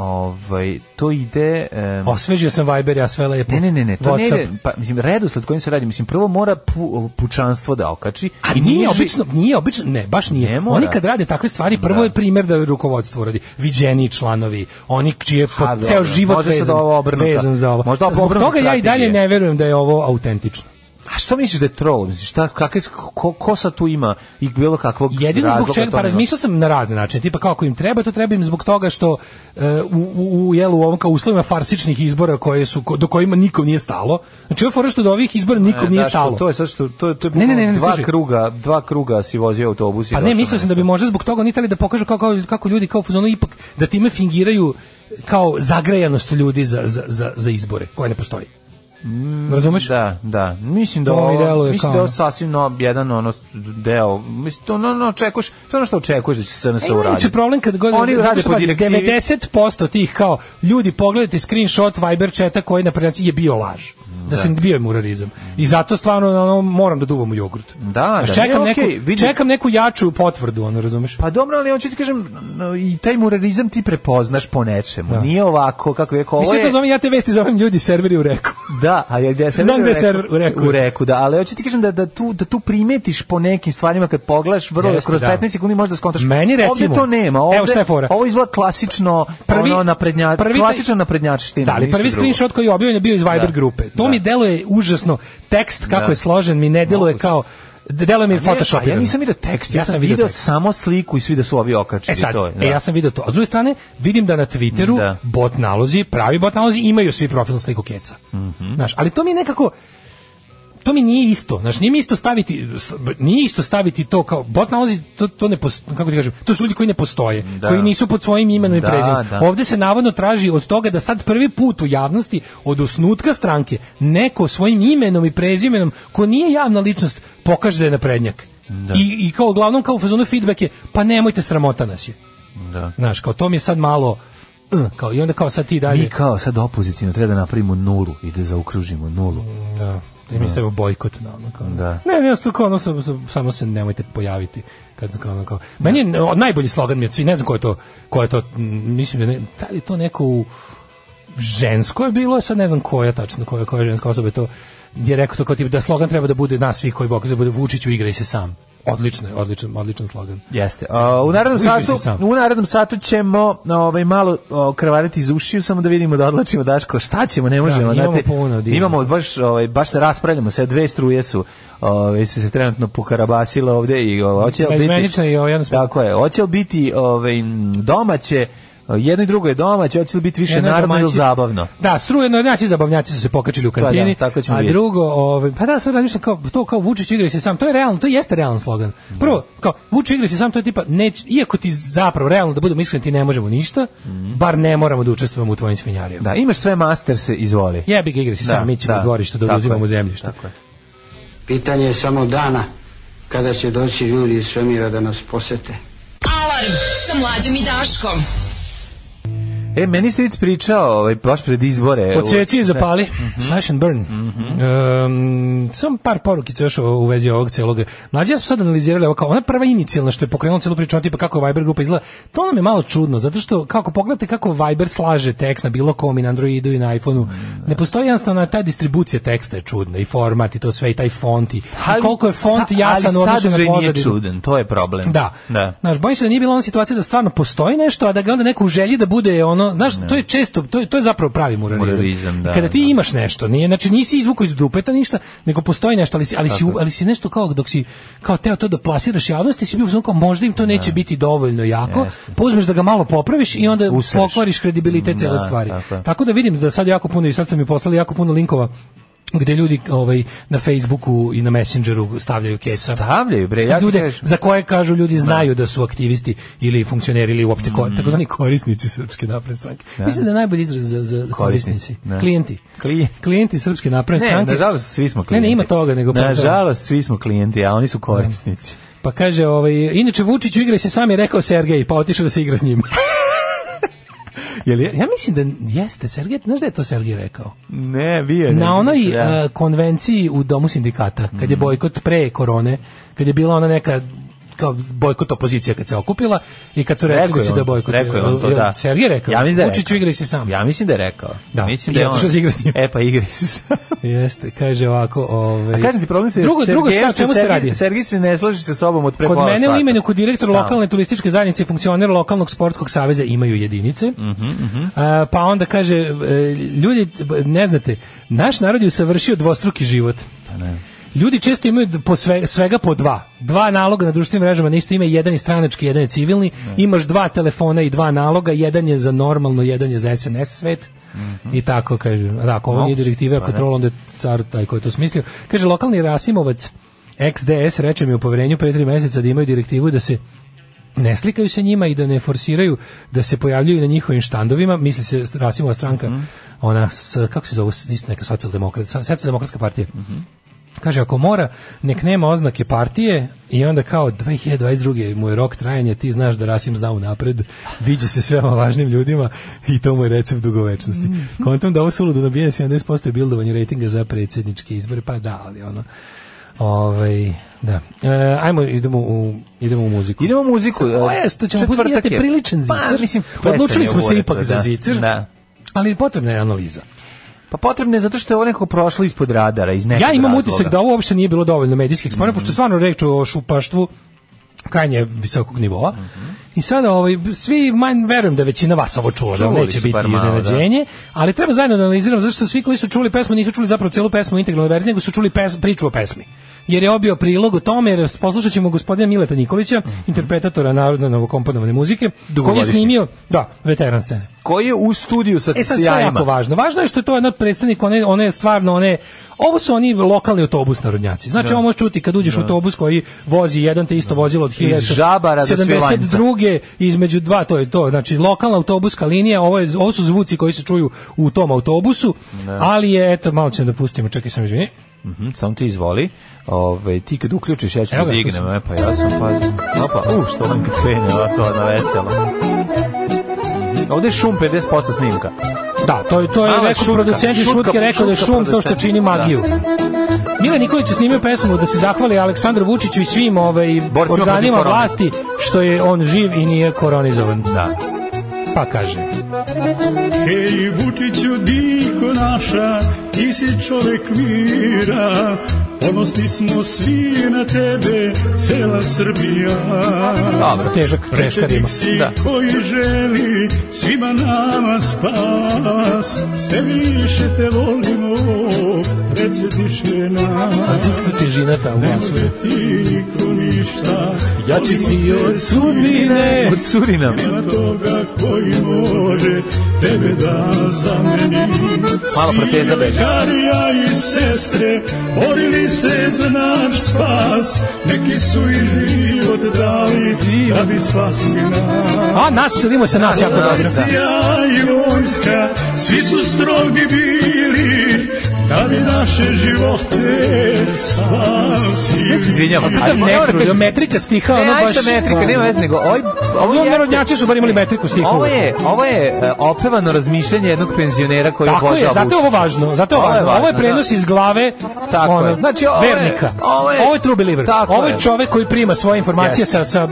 F: ovaj, to ide... em,
G: Osvežio sam Viber, ja sve lepo.
F: Ne, ne, ne, ne, to ne
G: WhatsApp.
F: ide, pa, mislim, redosled kojim se radi, mislim, prvo mora pu, pučanstvo da okači.
G: A nije,
F: niži-
G: obično, nije obično, ne, baš nije.
F: Ne mora.
G: oni kad rade takve stvari, prvo je primer da rukovodstvo uradi. Viđeni članovi, oni čije po,
F: Ha, dobro.
G: ceo život
F: Možda sad
G: vezan,
F: ovo obrnuto.
G: vezan za ovo.
F: Možda
G: Zbog
F: obrnuta
G: toga ja i dalje
F: strategija.
G: ne verujem da je ovo autentično.
F: A što misliš da je troll? Misliš, šta, kakve, ko, ko sad tu ima i bilo kakvog
G: Jedino
F: razloga?
G: zbog čega,
F: to
G: pa
F: nema?
G: razmišljao sam na razne načine, tipa kako im treba, to treba im zbog toga što e, u, u, u, jel, u ovom kao uslovima farsičnih izbora koje su, ko- do kojima nikom nije stalo, znači ovo je fora što do ovih izbora nikom
F: E,
G: nije
F: znaš,
G: stalo.
F: To je sad što, to, to je
G: Ne, ne, ne, ne,
F: dva
G: slušaj.
F: kruga, dva kruga si vozio autobus i
G: Pa ne,
F: došao
G: mislio
F: na
G: sam da bi
F: mesto.
G: možda zbog toga oni hteli da pokažu kako, kako ljudi kao u fazonu ipak da time fingiraju kao zagrejanost ljudi za, za, za, za izbore koje ne postoji.
F: Mm,
G: Razumeš?
F: Da, da. Mislim da
G: To mi
F: ovo,
G: deluje
F: mislim
G: kao
F: da je ovo
G: ono.
F: sasvim no, jedan ono deo. Mislim to ono, ono očekuješ, to je ono što očekuješ da će se na
G: E,
F: se
G: ima inače
F: uraditi.
G: problem kad god
F: Oni
G: zato
F: rade
G: što,
F: po
G: pazi,
F: direktivi.
G: 90% tih kao ljudi pogledajte screenshot Viber chata koji na prilici je bio laž. Da, sam bio je murarizam. I zato stvarno ono, moram da duvam u jogurt.
F: Da, da,
G: čekam,
F: ne,
G: neku,
F: okej, vidi.
G: čekam neku jaču potvrdu, ono, razumeš?
F: Pa dobro, ali hoću ti kažem no, i taj murarizam ti prepoznaš po nečemu.
G: Da.
F: Nije ovako kako je rekao, ovo
G: Mislim,
F: je
G: to zovem, ja te vesti zovem ljudi serveri u reku.
F: da, a ja gde se
G: Znam gde je server, u reku.
F: U reku, da, ali hoću ti kažem da da tu da tu primetiš po nekim stvarima kad pogledaš vrlo
G: Jeste,
F: kroz
G: da.
F: 15 sekundi možeš da skontaš.
G: Meni, recimo,
F: ovde to nema, ovde.
G: evo šta je fora.
F: Ovo izgleda klasično prvi,
G: Prvi-
F: ono naprednja,
G: prvi taj-
F: klasična naprednjačština.
G: Da, ali
F: ništa
G: prvi
F: drugo.
G: screenshot koji je objavljen je bio iz Viber
F: Da.
G: grupe. To
F: Da.
G: mi deluje užasno. Tekst kako
F: Da.
G: je složen mi ne deluje kao deluje mi E, Photoshop.
F: Ja nisam video tekst, ja, sam video,
G: tekst.
F: samo sliku Znači, i svi da su ovi okačili.
G: E sad,
F: to je, da.
G: e, ja sam video to. A s druge strane, vidim da na Twitteru
F: Da.
G: bot
F: Mhm.
G: nalozi, pravi bot nalozi, imaju svi profilnu sliku keca. Znaš, ali to mi je nekako... to mi nije isto. Znaš, nije mi isto staviti nije isto staviti to kao bot nalazi to, to ne pos- kako ti kažem, to su ljudi koji ne postoje,
F: Da.
G: koji nisu pod svojim imenom i
F: Da,
G: prezimenom.
F: da.
G: Ovde se navodno traži od toga da sad prvi put u javnosti od osnutka stranke neko svojim imenom i prezimenom ko nije javna ličnost pokaže da je naprednjak. I, I kao uglavnom kao u fazonu feedback je pa nemojte sramota nas je.
F: Da.
G: Znaš, kao to mi je sad malo eh, kao i onda kao sad ti dalje.
F: Mi kao sad opozicijno treba da napravimo nulu i da zaokružimo nulu.
G: Da. I mi stavimo bojkot na ono kao.
F: Da.
G: Ne, ne, sto kao ono, sa- sa- samo se nemojte pojaviti. Kad, kao, ono, kao. Meni je no, najbolji slogan mi je, od svih, ne znam ko je to, ko je to, m, mislim da ne, da li je to neko u- žensko je bilo, sad ne znam koja tačno, koja, koja ženska osoba je to, je rekao to kao tipa da slogan treba da bude nas svih koji bokaju, da bude Vučić u igraj se sam. Odlično je, odličan, odličan slogan.
F: Jeste. A, u narednom
G: Uzmi si
F: satu
G: sam.
F: u narednom satu ćemo ovaj malo o, krvariti iz ušiju samo da vidimo da odlačimo Daško. Šta ćemo, ne možemo,
G: Da, imamo
F: znate.
G: puno, divno.
F: imamo baš ovaj baš se raspravljamo, sve dve struje su ovaj su se trenutno pokarabasile ovde i ovaj, hoće li biti
G: Bezmenična i ovaj jednostavno.
F: Tako je. Hoće li biti ovaj m, domaće jedno i drugo je domaće, hoće li biti više
G: Jedno je
F: narodno ili
G: domaći-
F: zabavno?
G: Da, struja naši zabavnjaci su se pokačili u
F: Pa da,
G: kantini.
F: tako ćemo
G: a
F: vidjeti.
G: drugo, ovaj pa da sad razmišljam kao to kao Vučić igra se sam, to je realno, to jeste realan slogan. Prvo, kao Vučić igra se sam, to je tipa neć, iako ti zapravo realno da budemo iskreni ti ne možemo ništa,
F: Mhm.
G: bar ne moramo da učestvujemo u tvojim svinjarijama.
F: Da, imaš sve master se izvoli.
G: Jebi ga igra se
F: Da,
G: sam, mi ćemo
F: da.
G: u dvorištu da
F: Tako
G: uzimamo
F: je.
G: zemljište.
M: Pitanje je samo dana kada će doći ljudi iz svemira da nas posete.
D: Alarm sa mlađom i Daškom.
F: E, meni ste vic pričao, ovaj, baš pred izbore.
G: Od sveci je
F: Da.
G: zapali,
F: Mhm.
G: slash and burn. Um, samo par porukica još u vezi ovog celog. Mlađe, ja smo sad analizirali ovo kao ona prva inicijalna što je pokrenula celu priču, ono tipa kako Viber grupa izgleda, to nam je malo čudno, zato što kako pogledate kako Viber slaže tekst na bilo kom i na Androidu i na iPhoneu, ne postoji jednostavno ta distribucija teksta je čudna i format i to sve i taj font i, i
F: Ali
G: koliko je font
F: sa-
G: jasan u
F: ali
G: odnosu na
F: sadržaj nije
G: pozadinu.
F: čudan, to je problem.
G: Da.
F: da.
G: Znaš, bojim se da nije bila ona situacija da stvarno postoji nešto, a da ga onda neko želji da bude ono, znaš, to je često, to je, to je zapravo pravi muralizam.
F: Muralizam, da,
G: Kada ti imaš nešto, nije, znači nisi izvukao iz dupeta ništa, nego postoji nešto, ali si, ali si,
F: Tako je.
G: ali si nešto kao dok si kao teo to da plasiraš javnosti, si bio u fazonu kao možda im to neće biti dovoljno jako, pa uzmeš da ga malo popraviš i onda
F: Usreš.
G: pokvariš kredibilitet cele
F: Da,
G: stvari.
F: tako je.
G: Tako da vidim da sad jako puno i sad ste mi poslali jako puno linkova gde ljudi ovaj na Facebooku i na Messengeru stavljaju keca
F: Stavljaju, bre, E, ja ti
G: ljude
F: kažem.
G: za koje kažu ljudi znaju da su aktivisti ili funkcioneri ili uopšte ko, takozvani korisnici srpske napredne stranke.
F: Mm. Da.
G: Mislim da je najbolji izraz za, za korisnici,
F: da.
G: klijenti.
F: Klijenti.
G: Klijenti srpske napredne
F: Ne,
G: stranke.
F: nažalost, svi smo klijenti.
G: Ne, ne, ima toga, nego pa-
F: Nažalost, svi smo klijenti, a oni su korisnici.
G: Pa kaže, ovaj, inače Vučić u igri se sam je rekao Sergej, pa otišao da se igra s njim. Jel, je- ja mislim da jeste Sergej, znaš da je to Sergej rekao?
F: Ne, bio je.
G: Na onoj
F: Da. Mhm.
G: e, konvenciji u domu sindikata, kad je bojkot pre korone, kad je bila ona neka kao bojkot opozicija kad se okupila i kad su rekli
F: Rekao je
G: da će
F: on
G: da
F: to,
G: bojkot.
F: Rekao je on to,
G: Jel
F: da.
G: Sergej rekao.
F: Ja mislim da je
G: Vučiću
F: rekao.
G: igraj se sam.
F: Ja mislim da je rekao.
G: Da.
F: Mislim
G: I
F: da je on.
G: otišao da igra s njim.
F: E, pa igra se.
G: Jeste, kaže ovako, ovaj.
F: A Pa kažem ti, problem se...
G: Drugo, drugo šta, o čemu se radi?
F: Sergij se ne slaži sa sobom od pre
G: Kod
F: pola
G: mene u
F: sata.
G: imenu kod direktor
F: Stalno.
G: lokalne turističke zajednice i funkcioner lokalnog sportskog saveza imaju jedinice.
F: Mhm,
G: A, pa onda kaže, e, ljudi, b- ne znate, naš narod je usavršio dvostruki život.
F: Pa
G: Ljudi često imaju d- po sve- svega po dva. Dva naloga na društvenim mrežama na isto ime, jedan je stranački, jedan je civilni. Imaš dva telefona i dva naloga, jedan je za normalno, jedan je za SNS svet. I tako kaže, da, ako ovo nije
F: Moguće,
G: direktive, ako trolo, onda je car taj koji je to smislio. Kaže, lokalni Rasimovac XDS reče mi u poverenju pre tri meseca da imaju direktivu da se ne slikaju se njima i da ne forsiraju da se pojavljuju na njihovim štandovima, misli se Rasimova stranka, ona, s, kako se zove, isto neka socijaldemokratska, socijaldemokratska partija. Kaže, ako mora, nek nema oznake partije i onda kao 2022. mu je rok trajanja, ti znaš da Rasim zna unapred, viđe se sve vama važnim ljudima i to mu je recept dugovečnosti.
F: Mhm.
G: Kontom da ovo suludo nabijanje 70% je bildovanje rejtinga za predsjedničke izbore, pa da, ali ono... Ovaj, da. E, ajmo, idemo u, idemo u muziku.
F: Idemo u muziku. e,
G: Ovo je, što ćemo
F: Četvrtak
G: pustiti, jeste
F: je.
G: priličan
F: Pa,
G: zicer.
F: mislim,
G: Odlučili
F: pecanje
G: smo se
F: uredu,
G: ipak za
F: da.
G: zicer,
F: Da.
G: ali potrebna je analiza.
F: Pa potrebno je zato što je ovo nekako prošlo ispod radara, iz nekog
G: Ja imam
F: razloga.
G: utisak da ovo uopšte nije bilo dovoljno medijskih eksponenta, pošto je stvarno reč o šupaštvu krajnje visokog nivoa.
F: Mhm.
G: I sada ovaj svi manj verujem da je većina vas ovo čula, da vam
F: Čuli
G: neće
F: su
G: biti
F: bar malo, da.
G: iznenađenje, ali treba zajedno da analiziramo zašto svi koji su čuli pesmu nisu čuli zapravo celu pesmu u integralnoj verziji, nego su čuli pes, priču o pesmi. Jer je obio prilog o tome, jer poslušat ćemo gospodina Mileta
F: Mhm.
G: Nikolića, interpretatora narodno novokomponovane muzike, koji je
F: Dugogodišnji.
G: snimio, da, veteran scene.
F: koji je u studiju sa
G: E sad sve je
F: sjajima.
G: jako važno. Važno je što je to jedan predstavnik one, one stvarno one Ovo su oni lokalni autobus narodnjaci. Znači,
F: Da.
G: ovo možeš čuti kad uđeš u
F: Da.
G: autobus koji vozi jedan te isto vozilo od
F: Žabara do Svilajnca.
G: 72. između dva, to je to. Znači, lokalna autobuska linija, ovo, je, ovo su zvuci koji se čuju u tom autobusu,
F: Da.
G: ali je, eto, malo ćemo da pustimo, čekaj sam izvini.
F: Mhm, samo ti izvoli. Ove, ti kad uključiš, ja ću
G: Evo
F: da
G: ga,
F: dignem.
G: slušaj.
F: E, pa ja sam pazio. Opa, u, što on kad krene, ovako, na veselo. Mhm. Ovde je šum 50% snimka.
G: Da, to je to je
F: Mala
G: rekao
F: šutka,
G: producent i
F: šutka,
G: šutke rekao da je
F: šutka
G: šum to što
F: producenta.
G: čini magiju. Mile Nikolić je snimio pesmu da se zahvali Aleksandru Vučiću i svim ovaj
F: protiv
G: organima
F: korone.
G: vlasti što je on živ i nije koronizovan.
F: Da.
G: Pa kaže.
N: Hej Vučiću, diko naša, ti si čovek mira, ponosni smo svi na tebe, cela Srbija.
G: Dobro, težak, teška rima.
N: Pretenik si koji želi svima nama spas, sve više te volimo, predsjetiše nas.
G: A zikta težina ta u glasu.
N: Ti niko ništa,
G: Jači si od
N: sudbine.
F: Od Surina.
N: nema toga koji može tebe da zameni.
F: Malo proteza
N: Svi
F: beže.
N: lekarija i sestre borili se za naš spas, neki su i život dali da bi spasli nas.
G: A nas selimo se nas jako dobro.
N: Policija i vojska, svi su strogi bili, da bi naše živote spasili.
F: Ja se izvinjam.
G: A pitam metru, metrika stiha,
F: Ne,
G: ono baš...
F: ajde metrika, nema veze nego ovaj ovo
G: Ovo
F: jeste-
G: narodnjaci su bar imali metriku stiha.
F: Ovo je, ovo je e, opevano razmišljanje jednog penzionera koji
G: Tako je,
F: obožava
G: zato je ovo
F: Vučića.
G: važno, zato je ovo važno. Ovo je prenos
F: da.
G: iz glave
F: Tako
G: ono,
F: je. Znači, ovo je-
G: vernika.
F: ovo je-
G: Ovo je true believer.
F: Tako
G: Ovo je
F: je.
G: čovek koji prima svoje informacije
F: Jeste.
G: sa, sa,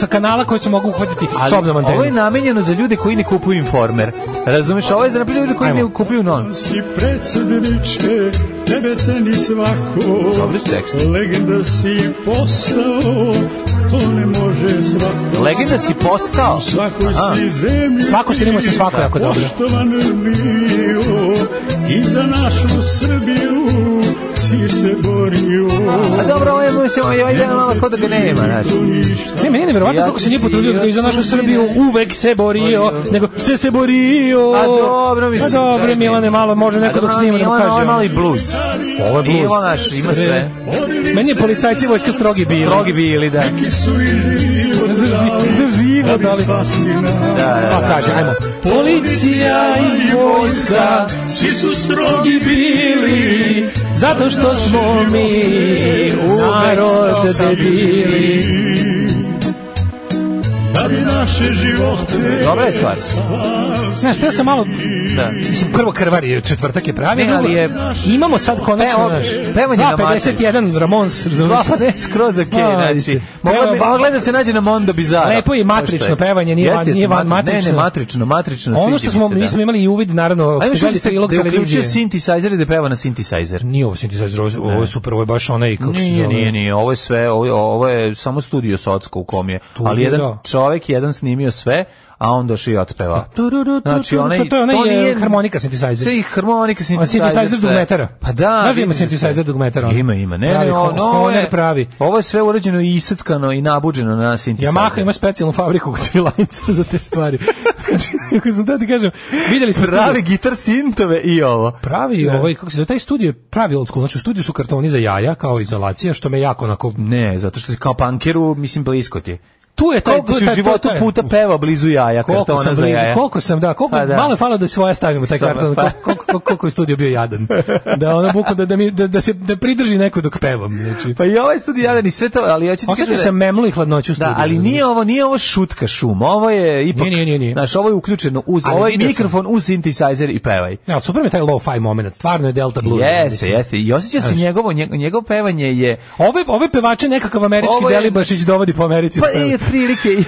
G: sa kanala koji se mogu uhvatiti s
F: Ali
G: obnom
F: ovo je
G: antenom.
F: namenjeno za ljude koji ne kupuju informer. Razumeš, ovo je za naprijed ljude koji ne kupuju non.
N: si predsjedniče, tebe ceni svako.
F: Dobri su tekstovi.
N: Legenda si postao, to ne može svako.
F: Legenda si postao.
N: U svakoj
F: Aha.
N: si zemlji.
G: Svako sinimo se svako jako dobro.
N: Poštovan bio, i za našu Srbiju si se borio.
F: A dobro, ovo je, mislim, ovo je, ovo je malo kod da ga
G: Pa,
F: nema, znaš.
G: Ne, meni je nevjerovatno
F: Ja
G: kako se
F: ti
G: nije
F: si,
G: potrudio
F: ja
G: da i za našu
F: ti
G: Srbiju
F: ne.
G: uvek se borio,
F: Borio.
G: nego se se borio.
F: A dobro, mislim.
G: A dobro,
F: daj,
G: Milane, malo može
F: A
G: neko dok
F: dobro,
G: snima da mu
F: Milane,
G: kaže.
F: Ovo je
G: ono.
F: mali blues.
G: Ovo je blues.
F: Evo, znaš, ima sve.
G: Meni je policajci vojska strogi bili.
F: Strogi bili, da.
N: Neki su i život
G: Za ži-
N: dali,
G: za život
N: da bi
G: dali.
N: spasli nas.
G: Pa kaže, ajmo. Policija i vojska
N: svi su strogi
G: i bili zato što smo mi narod debili
N: Da bi naše živote
F: Dobra je stvar.
G: Znaš, teo sam malo
F: Da.
G: Mislim, prvo krvari, je, četvrtak je pravi,
F: Ne, ali je-
G: imamo sad konačno
F: Pevo-
G: naš
F: pevanje na matrici.
G: 2.51 Ramons,
F: Dva
G: razumiješ?
F: pa ne skroz ok,
G: A,
F: znači.
G: vidite.
F: Mogla bi
G: Peva-
F: mogla da se nađe na Mondo Bizarro.
G: Lepo je i matrično
F: Pošto je.
G: pevanje, nije van-
F: Jeste,
G: nije
F: jeste,
G: van
F: matri-
G: matrično.
F: Ne, ne, matrično, matrično.
G: Ono
F: sviđa
G: što
F: mi
G: smo,
F: se,
G: mi
F: da.
G: smo imali i uvid, naravno,
F: Ajmo
G: ste
F: što
G: gledali
F: se
G: prilog
F: da je uključio
G: televizije.
F: synthesizer i da peva na synthesizer.
G: Nije ovo sintetizator, ovo, ovo je super, ovo je baš onaj, kako se
F: Nije,
G: zove.
F: nije, nije, ovo je sve, ovo je, ovo je samo studio Socko u kom je,
G: Studio,
F: ali jedan
G: da.
F: čovek jedan snimio sve, a on došao i otpevao.
G: Pa, Tururu,
F: Znači,
G: tu, tu,
F: onaj,
G: to- to je onaj, e,
F: nije-
G: harmonika synthesizer.
F: Sve i harmonika
G: A
F: synthesizer.
G: synthesizer
F: sve.
G: dugmetara.
F: Pa da.
G: Znaš da ima
F: vidim se.
G: synthesizer dugmetara, ono?
F: Ima, ima. Ne,
G: Pravi
F: ne,
G: ho-
F: ono, ovo je,
G: Hohner pravi.
F: Ovo je sve urađeno i iseckano i nabuđeno na synthesizer.
G: Yamaha ima specijalnu fabriku kod Svilajnca za te stvari. Znači, ako sam da ti kažem, videli smo
F: pravi
G: studiju-
F: gitar sintove i ovo.
G: pravi ovaj kako se zove taj studio je pravi old school. Znači u studiju su kartoni za jaja kao izolacija što me jako onako
F: Ne, zato što si kao pankeru, mislim, blisko ti je.
G: tu je taj
F: Koliko
G: tu je
F: si u
G: taj- tu je
F: životu
G: taj-
F: puta pevao blizu jaja,
G: koliko
F: kartona
G: sam
F: za
G: blizu,
F: jaja.
G: koliko sam, da, koliko,
F: Pa da.
G: malo je falilo da svoja stavimo taj
F: Samo,
G: karton,
F: pa.
G: koliko, koliko, koliko je studio bio jadan. Da ono buku, da, da, mi, da, da se da pridrži neko dok pevam. Znači.
F: Pa i ovaj studij jadan i sve to, ali hoćete
G: Osetio sam memlu i hladnoću u studiju.
F: Da, ali
G: razumiješ?
F: nije ovo, nije ovo šutka šum, ovo je ipak,
G: Nije, nije, nije, nije.
F: znaš, ovo je uključeno uz,
G: Ali
F: ovaj
G: vidio sam.
F: mikrofon uz synthesizer i pevaj.
G: Ne, ali super mi je taj lo-fi moment, stvarno je Delta Blue.
F: Jeste, jeste, i osjeća se
G: Znaš.
F: njegovo, njeg- njegovo pevanje je, pa
G: Ove, ove pevače nekakav američki
F: Ovo je-
G: Delibašić dovodi po Americi.
F: pa
G: da peva.
F: i otprilike i-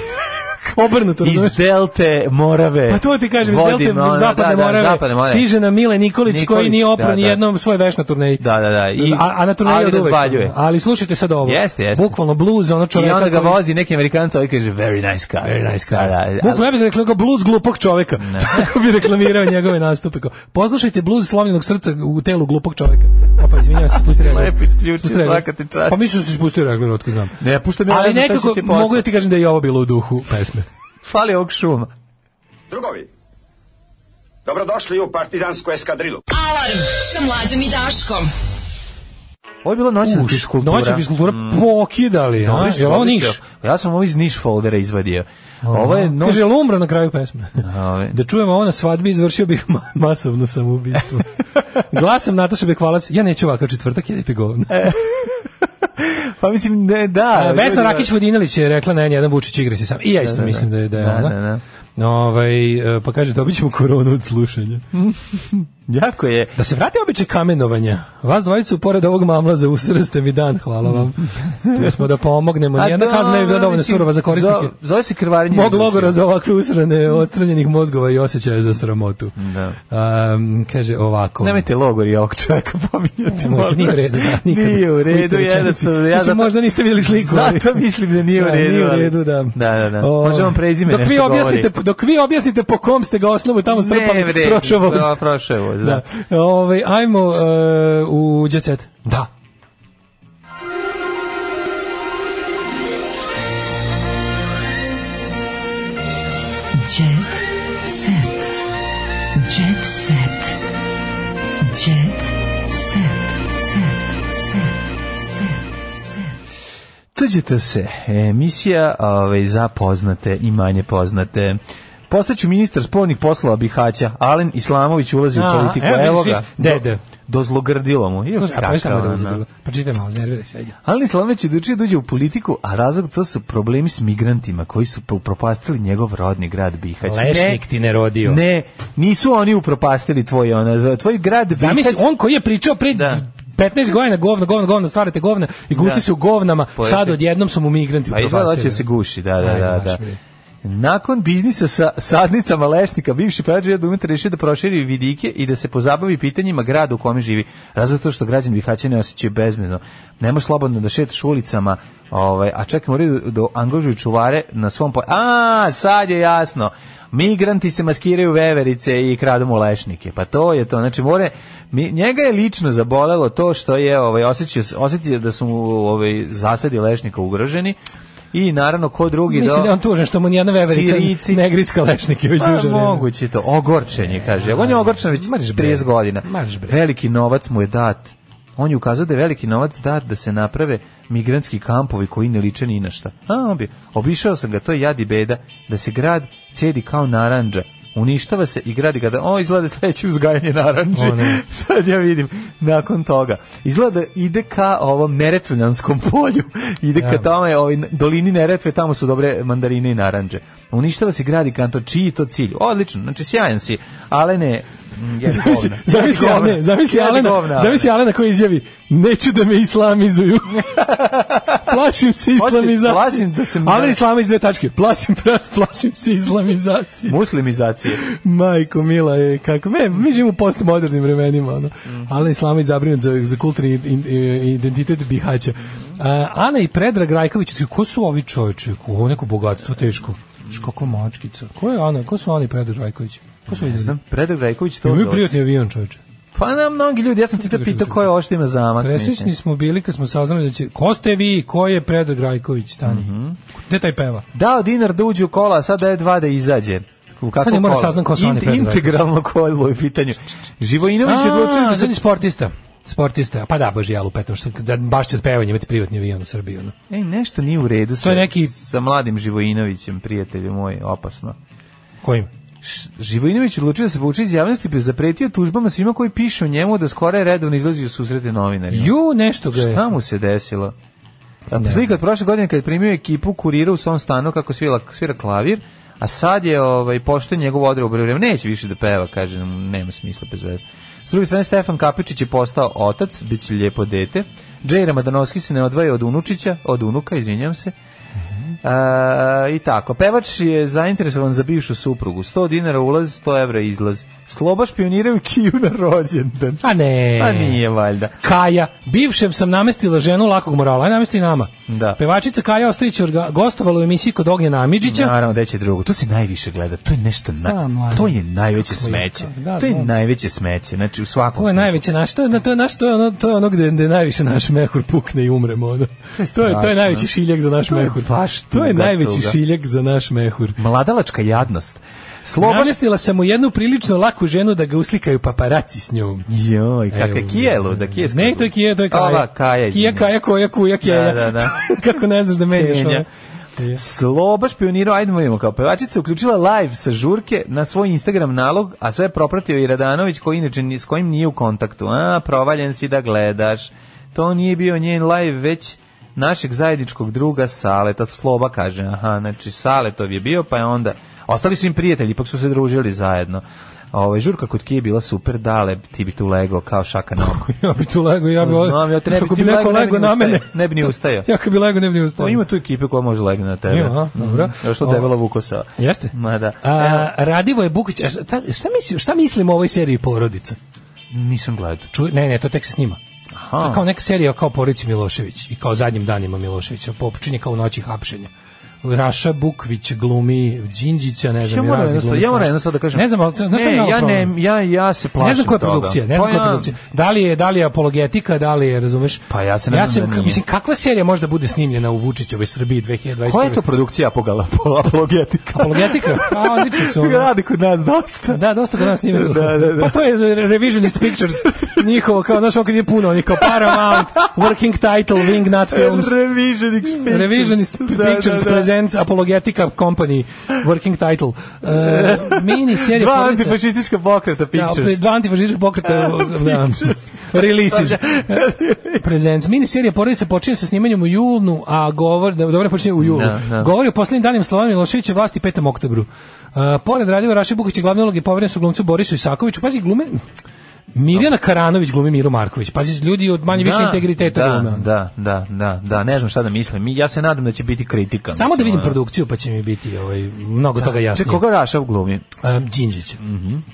G: Obrnuto,
F: iz
G: razumeš?
F: Delte Morave.
G: Pa to ti kažem, iz
F: Vodim,
G: Delte
F: ono,
G: zapadne,
F: da, da,
G: morave,
F: zapadne Morave.
G: stiže na Mile Nikolić, koji
F: Nikolić,
G: nije opran
F: da,
G: ni
F: da.
G: jednom svoj veš na turneji.
F: Da, da, da. I,
G: a, a na turneji
F: ali
G: od uvek.
F: razvaljuje.
G: Ali slušajte sad ovo.
F: Jeste, jeste.
G: Bukvalno blues, ono
F: I
G: čoveka.
F: onda ga
G: koji-
F: vozi neki Amerikanac, ovaj kaže very nice car.
G: Very nice
F: Da,
G: car.
F: da, ali-
G: Bukvalno ja bih rekao kao blues glupog čoveka. Tako bi reklamirao njegove nastupe. Kao, poslušajte blues slomljenog srca u telu glupog čoveka. A pa izvinjavam se, spustio regler.
F: Lepo isključio,
G: Spustio regler.
F: svaka ti čast.
G: Pa mislim da si spustio regler, otko znam.
F: Ne, puštam ja
G: Ali
F: ne znam šta
G: nekako,
F: će posle.
G: mogu da ti kažem da je i ovo bilo u duhu pesme.
F: Fali ovog šuma.
L: Drugovi, Dobrodošli u partizansku eskadrilu.
D: Alarm sa mlađom i Daškom.
F: Ovo je bila noćna
G: Uš,
F: fiskultura.
G: noćna fiskultura,
F: Mm.
G: pokidali, a?
F: Dobri su,
G: Jel ovo
F: dobri
G: Niš?
F: su. Ja sam ovo iz Niš foldera izvadio. Ovo je noć...
G: Kaže, jel umro na kraju pesme?
F: Ove.
G: Da čujemo ovo na svadbi, izvršio bih ma- masovno samoubistvo. Glasom Nataša Bekvalac, ja neću ovakav četvrtak, jedite govno.
F: Pa mislim, ne, da.
G: A, Pa Vesna
F: ljudi,
G: Rakić Vodinelić je rekla, ne, jedan Vučić igra se sam. I ja isto
F: Da, da,
G: mislim da je, da je
F: da,
G: ona.
F: da,
G: Ovaj, e, pa kaže, dobit ćemo koronu od slušanja.
F: Jako je.
G: Da se vrati običaj kamenovanja. Vas dvojicu, pored ovog mamlaza, usrste mi dan, hvala vam. Tu smo da pomognemo.
F: A
G: Nijedna kazna ne bi bila
F: dobro,
G: dovoljno
F: mislim,
G: surova za korisnike.
F: zo- Zove se krvarenje.
G: Mog
F: izvršio.
G: logora za ovakve usrane odstranjenih mozgova i osjećaja za sramotu.
F: Da.
G: Um, kaže ovako.
F: Nemojte logor i ovog čovjeka pominjati.
G: Nemojte,
F: molim
G: nije u
F: vas.
G: redu, da, nikad.
F: Nije
G: U
F: u
G: istoj
F: redu,
G: rečenici.
F: jednostavno. Ja
G: Mislim,
F: zato-
G: možda niste vidjeli sliku, ali-
F: Zato mislim da nije u
G: Da,
F: redu.
G: nije u
F: ali-
G: redu, da.
F: Da, da, da.
G: O,
F: Možda vam prezime
G: dok vi
F: nešto govori.
G: objasnite, Dok vi objasnite po kom ste ga osnovu tamo strpali,
F: Ne, vredi.
G: prošao voz.
F: Da, prošao je voz, da.
G: Ovaj, ajmo e, u Jet Set.
F: Da.
D: Jet set. Jet set. Jet set.
F: Tuđite se, emisija ovaj, za poznate i manje poznate. Postaću ministar spolnih poslova Bihaća, Alen Islamović ulazi
G: A,
F: u politiku,
G: evo
F: evo
G: vidiš,
F: ga.
G: vidiš,
F: Do-
G: dede.
F: Dozlogrdilo mu. Iu,
G: Slušaj, a pa
F: kakav,
G: samo da
F: ono.
G: uzgledam. Pročitaj malo, nerviraj se. ajde.
F: Alen Islamović je odlučio da uđe u politiku, a razlog to su problemi s migrantima koji su upropastili njegov rodni grad Bihać.
G: Lešnik ti ne rodio.
F: Ne, nisu oni upropastili tvoj, ona, tvoj grad
G: Zamisli,
F: Bihać.
G: on koji je pričao pre
F: Da.
G: 15 godina govna, govna, govna, stvarate govna i guci
F: Da.
G: se u govnama,
F: Pojeste.
G: sad odjednom su mu migranti
F: Pa izgleda hoće da
G: upropastili.
F: se guši, da, da,
G: Ajde,
F: da.
G: baš
F: da.
G: bre.
F: Nakon biznisa sa sadnicama lešnika, bivši prađe Dumeta rešio da proširi vidike i da se pozabavi pitanjima grada u kome živi. Razlog to što građani Bihaća ne osjećaju bezmezno. Nemo slobodno da šetaš ulicama, ovaj, a čak moraju da, da angažuju čuvare na svom... Po... A, sad je jasno. Migranti se maskiraju u veverice i kradu mu lešnike. Pa to je to. Znači, more, mi- njega je lično zabolelo to što je ovaj, osjećao, osjetio da su mu ovaj, zasadi lešnika ugroženi i naravno ko drugi
G: Mislim
F: do-
G: da je on tužan što mu nijedna veverica
F: Sirici.
G: ne griska lešnike već
F: Pa,
G: duže vreme.
F: moguće je to. Ogorčen je, kaže. On je ogorčen već
G: Mrš bre.
F: 30 godina.
G: Mrš bre.
F: Veliki novac mu je dat. On je ukazao da je veliki novac dat da se naprave migrantski kampovi koji ne liče ni na šta. A, on bi, obišao sam ga, to je jadi beda, da se grad cedi kao naranđa. Uništava se i gradi ga da, o, izgleda sledeće uzgajanje naranđi.
G: O, ne.
F: Sad ja vidim, nakon toga. Izgleda da ide ka ovom neretvljanskom polju. Ide ka
G: Ja.
F: tome, ovaj, dolini Neretve, tamo su dobre mandarine i naranđe. Uništava se grad i kanton, čiji je to cilj? Odlično, znači sjajan si, ali ne... mm, jedi
G: Zamisli,
F: govna.
G: zamisli,
F: Jedi govna.
G: Alena, zamisli,
F: Jedi
G: Alena,
F: govna,
G: zamisli Alena koji izjavi neću da me islamizuju. plašim se
F: Hoće-
G: islamizacije.
F: plašim da se-
G: Alena islamiz dve tačke. Plašim, plašim se islamizacije.
F: Muslimizacije.
G: Majko mila je kako me mi živimo u postmodernim vremenima ono.
F: Mhm.
G: Ana Islamić zabrinut za, za kulturni in- i- identitet Bihaća. A, Ana i Predrag Rajković, ti, ko su ovi čoveče? Ovo neko bogatstvo teško. Znaš, Kako mačkica. Ko je Ana? Ko su Ana i Predrag Rajković? Ko su
F: Ne
G: oni?
F: znam, Predrag Rajković to
G: Imaju
F: zove.
G: prijatni avion čoveče.
F: Pa na mnogi ljudi, ja sam ti to pitao ko je ovo što ima zamak.
G: Presrećni
F: mislim.
G: smo bili kad smo saznali da će... Ko ste vi? Ko je Predrag Rajković? Stani.
F: Mhm.
G: Gde taj peva?
F: Dao dinar da uđe u kola, a sad daje dva da izađe. U kako
G: Sad ne mora
F: kola?
G: saznam ko su oni,
F: Int-
G: Predrag Rajković.
F: Integralno kolo je u pitanju. Živojinović je odlučio
G: A,
F: da
G: sad je
F: se...
G: sportista. Sportista. Pa da, bože, ja lupetam. Što, da, baš će od pevanja imati privatni avion u Srbiji. Ono.
F: Ej, nešto nije u redu sa,
G: neki-
F: sa mladim Živojinovićem, prijatelju moj, opasno.
G: Kojim?
F: Š- Živojinović je odlučio da se povuče iz javnosti, pa je zapretio tužbama svima koji pišu o njemu da skoro je redovno izlazi u susrete novinarima.
G: Ju, nešto ga je.
F: Šta mu se desilo? A slika od prošle godine kad je primio ekipu kurira u svom stanu kako svira, svira klavir, a sad je ovaj, pošto je njegov odre u vreme, neće više da peva, kaže, nema smisla bez veze. S druge strane, Stefan Kapičić je postao otac, bit će lijepo dete. Džej Ramadanovski se ne odvaja od unučića, od unuka, izvinjam se. A, I tako, pevač je zainteresovan za bivšu suprugu. 100 dinara ulaz, 100 evra izlaz. Sloba špioniraju Kiju na rođendan.
G: A ne.
F: A Pa nije valjda.
G: Kaja, bivšem sam namestila ženu lakog morala, aj namesti i nama.
F: Da.
G: Pevačica Kaja Ostojić je orga- gostovala u emisiji kod Ognjena Amidžića.
F: Naravno, da će drugo. To se najviše gleda. To je nešto na,
G: Znam, mladen.
F: to je najveće
G: Kako je,
F: smeće.
G: kako, da,
F: to je
G: znam.
F: najveće smeće. Znači u svakom.
G: To je
F: smislu.
G: najveće naš, to je, to je naš, to je ono, to je ono gde, gde najviše naš mehur pukne i umremo. Ono. To, je, to je
F: strašno.
G: najveći šiljak za naš
F: To je
G: mehur.
F: baš
G: To je
F: Tuga,
G: najveći
F: tuga.
G: šiljak za naš mehur.
F: Mladalačka jadnost. Slobodan-
G: Namestila sam mu jednu prilično laku ženu da ga uslikaju paparaci s njom.
F: Joj, kakva Kija je luda, Kija je
G: Ne, to je Kija, to je Kaja.
F: Ova Kaja,
G: Kija,
F: izvini.
G: Kaja, koja, kuja, Kija.
F: Da, da, da.
G: Kako ne znaš da menjaš
F: Kenja.
G: ono?
F: Sloba špionirao, ajde vidimo kao pevačica, uključila live sa žurke na svoj Instagram nalog, a sve je propratio i Radanović, koji inače ni- s kojim nije u kontaktu. A, provaljen si da gledaš. To nije bio njen live, već našeg zajedničkog druga Saleta, Sloba kaže, aha, znači Saletov je bio, pa je onda, ostali su im prijatelji, ipak su se družili zajedno. Ovaj žurka kod Kije je bila super, dale, ti bi tu legao kao šaka na oko.
G: Ja bi tu lego, ja bi...
F: Znam, ja te ne bi,
G: Ako
F: ti
G: bi neko
F: legao, ne bi
G: lego
F: ni
G: na
F: ustajao.
G: mene.
F: Ne bi ni ustajao.
G: Ja ako bi lego, ne bi ni
F: Pa
G: ustao.
F: ima tu ekipe koja može legne na tebe.
G: Ima, a, dobro.
F: Mhm. Još to
G: Ovo-
F: debela Vukosa.
G: Jeste?
F: Ma da.
G: A, Radivo je Bukić, a šta, šta, mislim, šta mislim o ovoj seriji Porodica?
F: Nisam gledao.
G: Ču, ne, ne, to tek se snima. To je kao neka serija kao porodici Milošević i kao zadnjim danima Miloševića, počinje kao u noći hapšenja. Raša Bukvić glumi Đinđića, ne
F: Ja
G: znam, i
F: moram
G: razni
F: jednostavno,
G: glumi
F: ja moram
G: svašta.
F: jednostavno da kažem.
G: Ne znam, ali znaš šta je
F: ne,
G: malo
F: ja ne,
G: problem?
F: ja ja se plašim
G: Ne znam koja je
F: toga.
G: produkcija, ne znam
F: Pa
G: koja je
F: ja-
G: produkcija. Da li je, da li je apologetika, da li je, razumeš?
F: Pa ja se nadam
G: se,
F: da nije.
G: mislim, kakva serija može da bude snimljena u Vučićevoj Srbiji 2021.
F: Koja je to produkcija apogala, apologetika?
G: Apologetika? Pa, odlični su ono.
F: Radi kod nas dosta.
G: Da, dosta kod nas snimaju.
F: Da, da, da.
G: Pa to je Revisionist Pictures, njihovo, kao, znaš, ono kad je puno, oni kao Paramount, Working Title, Wingnut Films.
F: Revisionist Pictures.
G: Revisionist
F: Da, da,
G: Pictures
F: da.
G: presents Apologetica Company, Working Title. E, mini serija
F: Dva
G: porodica-
F: antifašistička pokreta
G: Da, pre-
F: Pictures.
G: dva antifašistička pokreta da,
F: Pictures.
G: releases. Presents. Mini serija porodice počinje sa snimanjem u julnu, a govor, da, dobro počinje u julu.
F: Da, da.
G: Govori o poslednjim danima Slovana Miloševića vlasti 5. oktobru. Uh, pored Radiva Raše Bukića glavne uloge poverene su glumcu Borisu Isakoviću. Pazi, glume... Mirjana Karanović glumi Miru Marković. Pazi, ljudi od manje više
F: Da,
G: integriteta
F: da,
G: glume. ono.
F: Da, da, da, da, ne znam šta da mislim. Mi- Ja se nadam da će biti kritika.
G: Samo
F: mislim,
G: da vidim
F: ono.
G: produkciju pa će mi biti ovaj, mnogo toga jasnije.
F: Čekaj, koga Rašav glumi?
G: Um, Đinđić.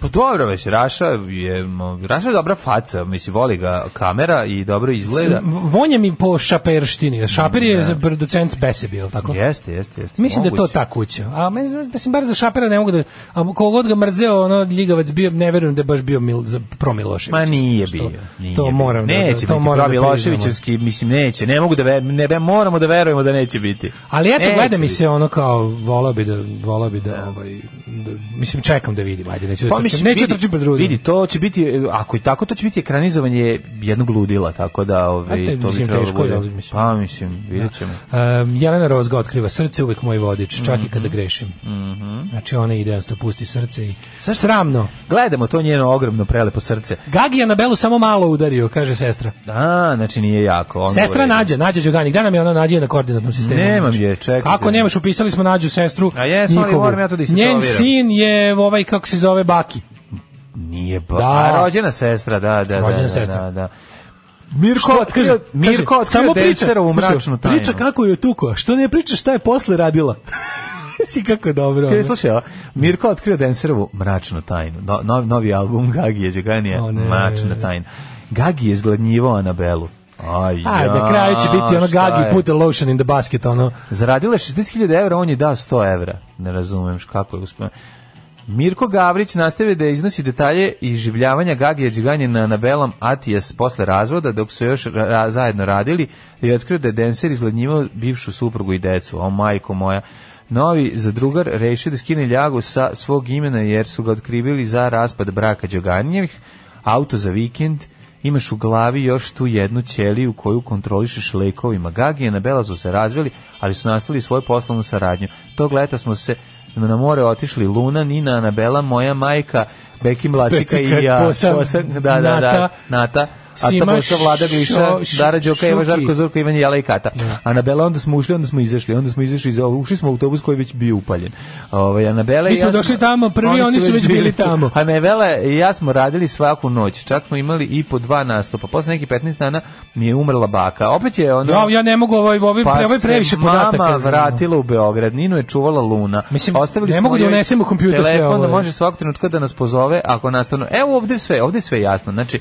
F: Pa dobro, već, Raša je, mo, Raša je dobra faca, mislim, voli ga kamera i dobro izgleda.
G: Vonja mi po šaperštini. Šaper je za producent Besebi, je li tako?
F: Jeste, jeste, jeste.
G: Mislim da je to
F: Moguće.
G: ta kuća. A meni- mislim, bar za šapera ne mogu da... A kogod ga mrzeo, ono, ljigavac bio, ne verujem da je baš bio mil, za, pro Milošević.
F: Ma nije
G: Što-
F: bio. Nije
G: to
F: bio.
G: moram da-
F: neće
G: da- to
F: biti
G: moram da ono.
F: pravi
G: priznamo.
F: Loševićevski, mislim neće. Ne mogu da ve, ne, ne moramo da verujemo da neće biti.
G: Ali eto,
F: Neće
G: gleda mi
F: biti.
G: se ono kao, volao bi da, volao bi da, ovaj, da, mislim, čekam da vidim, ajde, neću da
F: Pa
G: trčim-
F: mislim,
G: neću da
F: vidi,
G: trčim pred rudu.
F: vidi, to će biti, e, ako i tako, to će biti ekranizovanje jednog ludila, tako da
G: A
F: ove,
G: te,
F: to
G: mislim,
F: bi trebalo
G: teško je,
F: bude.
G: ali mislim-
F: Pa mislim, vidjet ćemo.
G: Um, Jelena Rozga otkriva srce je uvek moj vodič, čak i
F: Mhm.
G: kada grešim. Znači ona ide jednostavno pusti srce i sramno.
F: Gledamo to njeno ogromno prelepo srce.
G: Gagi je na Belu samo malo udario, kaže sestra.
F: A, znači nije jako. ono
G: Sestra
F: je-
G: nađe, nađe Đogani. Gde nam je ona nađe na koordinatnom sistemu? Znači,
F: Nemam je, čekaj.
G: Kako nemaš, upisali smo nađu sestru.
F: A jesmo, ali
G: njihovu.
F: moram ja to da isproveram.
G: Njen sin je ovaj, kako se zove, Baki.
F: Nije ba...
G: Da.
F: A, rođena sestra, da, da,
G: Rođena
F: da,
G: sestra.
F: da, da. Mirko
G: Što-
F: otkrio, Mirko
G: kaže,
F: otkrio Dejcerovu
G: slušaj,
F: mračnu tajnu.
G: Priča kako je tuko, što ne priča šta je posle radila. si kako je dobro.
F: Ti
G: ono.
F: slušaj, ovo, Mirko otkrio Denserovu mračnu tajnu. No, no- novi album Gagije Đuganija,
G: O, ne.
F: mračna tajna. Gagi je zgladnjivao Anabelu. Aj,
G: A,
F: ja,
G: na kraju će biti ono
F: šta
G: Gagi
F: je?
G: put the lotion in the basket, ono.
F: Zaradila je 60.000 evra, on je dao 100 evra. Ne razumem š- kako je uspio. Mirko Gavrić nastavio da iznosi detalje izživljavanja Gagija Đuganjina na Belom Atijas posle razvoda, dok su još ra- ra- zajedno radili, i otkrio da je Denser izgladnjivao bivšu suprugu i decu. O, majko moja. Novi zadrugar rešio da skine ljagu sa svog imena jer su ga otkrivili za raspad braka Đoganjevih, auto za vikend, Imaš u glavi još tu jednu ćeliju koju kontrolišeš lekovima. Gagi i Anabela su se razveli, ali su nastavili svoju poslovnu saradnju. Tog leta smo se na more otišli Luna, Nina, Anabela, moja majka, Beki Mlačika
G: Pecika,
F: i ja.
G: Posam,
F: Posam, da, da,
G: Nata,
F: da, Nata. Ata
G: Sima,
F: Bosa, Vlada Gliša,
G: Šo- Š-
F: Dara Đoka, Eva
G: Šuki.
F: Žarko, Zorko, Ivan Jela i Kata. Anabela, onda smo ušli, onda smo izašli, onda smo izašli, iz ovog- ušli smo u autobus koji je već bio upaljen. Ovaj, Anabela i
G: Mi smo
F: ja smo-
G: došli tamo prvi, oni su već bili
F: tu.
G: tamo.
F: A Pa ne, Vela i ja smo radili svaku noć. Čak smo imali i po dva nastupa. Posle nekih 15 dana mi je umrla baka. Opet je ono- ona...
G: Ja, ja ne mogu, ovaj, ovaj, pre- ovaj
F: Pa se
G: previše podataka. znači, ono.
F: mama
G: znam.
F: vratila u Beograd, Ninu je čuvala Luna.
G: Mislim,
F: Ostavili
G: ne
F: smo
G: mogu da
F: joj
G: unesem u kompjuter sve
F: telefon
G: ovo.
F: E, da može svakog trenutka da nas pozove ako nastavno. Evo ovde je sve, ovde je sve jasno. Znači,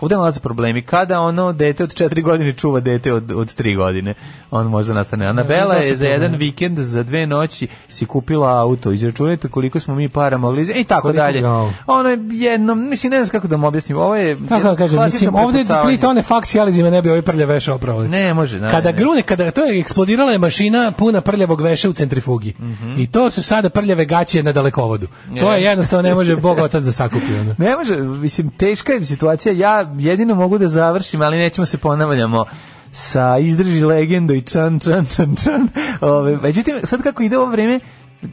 F: Ovde nalaze problemi. Kada ono dete od četiri godine čuva dete od, od tri godine, on možda nastane. Anabela
G: dosta
F: je za
G: problema.
F: jedan vikend, za dve noći si kupila auto. Izračunajte koliko smo mi para mogli iz- i tako
G: Koliko-
F: dalje.
G: jao.
F: Ono je jedno, mislim, ne znam kako da vam objasnim. Ovo je
G: Kako da kažem,
F: klasično
G: mislim, ovde tri
F: prepucavanje.
G: tone faks jalezima ne bi ovi prlja veša opravo.
F: Ne, može. Da,
G: kada
F: ne.
G: grune, kada to je eksplodirala je mašina puna prljavog veša u centrifugi.
F: Mhm.
G: I to su sada prljave gaće na dalekovodu. To je
F: Je.
G: jednostavno ne može Bog otac da sakupi. Ono.
F: Ne može, mislim, teška je situacija. Ja jedino mogu da završim, ali nećemo se ponavljamo sa izdrži legendu i čan, čan, čan, čan. Ove, međutim, sad kako ide ovo vreme,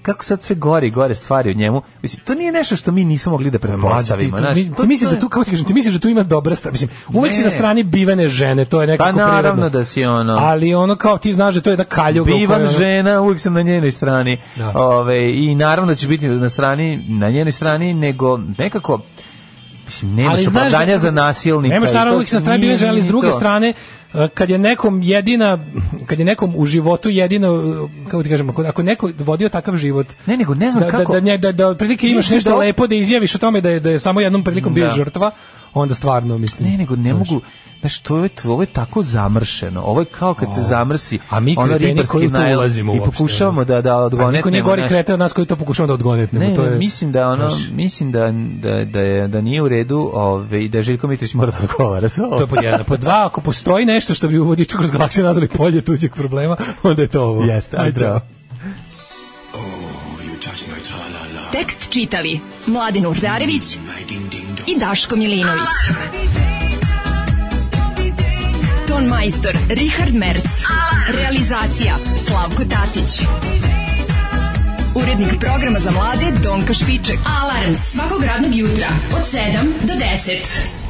F: kako sad sve gore i gore stvari od njemu, mislim, to nije nešto što mi nismo mogli da
G: Ti,
F: pretpostavimo.
G: tu-
F: znaš.
G: mi- ti
F: To- to
G: misliš da
F: je-
G: tu, kako ti kažem, ti misliš da tu ima dobra strana. Mislim, uvek si
F: Ne.
G: na strani bivene žene, to je
F: Pa
G: nekako prirodno.
F: naravno da si ono...
G: Ali ono kao ti znaš da to je jedna kaljuga. u
F: Bivan
G: kojoj ono-
F: žena, uvijek sam na njenoj strani. Ove, I naravno da će biti na strani, na njenoj strani, nego nekako... Mislim, nemaš
G: Ali znaš da-
F: opravdanja za nasilnika.
G: Nemaš
F: i
G: naravno
F: to
G: uvijek sa strane bivene
F: nije-
G: žene, ali s
F: nije
G: druge
F: to.
G: strane, e, kad je nekom jedina, kad je nekom u životu jedina, e, kako ti kažem, ako, ako je neko vodio takav život,
F: ne, nego ne znam
G: da,
F: kako-
G: da, da, nje- da, da otprilike imaš
F: Mislim
G: nešto
F: da ovo-
G: lepo da izjaviš o tome da je, da je samo jednom prilikom bio
F: Da.
G: žrtva, onda stvarno mislim.
F: Ne, nego ne mogu, znaš, to je, ovo je tako zamršeno, ovo je kao kad se
G: O.
F: zamrsi,
G: A mi
F: ono
G: kreteni
F: ribarski
G: koji u to
F: najlon
G: ulazimo
F: i
G: uopšte,
F: pokušavamo da, da
G: A
F: odgonetnemo.
G: niko nije gori
F: naš-
G: krete od nas koji to pokušavamo da odgonetnemo.
F: Ne,
G: to je,
F: mislim da ono,
G: znaš,
F: mislim da, da, da, je, da nije u redu ove, i da Željko Mitrović mora da odgovara za ovo.
G: To je pod jedno. Pod dva, ako postoji nešto što bi u vodiču kroz galaksiju nazvali polje tuđeg problema, onda je to ovo.
F: Jeste, ajde,
G: Ajde,
F: bravo.
D: Tekst čitali Mladin Urdarević i Daško Milinović. Ton majstor Richard Merc. Realizacija Slavko Tatić. Urednik programa za mlade Donka Špiček. Alarms svakog radnog jutra od 7 do 10.